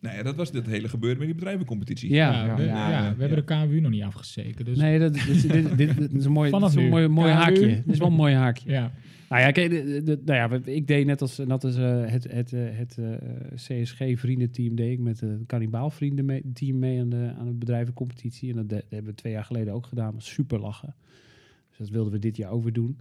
Speaker 3: Nou ja, dat was het hele gebeuren met die bedrijvencompetitie.
Speaker 2: Ja,
Speaker 4: Ja, we,
Speaker 1: ja,
Speaker 4: ja,
Speaker 3: ja.
Speaker 4: we hebben de KMU nog niet afgezeken. Dus
Speaker 2: Nee, dat, dit, dit, dit- dit is een mooi, dit
Speaker 4: Vanaf
Speaker 2: is een
Speaker 4: nu.
Speaker 2: mooi, mooi
Speaker 4: Ja, nu.
Speaker 2: haakje. Dit is wel een mooi haakje.
Speaker 4: ja.
Speaker 2: Nou ja, kijk, de- de- de- nou ja, wat ik deed net als, net als eh, het, het, eh, het eh, CSG-vriendenteam, deed ik met het Kannibaalvriendenteam mee aan de, aan de bedrijvencompetitie. En dat, de- dat hebben we twee jaar geleden ook gedaan. Was super lachen. Dus dat wilden we dit jaar ook weer doen.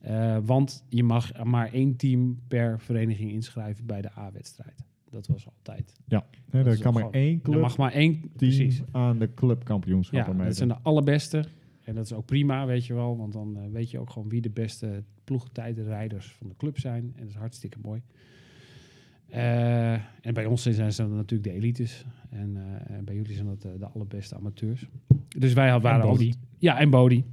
Speaker 2: Eh, want je mag maar één team per vereniging inschrijven bij de A-wedstrijd. Dat was altijd.
Speaker 1: Hè,
Speaker 2: Dat
Speaker 1: er
Speaker 2: is
Speaker 1: kan
Speaker 2: ook
Speaker 1: maar
Speaker 2: gewoon-
Speaker 1: één
Speaker 2: Er mag
Speaker 1: club
Speaker 2: maar één. Precies.
Speaker 1: team aan de clubkampioenschap
Speaker 2: Ja,
Speaker 1: mee.
Speaker 2: dat zijn de allerbeste. En dat is ook prima, weet je wel. Want dan eh, weet je ook gewoon wie de beste ploegtijdrijders van de club zijn. En dat is hartstikke mooi. Eh, en bij ons zijn ze dan natuurlijk de elites. En, eh, en bij jullie zijn dat eh, de allerbeste amateurs. Dus wij had- waren
Speaker 4: En Bodhi.
Speaker 2: altijd- Ja, en Bodhi.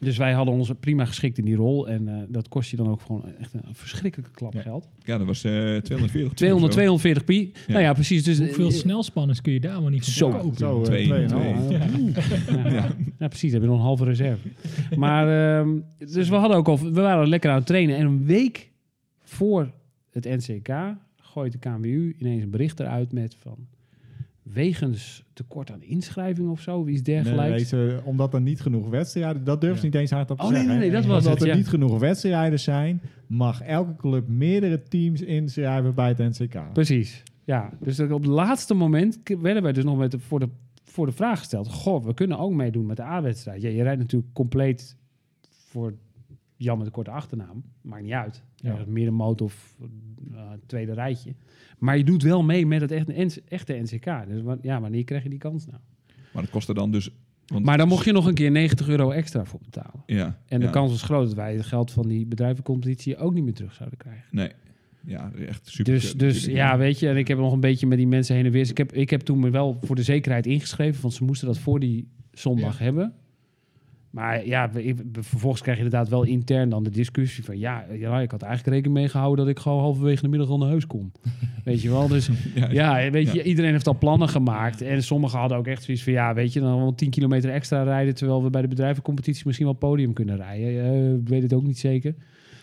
Speaker 2: Dus wij hadden ons prima geschikt in die rol. En eh, dat kost je dan ook gewoon echt een verschrikkelijke klap
Speaker 4: Ja.
Speaker 2: geld.
Speaker 3: Ja, dat was eh 240.
Speaker 2: 200,
Speaker 3: of zo.
Speaker 2: 240 pi. Nou ja, precies. Dus
Speaker 4: Hoeveel
Speaker 2: eh,
Speaker 4: snelspanners kun je daar wel niet
Speaker 2: Zo.
Speaker 4: van kopen?
Speaker 1: Zo, eh,
Speaker 3: Twee,
Speaker 1: tweeënhalf.
Speaker 3: twee.
Speaker 2: Ja. Ja. Ja, precies. Hebben we nog een halve reserve. Maar, ehm, dus we hadden ook al, we waren lekker aan het trainen. En een week voor het NCK gooit de KNWU ineens een bericht eruit met van, wegens tekort aan inschrijving of zo, of iets
Speaker 1: Nee,
Speaker 2: dergelijks.
Speaker 1: deze, omdat er niet genoeg wedstrijden... Dat durven ze
Speaker 4: Ja.
Speaker 1: niet eens hardop te
Speaker 2: Oh, nee,
Speaker 1: zeggen.
Speaker 2: nee, nee, dat was
Speaker 1: Omdat
Speaker 2: het,
Speaker 1: er
Speaker 2: ja.
Speaker 1: niet genoeg wedstrijden zijn... mag elke club meerdere teams inschrijven bij het NCK.
Speaker 2: Precies. Ja, dus dat op het laatste moment k- werden wij dus nog met de, voor, de, voor de vraag gesteld. Goh, we kunnen ook meedoen met de A-wedstrijd. Ja, je rijdt natuurlijk compleet voor Jan met de korte achternaam. Maakt niet uit.
Speaker 4: Ja.
Speaker 2: Ja. Middenmoot of eh, tweede rijtje. Maar je doet wel mee met het echte, echte NCK. Dus wa- ja, wanneer krijg je die kans nou?
Speaker 3: Maar dat kostte dan dus... want-
Speaker 2: Maar dan mocht je nog een keer 90 euro extra voor betalen.
Speaker 3: Ja.
Speaker 2: En de
Speaker 3: ja.
Speaker 2: kans was groot dat wij het geld van die bedrijvencompetitie ook niet meer terug zouden krijgen.
Speaker 3: Nee. Ja, echt super.
Speaker 2: Dus, dus ja, weet je, en ik heb nog een beetje met die mensen heen en weer. Dus ik, heb, ik heb toen me wel voor de zekerheid ingeschreven, want ze moesten dat voor die zondag hebben. Maar ja, we- ik- we- vervolgens krijg je inderdaad wel intern dan de discussie van... ja, ja ik had eigenlijk rekening mee gehouden dat ik gewoon halverwege de middag al naar huis kom. weet je wel, dus
Speaker 3: Ja,
Speaker 2: ja, weet je,
Speaker 3: Ja.
Speaker 2: iedereen heeft al plannen gemaakt. En sommigen hadden ook echt zoiets van... ja, weet je, dan wel 10 kilometer extra rijden... terwijl we bij de bedrijvencompetitie misschien wel podium kunnen rijden. Eh, ik weet het ook niet zeker.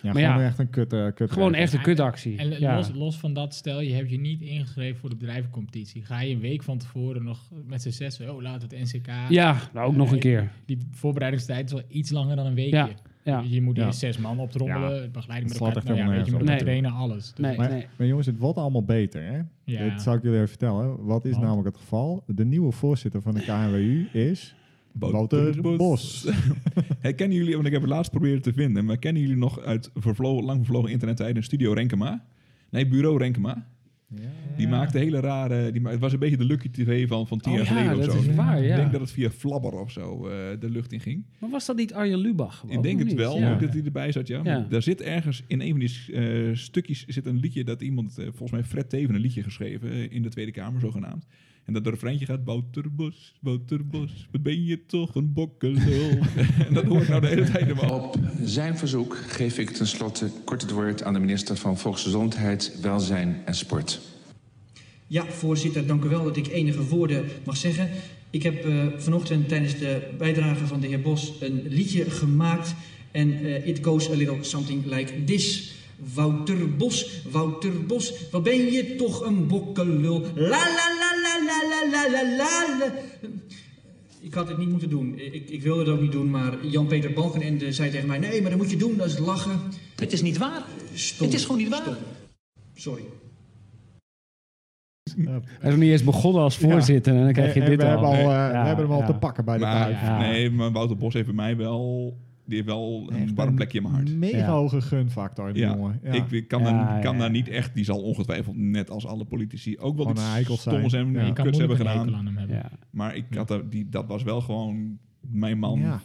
Speaker 1: Ja,
Speaker 2: Maar
Speaker 1: gewoon
Speaker 2: ja,
Speaker 1: echt een kut, eh, kut
Speaker 2: Gewoon echt een
Speaker 4: en-
Speaker 2: kutactie.
Speaker 4: En
Speaker 2: ja.
Speaker 4: los, los van dat, stel je hebt je niet ingeschreven voor de bedrijvencompetitie. Ga je een week van tevoren nog met z'n zessen, oh laat het NCK.
Speaker 2: ja, nou ook nog een keer.
Speaker 4: Die voorbereidingstijd is wel iets langer dan een weekje.
Speaker 2: Ja, ja. Oh
Speaker 4: Je moet
Speaker 1: Ja.
Speaker 4: eerst zes man optrommelen,
Speaker 1: Ja.
Speaker 4: het begeleiding met
Speaker 1: Het slaat
Speaker 4: elkaar.
Speaker 1: echt
Speaker 4: Nou ja,
Speaker 1: helemaal
Speaker 4: weet je, met
Speaker 2: nergens
Speaker 4: elkaar
Speaker 2: op.
Speaker 4: trainen, alles. Dus-
Speaker 2: Nee,
Speaker 1: Maar,
Speaker 2: nee.
Speaker 1: maar jongens, het wordt allemaal beter, hè?
Speaker 4: ja.
Speaker 1: Dit zou ik jullie even vertellen. Wat is
Speaker 4: Want?
Speaker 1: namelijk het geval? De nieuwe voorzitter van de KNWU is... Wouter Bos.
Speaker 3: Hey, kennen jullie, want ik heb het laatst proberen te vinden, maar kennen jullie nog uit vervlogen, lang vervlogen internettijden Studio Renkema? Nee, Bureau Renkema. Die maakte hele rare... Die ma- het was een beetje de Lucky TV van, van tien
Speaker 2: Oh
Speaker 3: jaar
Speaker 2: ja,
Speaker 3: geleden of
Speaker 2: dat
Speaker 3: zo.
Speaker 2: is waar, ja.
Speaker 3: Ik denk dat het via Flabber of zo eh, de lucht in ging.
Speaker 2: Maar was dat niet Arjen Lubach? gewoon,
Speaker 3: ik denk
Speaker 2: of
Speaker 3: het
Speaker 2: niet?
Speaker 3: wel,
Speaker 2: Ja.
Speaker 3: ook dat hij erbij zat, ja.
Speaker 2: Ja.
Speaker 3: Maar Daar zit ergens in een van die eh, stukjes zit een liedje dat iemand, eh, volgens mij Fred Teven, een liedje geschreven eh, in de Tweede Kamer zogenaamd. En dat de refreintje gaat, Bouterbos, Bouterbos, wat ben je toch een bokkelul. en dat hoor ik nou de hele tijd in mijn hoofd.
Speaker 6: Op zijn verzoek geef ik tenslotte kort het woord aan de minister van Volksgezondheid, Welzijn en Sport.
Speaker 7: Ja, voorzitter, dank u wel dat ik enige woorden mag zeggen. Ik heb eh, vanochtend tijdens de bijdrage van de heer Bos een liedje gemaakt. En eh, it goes a little something like this. Wouter Bos, Wouter Bos, wat ben je toch een bokkelul. La la la la la la la la la la. Ik had het niet moeten doen. Ik, ik wilde dat ook niet doen, maar Jan-Peter Balkenende zei tegen mij... Nee, maar dat moet je doen, dat is lachen.
Speaker 8: Het is niet waar.
Speaker 7: Stom.
Speaker 8: Het is gewoon niet waar.
Speaker 7: Stom. Sorry.
Speaker 2: Hij is nog niet eens begonnen als voorzitter en dan krijg je
Speaker 1: En- en
Speaker 2: dit
Speaker 1: we
Speaker 2: al.
Speaker 1: hebben, al, eh,
Speaker 2: Ja,
Speaker 1: we hebben hem al
Speaker 2: ja.
Speaker 1: te pakken bij de
Speaker 3: Maar,
Speaker 1: taart.
Speaker 2: Ja.
Speaker 3: nee, maar Wouter Bos heeft bij mij wel, die heeft wel een warm plekje in mijn hart.
Speaker 1: Mega
Speaker 2: Ja.
Speaker 1: hoge gunfactor, die
Speaker 3: Ja,
Speaker 1: jongen. Ja.
Speaker 3: ik ik kan,
Speaker 2: Ja,
Speaker 3: daar, kan
Speaker 2: ja,
Speaker 3: daar
Speaker 2: ja.
Speaker 3: niet echt, die zal ongetwijfeld net als alle politici ook wel
Speaker 1: Gewoon een heikel
Speaker 3: iets
Speaker 1: zijn.
Speaker 3: stoms en
Speaker 1: Ja.
Speaker 4: Je kan
Speaker 3: kuts hebben
Speaker 4: moeilijk een hekel
Speaker 3: gedaan.
Speaker 4: aan hem hebben.
Speaker 2: Ja.
Speaker 3: Maar ik had er, die, dat was wel gewoon mijn man.
Speaker 1: Ja.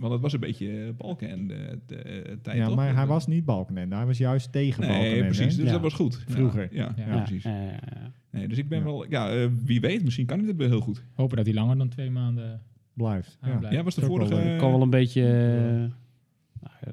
Speaker 3: Want het was een beetje eh, balken en de, de eh, tijd.
Speaker 1: Ja,
Speaker 3: toch?
Speaker 1: maar
Speaker 3: Dat-
Speaker 1: hij was niet Balkenende. Hij was juist tegen Balkenende.
Speaker 3: Nee, precies.
Speaker 1: hè?
Speaker 3: Dus
Speaker 2: Ja.
Speaker 3: dat was goed. Ja,
Speaker 1: Vroeger.
Speaker 3: Ja, ja,
Speaker 4: Ja.
Speaker 2: Ja,
Speaker 3: precies.
Speaker 2: ja, ja, ja.
Speaker 3: Nee, dus ik ben
Speaker 1: Ja.
Speaker 3: wel... Ja, eh, wie weet, misschien kan ik dit wel heel goed.
Speaker 4: Hopen dat hij langer dan twee maanden
Speaker 1: Blijft. Ja.
Speaker 4: aanblijft.
Speaker 3: Ja, was de
Speaker 1: is ook wel
Speaker 3: vorige...
Speaker 1: leuk.
Speaker 2: Ik kan wel een beetje... eh, nou ja,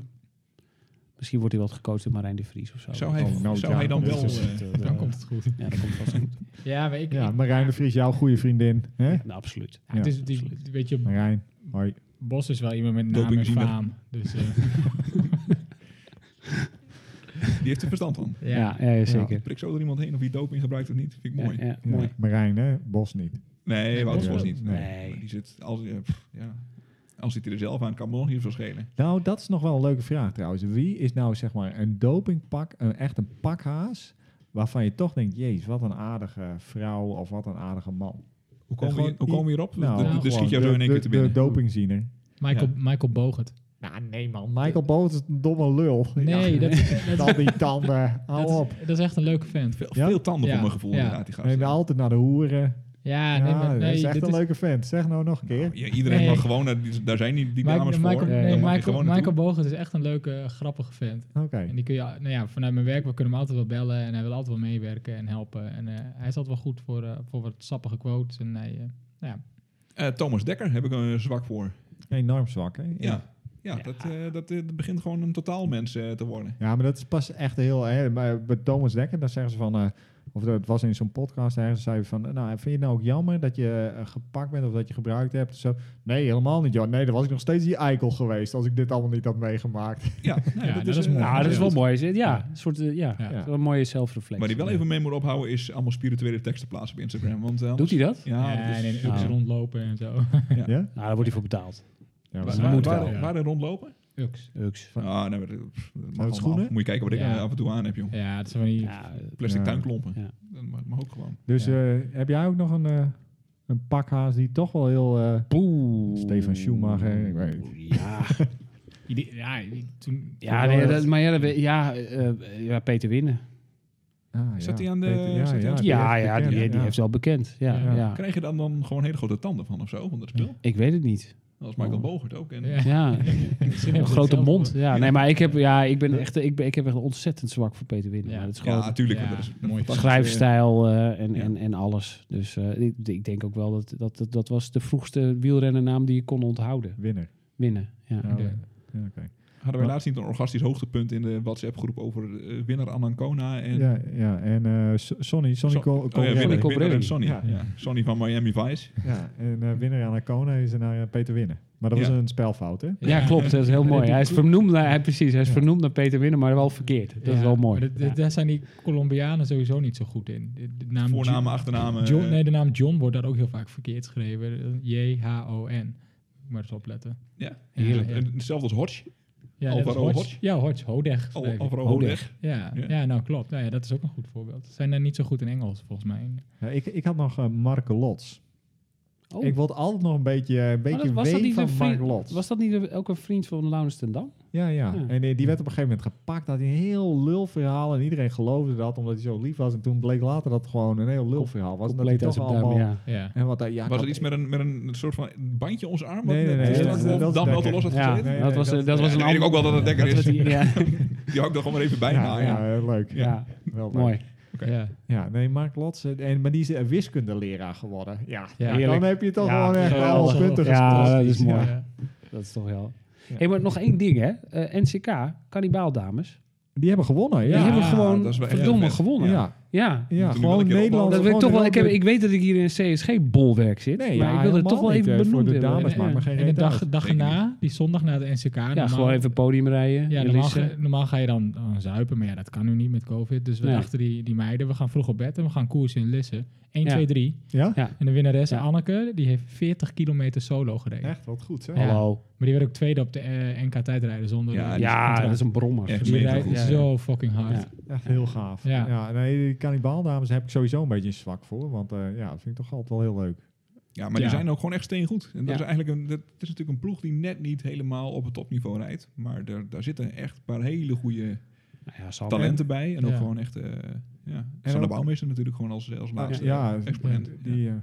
Speaker 2: misschien wordt hij wel gecoacht door Marijn de Vries of zo.
Speaker 3: Zou hij,
Speaker 1: Oh, nou,
Speaker 3: zou
Speaker 1: ja,
Speaker 3: hij dan
Speaker 1: dat
Speaker 3: wel...
Speaker 1: is het,
Speaker 3: eh,
Speaker 1: eh,
Speaker 4: Dan komt het goed.
Speaker 2: Ja, dat komt vast goed.
Speaker 4: Ja, maar ik...
Speaker 1: Ja,
Speaker 4: ik-
Speaker 1: Marijn de Vries, jouw goede vriendin. Hè?
Speaker 2: Nou, absoluut.
Speaker 4: ja, het
Speaker 1: Ja,
Speaker 4: is, die-
Speaker 2: absoluut.
Speaker 4: weet je,
Speaker 1: Marijn, hoi.
Speaker 4: Bos is wel iemand met naam en
Speaker 3: Dopingziener.
Speaker 4: faam. Dus, eh,
Speaker 3: Die heeft er verstand van.
Speaker 2: Ja, ja, zeker.
Speaker 3: Prik zo er iemand heen of hij doop in gebruikt of niet. Vind ik mooi.
Speaker 2: Ja, ja,
Speaker 1: Ja,
Speaker 2: mooi.
Speaker 1: Marijn, hè? Bos niet.
Speaker 3: Nee, Wouter
Speaker 1: Bos
Speaker 3: was
Speaker 1: wel.
Speaker 3: niet.
Speaker 1: Nee.
Speaker 3: Maar Die zit, als, ja, pff, ja. als zit hij er zelf aan, kan me nog niet veel schelen.
Speaker 1: Nou, dat is nog wel een leuke vraag trouwens. Wie is nou zeg maar een dopingpak, een, echt een pakhaas, waarvan je toch denkt, jezus, wat een aardige vrouw of wat een aardige man.
Speaker 3: Hoe komen,
Speaker 1: gewoon
Speaker 3: we, hoe
Speaker 1: i-
Speaker 3: komen we hierop?
Speaker 1: Nou,
Speaker 3: de, de, de
Speaker 1: gewoon
Speaker 3: schiet jou zo in één
Speaker 1: de-
Speaker 3: keer te
Speaker 1: de-
Speaker 3: binnen.
Speaker 1: De dopingziener.
Speaker 4: Michael, Michael Bogert.
Speaker 1: Nou, nee man. Michael Boot is een domme lul.
Speaker 4: Nee,
Speaker 1: Ja.
Speaker 4: dat,
Speaker 1: Met al die tanden.
Speaker 4: dat,
Speaker 1: Hou op.
Speaker 4: is, dat is echt een leuke vent.
Speaker 3: veel,
Speaker 1: Ja?
Speaker 3: veel tanden
Speaker 4: Ja,
Speaker 3: voor mijn gevoel
Speaker 4: ja.
Speaker 3: inderdaad, die gast.
Speaker 1: Neem je altijd naar de hoeren.
Speaker 4: Ja,
Speaker 1: Ja,
Speaker 4: nee, maar, nee,
Speaker 1: dat is echt
Speaker 4: dit
Speaker 1: een leuke vent. Zeg nou nog een keer.
Speaker 3: Nou, ja, iedereen
Speaker 4: Nee.
Speaker 3: mag gewoon, naar die- daar zijn die, die
Speaker 4: Michael-
Speaker 3: dames
Speaker 4: Michael,
Speaker 3: voor. Eh, Dan
Speaker 4: nee,
Speaker 3: mag je
Speaker 4: Michael,
Speaker 3: gewoon naartoe.
Speaker 4: Michael Bogert is echt een leuke, grappige vent.
Speaker 1: Oké.
Speaker 4: En die kun je, nou ja, vanuit mijn werk, we kunnen hem altijd wel bellen en hij wil altijd wel meewerken en helpen. En eh, hij is altijd wel goed voor, eh, voor wat sappige quotes. En hij, eh,
Speaker 3: Eh, Thomas Dekker heb ik een zwak voor.
Speaker 1: Enorm zwak, hè? Ja.
Speaker 3: Ja, ja, Dat, eh, dat eh, dat begint gewoon een totaalmens eh, te worden.
Speaker 1: Ja, maar dat is pas echt heel... Hè, maar bij Thomas Dekker, dan zeggen ze van... eh, of dat was in zo'n podcast ergens, zei hij van... Nou, vind je het nou ook jammer dat je eh, gepakt bent of dat je gebruikt hebt? Zo, nee, helemaal niet, joh. Nee, dan was ik nog steeds die eikel geweest als ik dit allemaal niet had meegemaakt.
Speaker 3: Ja, nee,
Speaker 4: Ja, dat is
Speaker 3: eh,
Speaker 4: mooi.
Speaker 2: Nou, dat is wel
Speaker 3: goed.
Speaker 2: mooi. is het? Ja, een soort, eh, ja,
Speaker 4: Ja.
Speaker 2: het is wel een mooie zelfreflectie.
Speaker 3: Waar hij wel even mee moet ophouden is allemaal spirituele teksten plaatsen op Instagram. Want, eh,
Speaker 2: Doet hij dat?
Speaker 3: Ja, dat
Speaker 2: dus-
Speaker 4: en
Speaker 3: is-
Speaker 4: in
Speaker 3: ja.
Speaker 2: Ah.
Speaker 4: Ups rondlopen en zo.
Speaker 1: Ja?
Speaker 2: Nou, daar wordt hij voor betaald.
Speaker 1: Ja,
Speaker 3: Waar,
Speaker 1: maar-
Speaker 3: waar,
Speaker 2: moet
Speaker 3: waar-
Speaker 2: wel, ja.
Speaker 3: waarin rondlopen?
Speaker 4: Ups.
Speaker 2: Uks.
Speaker 3: Ah, nee, maar dat- pff, dat mag allemaal.
Speaker 1: schoenen?
Speaker 3: Moet je kijken wat ik
Speaker 4: Ja.
Speaker 3: eh, af en toe aan heb, joh.
Speaker 4: Ja, dat is van die...
Speaker 2: Ja,
Speaker 3: Plastic
Speaker 1: Ja.
Speaker 3: tuinklompen.
Speaker 2: Ja.
Speaker 3: Dat mag, mag ook gewoon.
Speaker 1: Dus
Speaker 4: Ja.
Speaker 1: eh, heb jij ook nog een, eh, een pakhaas die toch wel heel... eh,
Speaker 2: Boe.
Speaker 1: Stefan Schumacher, ik weet het.
Speaker 2: Ja,
Speaker 4: Ide- ja, i- toen...
Speaker 2: ja,
Speaker 4: toen-
Speaker 2: nee, dat, maar ja, dat we- ja, eh, eh, ja, Peter Winnen.
Speaker 1: ah,
Speaker 3: Zat
Speaker 1: ja,
Speaker 3: die aan de-
Speaker 1: Peter-
Speaker 3: zat die aan
Speaker 1: Ah,
Speaker 3: de-
Speaker 1: die
Speaker 2: Ja,
Speaker 1: heeft
Speaker 2: ja,
Speaker 1: bekend,
Speaker 2: die, die heeft wel bekend. Ja,
Speaker 4: Ja.
Speaker 2: ja.
Speaker 3: Krijg je dan, dan gewoon hele grote tanden van of zo? Van dat spul?
Speaker 2: Ik weet het niet.
Speaker 3: Dat is Michael
Speaker 2: Oh.
Speaker 3: Bogert ook. En,
Speaker 4: Ja.
Speaker 2: Ja, een
Speaker 4: Misschien hebben we
Speaker 2: grote
Speaker 4: hetzelfde
Speaker 2: mond.
Speaker 4: woord.
Speaker 2: Ja, nee, maar ik heb, ja, ik ben echt, ik ben, ik heb echt ontzettend zwak voor Peter Winnen.
Speaker 4: Ja.
Speaker 2: Ja. Dat is gewoon
Speaker 3: Ja, natuurlijk.
Speaker 4: Ja,
Speaker 3: want dat is
Speaker 4: mooi.
Speaker 3: fantastisch.
Speaker 2: schrijfstijl eh, en,
Speaker 3: Ja.
Speaker 2: en, en alles. Dus eh, ik, ik denk ook wel dat, dat dat dat was de vroegste wielrennernaam die je kon onthouden.
Speaker 1: Winner.
Speaker 2: Winnen. Ja.
Speaker 1: Ja,
Speaker 4: Ja.
Speaker 1: Oh, ja, oké.
Speaker 3: Hadden wij laatst niet een orgastisch hoogtepunt in de WhatsApp-groep over eh, winnaar Anancona en...
Speaker 1: ja, ja, en eh, So- Sonny, Sonny
Speaker 3: Son-
Speaker 1: Col-
Speaker 3: Oh ja,
Speaker 1: Colbrelli.
Speaker 3: winnaar-
Speaker 2: Colbrelli.
Speaker 3: winnaar en Sonny.
Speaker 1: Ja.
Speaker 3: Ja. Sonny van Miami Vice.
Speaker 1: Ja, en eh, winnaar aan Arcona is er naar eh, Peter Winnen. Maar dat was
Speaker 3: Ja.
Speaker 1: een spelfout, hè?
Speaker 2: Ja, klopt. Dat is heel mooi. Hij is vernoemd naar, hij, precies, hij is
Speaker 1: Ja.
Speaker 2: vernoemd naar Peter Winnen, maar wel verkeerd. Dat is
Speaker 4: Ja,
Speaker 2: wel
Speaker 4: maar
Speaker 2: mooi.
Speaker 4: dat- dat- Daar zijn die Colombianen sowieso niet zo goed in. De, de naam
Speaker 3: Voornamen, achternamen.
Speaker 4: John,
Speaker 3: eh,
Speaker 4: nee, de naam John wordt daar ook heel vaak verkeerd geschreven. J-H-O-N. Moet maar eens opletten.
Speaker 3: ja.
Speaker 4: Heerlijk.
Speaker 3: En Hetzelfde als Hodge.
Speaker 4: Ja, net als
Speaker 3: Alvaro
Speaker 4: Hodge.
Speaker 3: Hodge?
Speaker 4: Ja, Hodge. Hodeg.
Speaker 3: Al-
Speaker 4: schreef ik.
Speaker 3: Alvaro Hodeg.
Speaker 4: Ja,
Speaker 3: Ja.
Speaker 4: ja. nou klopt. Nou ja, dat is ook een goed voorbeeld. Ze zijn daar niet zo goed in Engels, volgens mij.
Speaker 1: Ja, ik, ik had nog eh Mark Lots.
Speaker 2: Oh.
Speaker 1: Ik wilde altijd nog een beetje, eh, een
Speaker 2: Maar
Speaker 1: beetje
Speaker 2: dat- was, dat
Speaker 1: ween
Speaker 2: niet een
Speaker 1: van Mark
Speaker 2: vriend,
Speaker 1: Lots.
Speaker 2: was Hmm. dat niet een- ook een vriend van Laurens ten Dam?
Speaker 1: Ja, ja.
Speaker 2: Ja.
Speaker 1: En eh, die, die werd op een gegeven moment gepakt. Had hij een heel lulverhaal en iedereen geloofde dat omdat hij zo lief was. En toen bleek later dat het gewoon een heel lulverhaal was. En dat hij
Speaker 2: Compleet uit
Speaker 1: toch
Speaker 2: zijn
Speaker 1: allemaal...
Speaker 2: duim, ja.
Speaker 4: Ja.
Speaker 1: En wat, hij- ja, ik
Speaker 3: Was
Speaker 1: had-
Speaker 3: er iets met een, met een soort van bandje om zijn arm?
Speaker 1: Nee, nee, nee,
Speaker 3: Wat-
Speaker 1: dat-
Speaker 3: wat-
Speaker 1: dat- dat-
Speaker 3: Dan wel te los had
Speaker 2: Ja,
Speaker 3: gezeten?
Speaker 1: Nee,
Speaker 2: dat
Speaker 1: nee,
Speaker 2: was,
Speaker 1: dat-
Speaker 2: dat, was
Speaker 3: Ja,
Speaker 2: een
Speaker 3: dan weet ik ook wel dat het
Speaker 2: ander-
Speaker 3: Dekker is.
Speaker 2: dat was die- ja,
Speaker 3: Die hou ik er gewoon maar even bij
Speaker 1: ja,
Speaker 3: na. Ja,
Speaker 1: ja, eh, leuk.
Speaker 2: ja,
Speaker 1: Wel leuk.
Speaker 2: mooi.
Speaker 4: Ja.
Speaker 1: Ja, nee, Mark Lots. eh, En, maar die is eh, wiskundeleraar geworden. Ja,
Speaker 4: Ja.
Speaker 1: dan
Speaker 2: Heerlijk.
Speaker 1: heb je toch
Speaker 2: Ja,
Speaker 1: gewoon echt
Speaker 2: geweldig.
Speaker 1: alles punten
Speaker 2: Ja,
Speaker 1: gescoord.
Speaker 2: dat is mooi.
Speaker 4: Ja.
Speaker 2: Dat is toch wel... hey, maar nog één ding, hè. Eh, NCK, kannibaaldames.
Speaker 1: Die hebben gewonnen, ja.
Speaker 2: Die hebben
Speaker 3: Ja,
Speaker 2: gewoon
Speaker 3: dat is wel echt
Speaker 2: verdomme
Speaker 3: vet.
Speaker 2: gewonnen. Ja.
Speaker 1: ja. Ja,
Speaker 3: Moeten we wel
Speaker 1: gewoon
Speaker 3: een keer
Speaker 1: Nederland.
Speaker 3: opbouwen.
Speaker 2: Dat wil ik, toch wel, ik, heb, ik weet dat ik hier in CSG-bolwerk zit,
Speaker 1: Nee,
Speaker 2: maar
Speaker 1: ja,
Speaker 2: ik wil het
Speaker 1: helemaal
Speaker 2: toch wel
Speaker 1: niet,
Speaker 2: even
Speaker 1: eh, voor
Speaker 2: benoemd
Speaker 1: de
Speaker 2: hebben.
Speaker 1: dames,
Speaker 2: ja.
Speaker 1: maar geen
Speaker 4: En de
Speaker 1: reet
Speaker 4: dag,
Speaker 1: uit.
Speaker 4: dag
Speaker 3: Zeker
Speaker 4: na, die zondag na de NCK.
Speaker 2: Ja,
Speaker 4: normaal-
Speaker 2: gewoon even podium rijden.
Speaker 4: Ja,
Speaker 2: Ja,
Speaker 4: normaal, ga, normaal ga je dan, dan zuipen, maar ja, dat kan nu niet met COVID. Dus we
Speaker 2: Nee.
Speaker 4: dachten die, die meiden, we gaan vroeg op bed en we gaan koersen in Lisse. 1,
Speaker 2: Ja.
Speaker 4: 2, 3.
Speaker 1: Ja?
Speaker 2: Ja.
Speaker 4: En de winnares,
Speaker 2: Ja.
Speaker 4: Anneke, die heeft 40 kilometer solo gereden.
Speaker 1: Echt, wat goed zeg.
Speaker 4: Ja.
Speaker 2: Hallo.
Speaker 4: Maar die werd ook tweede op de eh, NK tijdrijden zonder...
Speaker 3: Ja,
Speaker 4: eh,
Speaker 3: die-
Speaker 2: Ja,
Speaker 4: contract.
Speaker 2: dat is een brommer.
Speaker 3: Echt.
Speaker 4: Die
Speaker 3: mega
Speaker 4: rijdt
Speaker 3: goed.
Speaker 1: Ja, ja.
Speaker 4: zo fucking hard.
Speaker 2: Ja.
Speaker 1: Echt heel gaaf. Ja,
Speaker 4: Ja.
Speaker 1: nee, die kannibaaldames heb ik sowieso een beetje een zwak voor. Want eh, ja, dat vind ik toch altijd wel heel leuk.
Speaker 3: ja maar die
Speaker 4: Ja.
Speaker 3: zijn ook gewoon echt steengoed. En dat
Speaker 2: Ja.
Speaker 3: is eigenlijk een, dat het is natuurlijk een ploeg die net niet helemaal op het topniveau rijdt. Maar daar, daar zitten echt een paar hele goede
Speaker 2: Nou ja, Sander.
Speaker 3: talenten bij. En ook
Speaker 4: Ja.
Speaker 3: gewoon echt... eh ja.
Speaker 1: En
Speaker 3: Sander
Speaker 1: ook-
Speaker 3: Bouwmeester natuurlijk gewoon als, als laatste
Speaker 1: ja,
Speaker 3: exponent.
Speaker 1: die, eh,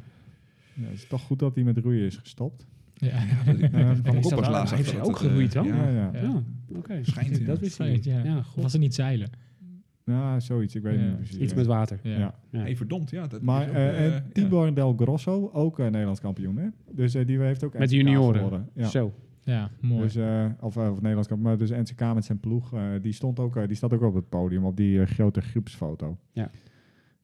Speaker 1: ja, het is toch goed dat hij met roeien is gestopt.
Speaker 4: Ja.
Speaker 1: Eh,
Speaker 3: kwam ik
Speaker 2: Is
Speaker 3: ook
Speaker 2: dat
Speaker 3: pas
Speaker 2: waar?
Speaker 3: laatst
Speaker 2: Heeft
Speaker 3: achter
Speaker 2: hij
Speaker 3: dat
Speaker 2: ook
Speaker 3: het, eh,
Speaker 2: geroeid dan?
Speaker 1: ja,
Speaker 3: Ja,
Speaker 1: ja.
Speaker 2: Ja, oké.
Speaker 3: schijnt. ja.
Speaker 2: Dat wist ik niet.
Speaker 4: Ja.
Speaker 2: Ja,
Speaker 4: Of
Speaker 2: goed.
Speaker 4: was het niet zeilen?
Speaker 1: Ja, zoiets. Ik weet
Speaker 4: Ja.
Speaker 1: niet precies.
Speaker 2: Iets met water.
Speaker 4: Ja.
Speaker 1: Ja.
Speaker 2: Ja.
Speaker 3: Hey, verdomd, ja. Dat
Speaker 1: Maar
Speaker 3: is ook,
Speaker 1: eh
Speaker 3: eh,
Speaker 1: en Tibor Del Grosso, ook een Nederlands kampioen. Hè? Dus eh, die heeft ook
Speaker 2: Met
Speaker 1: NCK
Speaker 2: junioren.
Speaker 1: geworden. Ja.
Speaker 2: Zo.
Speaker 4: Ja, mooi.
Speaker 1: Dus, eh, of, eh, of Nederlands kampioen. Maar dus NCK met zijn ploeg, eh, die, stond ook, eh, die staat ook op het podium op die eh, grote groepsfoto.
Speaker 3: ja.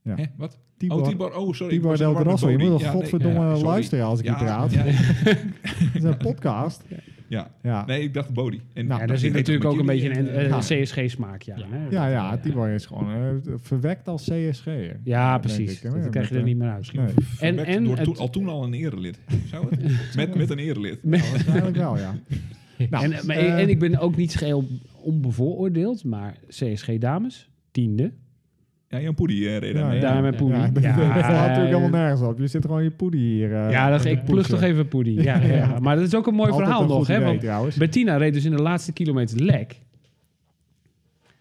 Speaker 1: ja.
Speaker 3: Hè, wat? Oh, Tibor. Oh, sorry. ik
Speaker 1: Tibor
Speaker 3: was
Speaker 1: Del
Speaker 3: verward met
Speaker 1: Grosso. Je
Speaker 3: Bodie.
Speaker 1: moet
Speaker 3: Ja,
Speaker 1: wel
Speaker 3: nee.
Speaker 1: godverdomme
Speaker 3: Ja, sorry.
Speaker 1: luisteren als ik
Speaker 3: Ja,
Speaker 1: hier praat.
Speaker 3: ja.
Speaker 1: Het is een podcast.
Speaker 3: Ja.
Speaker 1: Ja,
Speaker 3: Nee, ik dacht Bodie. En
Speaker 1: Nou,
Speaker 2: ja, daar
Speaker 3: dat
Speaker 2: zit
Speaker 3: heet
Speaker 2: natuurlijk ook
Speaker 3: met
Speaker 2: een
Speaker 3: jullie
Speaker 2: beetje een
Speaker 3: en, eh,
Speaker 2: CSG-smaak. Ja,
Speaker 4: Ja.
Speaker 2: hè?
Speaker 1: ja, ja Tibor is gewoon eh, verwekt als CSG'er.
Speaker 2: Ja,
Speaker 1: denk
Speaker 2: precies.
Speaker 1: ik, hè,
Speaker 2: Dat
Speaker 1: met,
Speaker 2: krijg je
Speaker 1: eh,
Speaker 2: er niet meer uit.
Speaker 1: Nee,
Speaker 2: En,
Speaker 3: verwekt
Speaker 2: en
Speaker 3: door
Speaker 2: het-
Speaker 3: toen- al toen al een erelid. Zou het? met, met een erelid.
Speaker 1: ja, waarschijnlijk wel, ja. Nou,
Speaker 2: en, maar,
Speaker 1: eh,
Speaker 2: en ik ben ook niet geheel onbevooroordeeld, maar CSG-dames, tiende.
Speaker 3: Ja, Jan Poedie eh, reed
Speaker 1: Ja,
Speaker 3: daarmee.
Speaker 1: ja.
Speaker 2: Daar mijn poedie.
Speaker 1: Ja, dat
Speaker 2: Ja,
Speaker 1: slaat natuurlijk
Speaker 2: eh,
Speaker 1: helemaal nergens op. Je zit gewoon je poedie hier. eh,
Speaker 2: Ja, dat,
Speaker 1: te
Speaker 2: ik plug
Speaker 1: poetsen.
Speaker 2: toch even poedie. Ja, ja.
Speaker 1: Ja.
Speaker 2: Maar dat is ook een mooi
Speaker 1: Altijd
Speaker 2: verhaal
Speaker 1: een
Speaker 2: nog.
Speaker 1: goed
Speaker 2: Hè?
Speaker 1: idee,
Speaker 2: Want
Speaker 1: trouwens.
Speaker 2: Bettina reed dus in de laatste kilometer lek.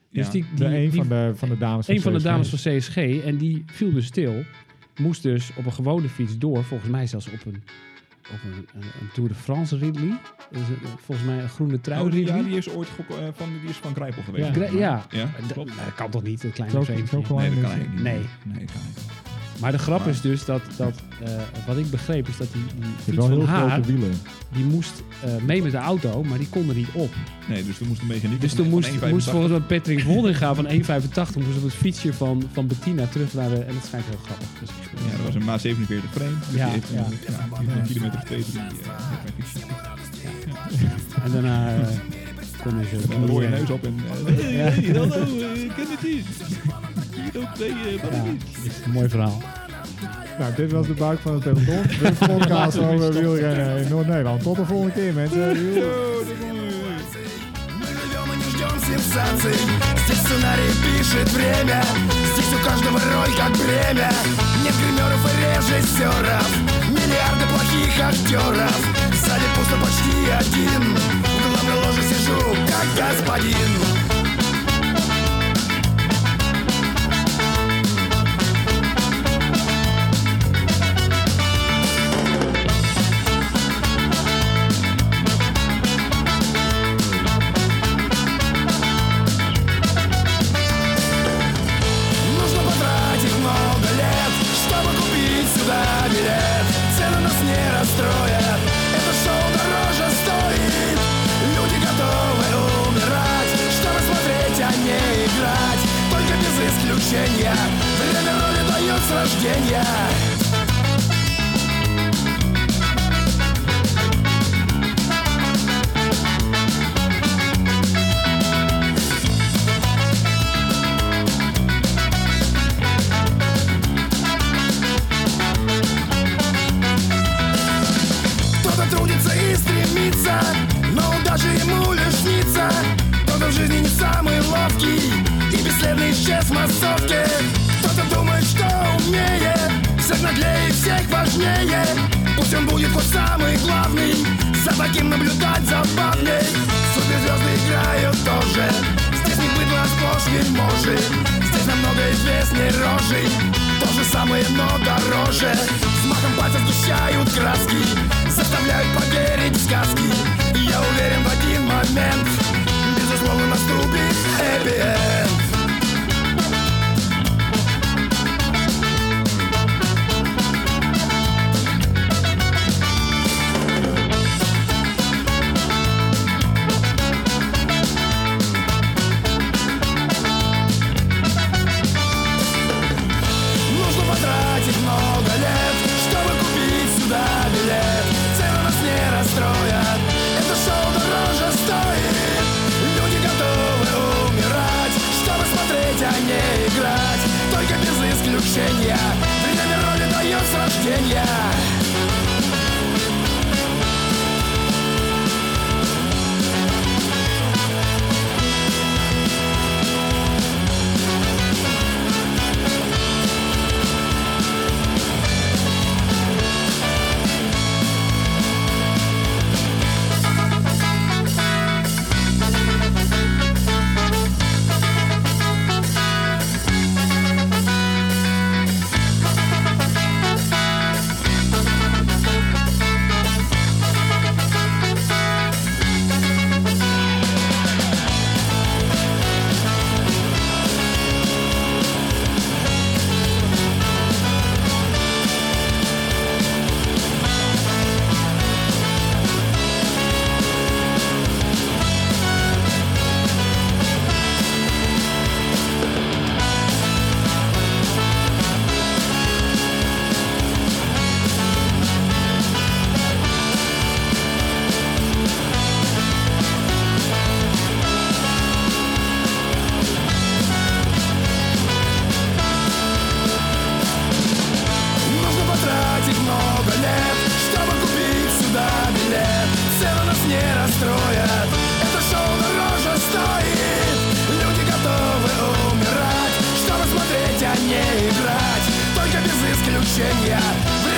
Speaker 2: Dus
Speaker 3: Ja.
Speaker 2: die, die,
Speaker 1: De een
Speaker 2: die-
Speaker 1: van de, van de dames van
Speaker 2: een van de
Speaker 1: CSG.
Speaker 2: dames van CSG. En die viel dus stil. Moest dus op een gewone fiets door. Volgens mij zelfs op een, op een, een, een Tour de France Ridley. Dus een- volgens mij een groene trui
Speaker 3: Oh, die, ja,
Speaker 2: Ridley.
Speaker 3: die is ooit geko- eh, van, die is van Krijpel geweest.
Speaker 4: Ja.
Speaker 2: Gra-
Speaker 3: volgens mij.
Speaker 2: ja.
Speaker 3: ja.
Speaker 2: D-
Speaker 3: klopt.
Speaker 2: nou, dat kan toch niet, een klein
Speaker 1: Zo,
Speaker 2: veentje.
Speaker 1: zo klein
Speaker 3: Nee, dat
Speaker 1: is het.
Speaker 3: kan eigenlijk niet.
Speaker 2: Nee.
Speaker 3: nee dat kan eigenlijk niet.
Speaker 2: Maar de grap
Speaker 3: Maar-
Speaker 2: is dus dat, dat eh, wat ik begreep is dat die,
Speaker 1: Je
Speaker 2: die fiets
Speaker 1: hebt wel
Speaker 2: van
Speaker 1: heel
Speaker 2: haar,
Speaker 1: grote wielen.
Speaker 2: die moest eh, mee met de auto, maar die kon er niet op.
Speaker 3: Nee, dus toen moest de mechaniek...
Speaker 2: Dus
Speaker 3: van-
Speaker 2: toen
Speaker 3: van
Speaker 2: moest,
Speaker 3: 1,85
Speaker 2: moest volgens mij Patrick Woldinga van 1,85 moest op het fietsje van, van Bettina terug naar de... En dat schijnt heel grappig. Dus,
Speaker 3: Ja, dat was een Ma 47 frame. Dus
Speaker 2: Ja,
Speaker 3: die heeft een,
Speaker 2: ja.
Speaker 3: ja. die heeft een kilometer of twee, drie, eh, mechaniek.
Speaker 2: En daarna eh, konden ze...
Speaker 3: Met een rode neus op en... eh,
Speaker 2: Ja.
Speaker 3: hey, hallo, eh, ik ken het niet. Hier op twee, eh, wat
Speaker 2: Ja,
Speaker 3: is dit?
Speaker 2: dat is een mooi verhaal.
Speaker 1: Nou, dit was de buik van het peloton. De podcast over wielrennen in Noord-Nederland. Tot de volgende keer, mensen.
Speaker 3: Oh, dat is mooi.
Speaker 8: Мы живем и не ждем сенсаций Здесь сценарий пишет время Здесь у каждого роль как бремя Нет гримеров и режиссеров Миллиарды плохих актеров Сзади пусто почти один В главной ложе сижу как господин Нужно потратить много лет, чтобы купить сюда билет. Цены нас не расстроят, это шоу дороже стоит. Люди готовы умирать, чтобы смотреть, а не играть. Только без исключения, время роли дает с рождения. Кто-то трудится и стремится, но даже ему лишь снится. Кто-то в жизни не самый ловкий и бесследно исчез в массовке. Кто-то думает, что умнее, всех наглее, всех важнее. Пусть он будет хоть самый главный, за таким наблюдать забавней. Суперзвезды играют тоже, здесь не быдло, а сплошь вельможи. Здесь намного известней рожей, то же самое, но дороже. Взмахом пальцев сгущают краски, заставляют поверить в сказки. И я уверен в один момент, безусловно наступит happy end. Нужно потратить много лет, чтобы купить сюда билет. Цены нас не расстроят, это шоу дороже стоит. а а приключения В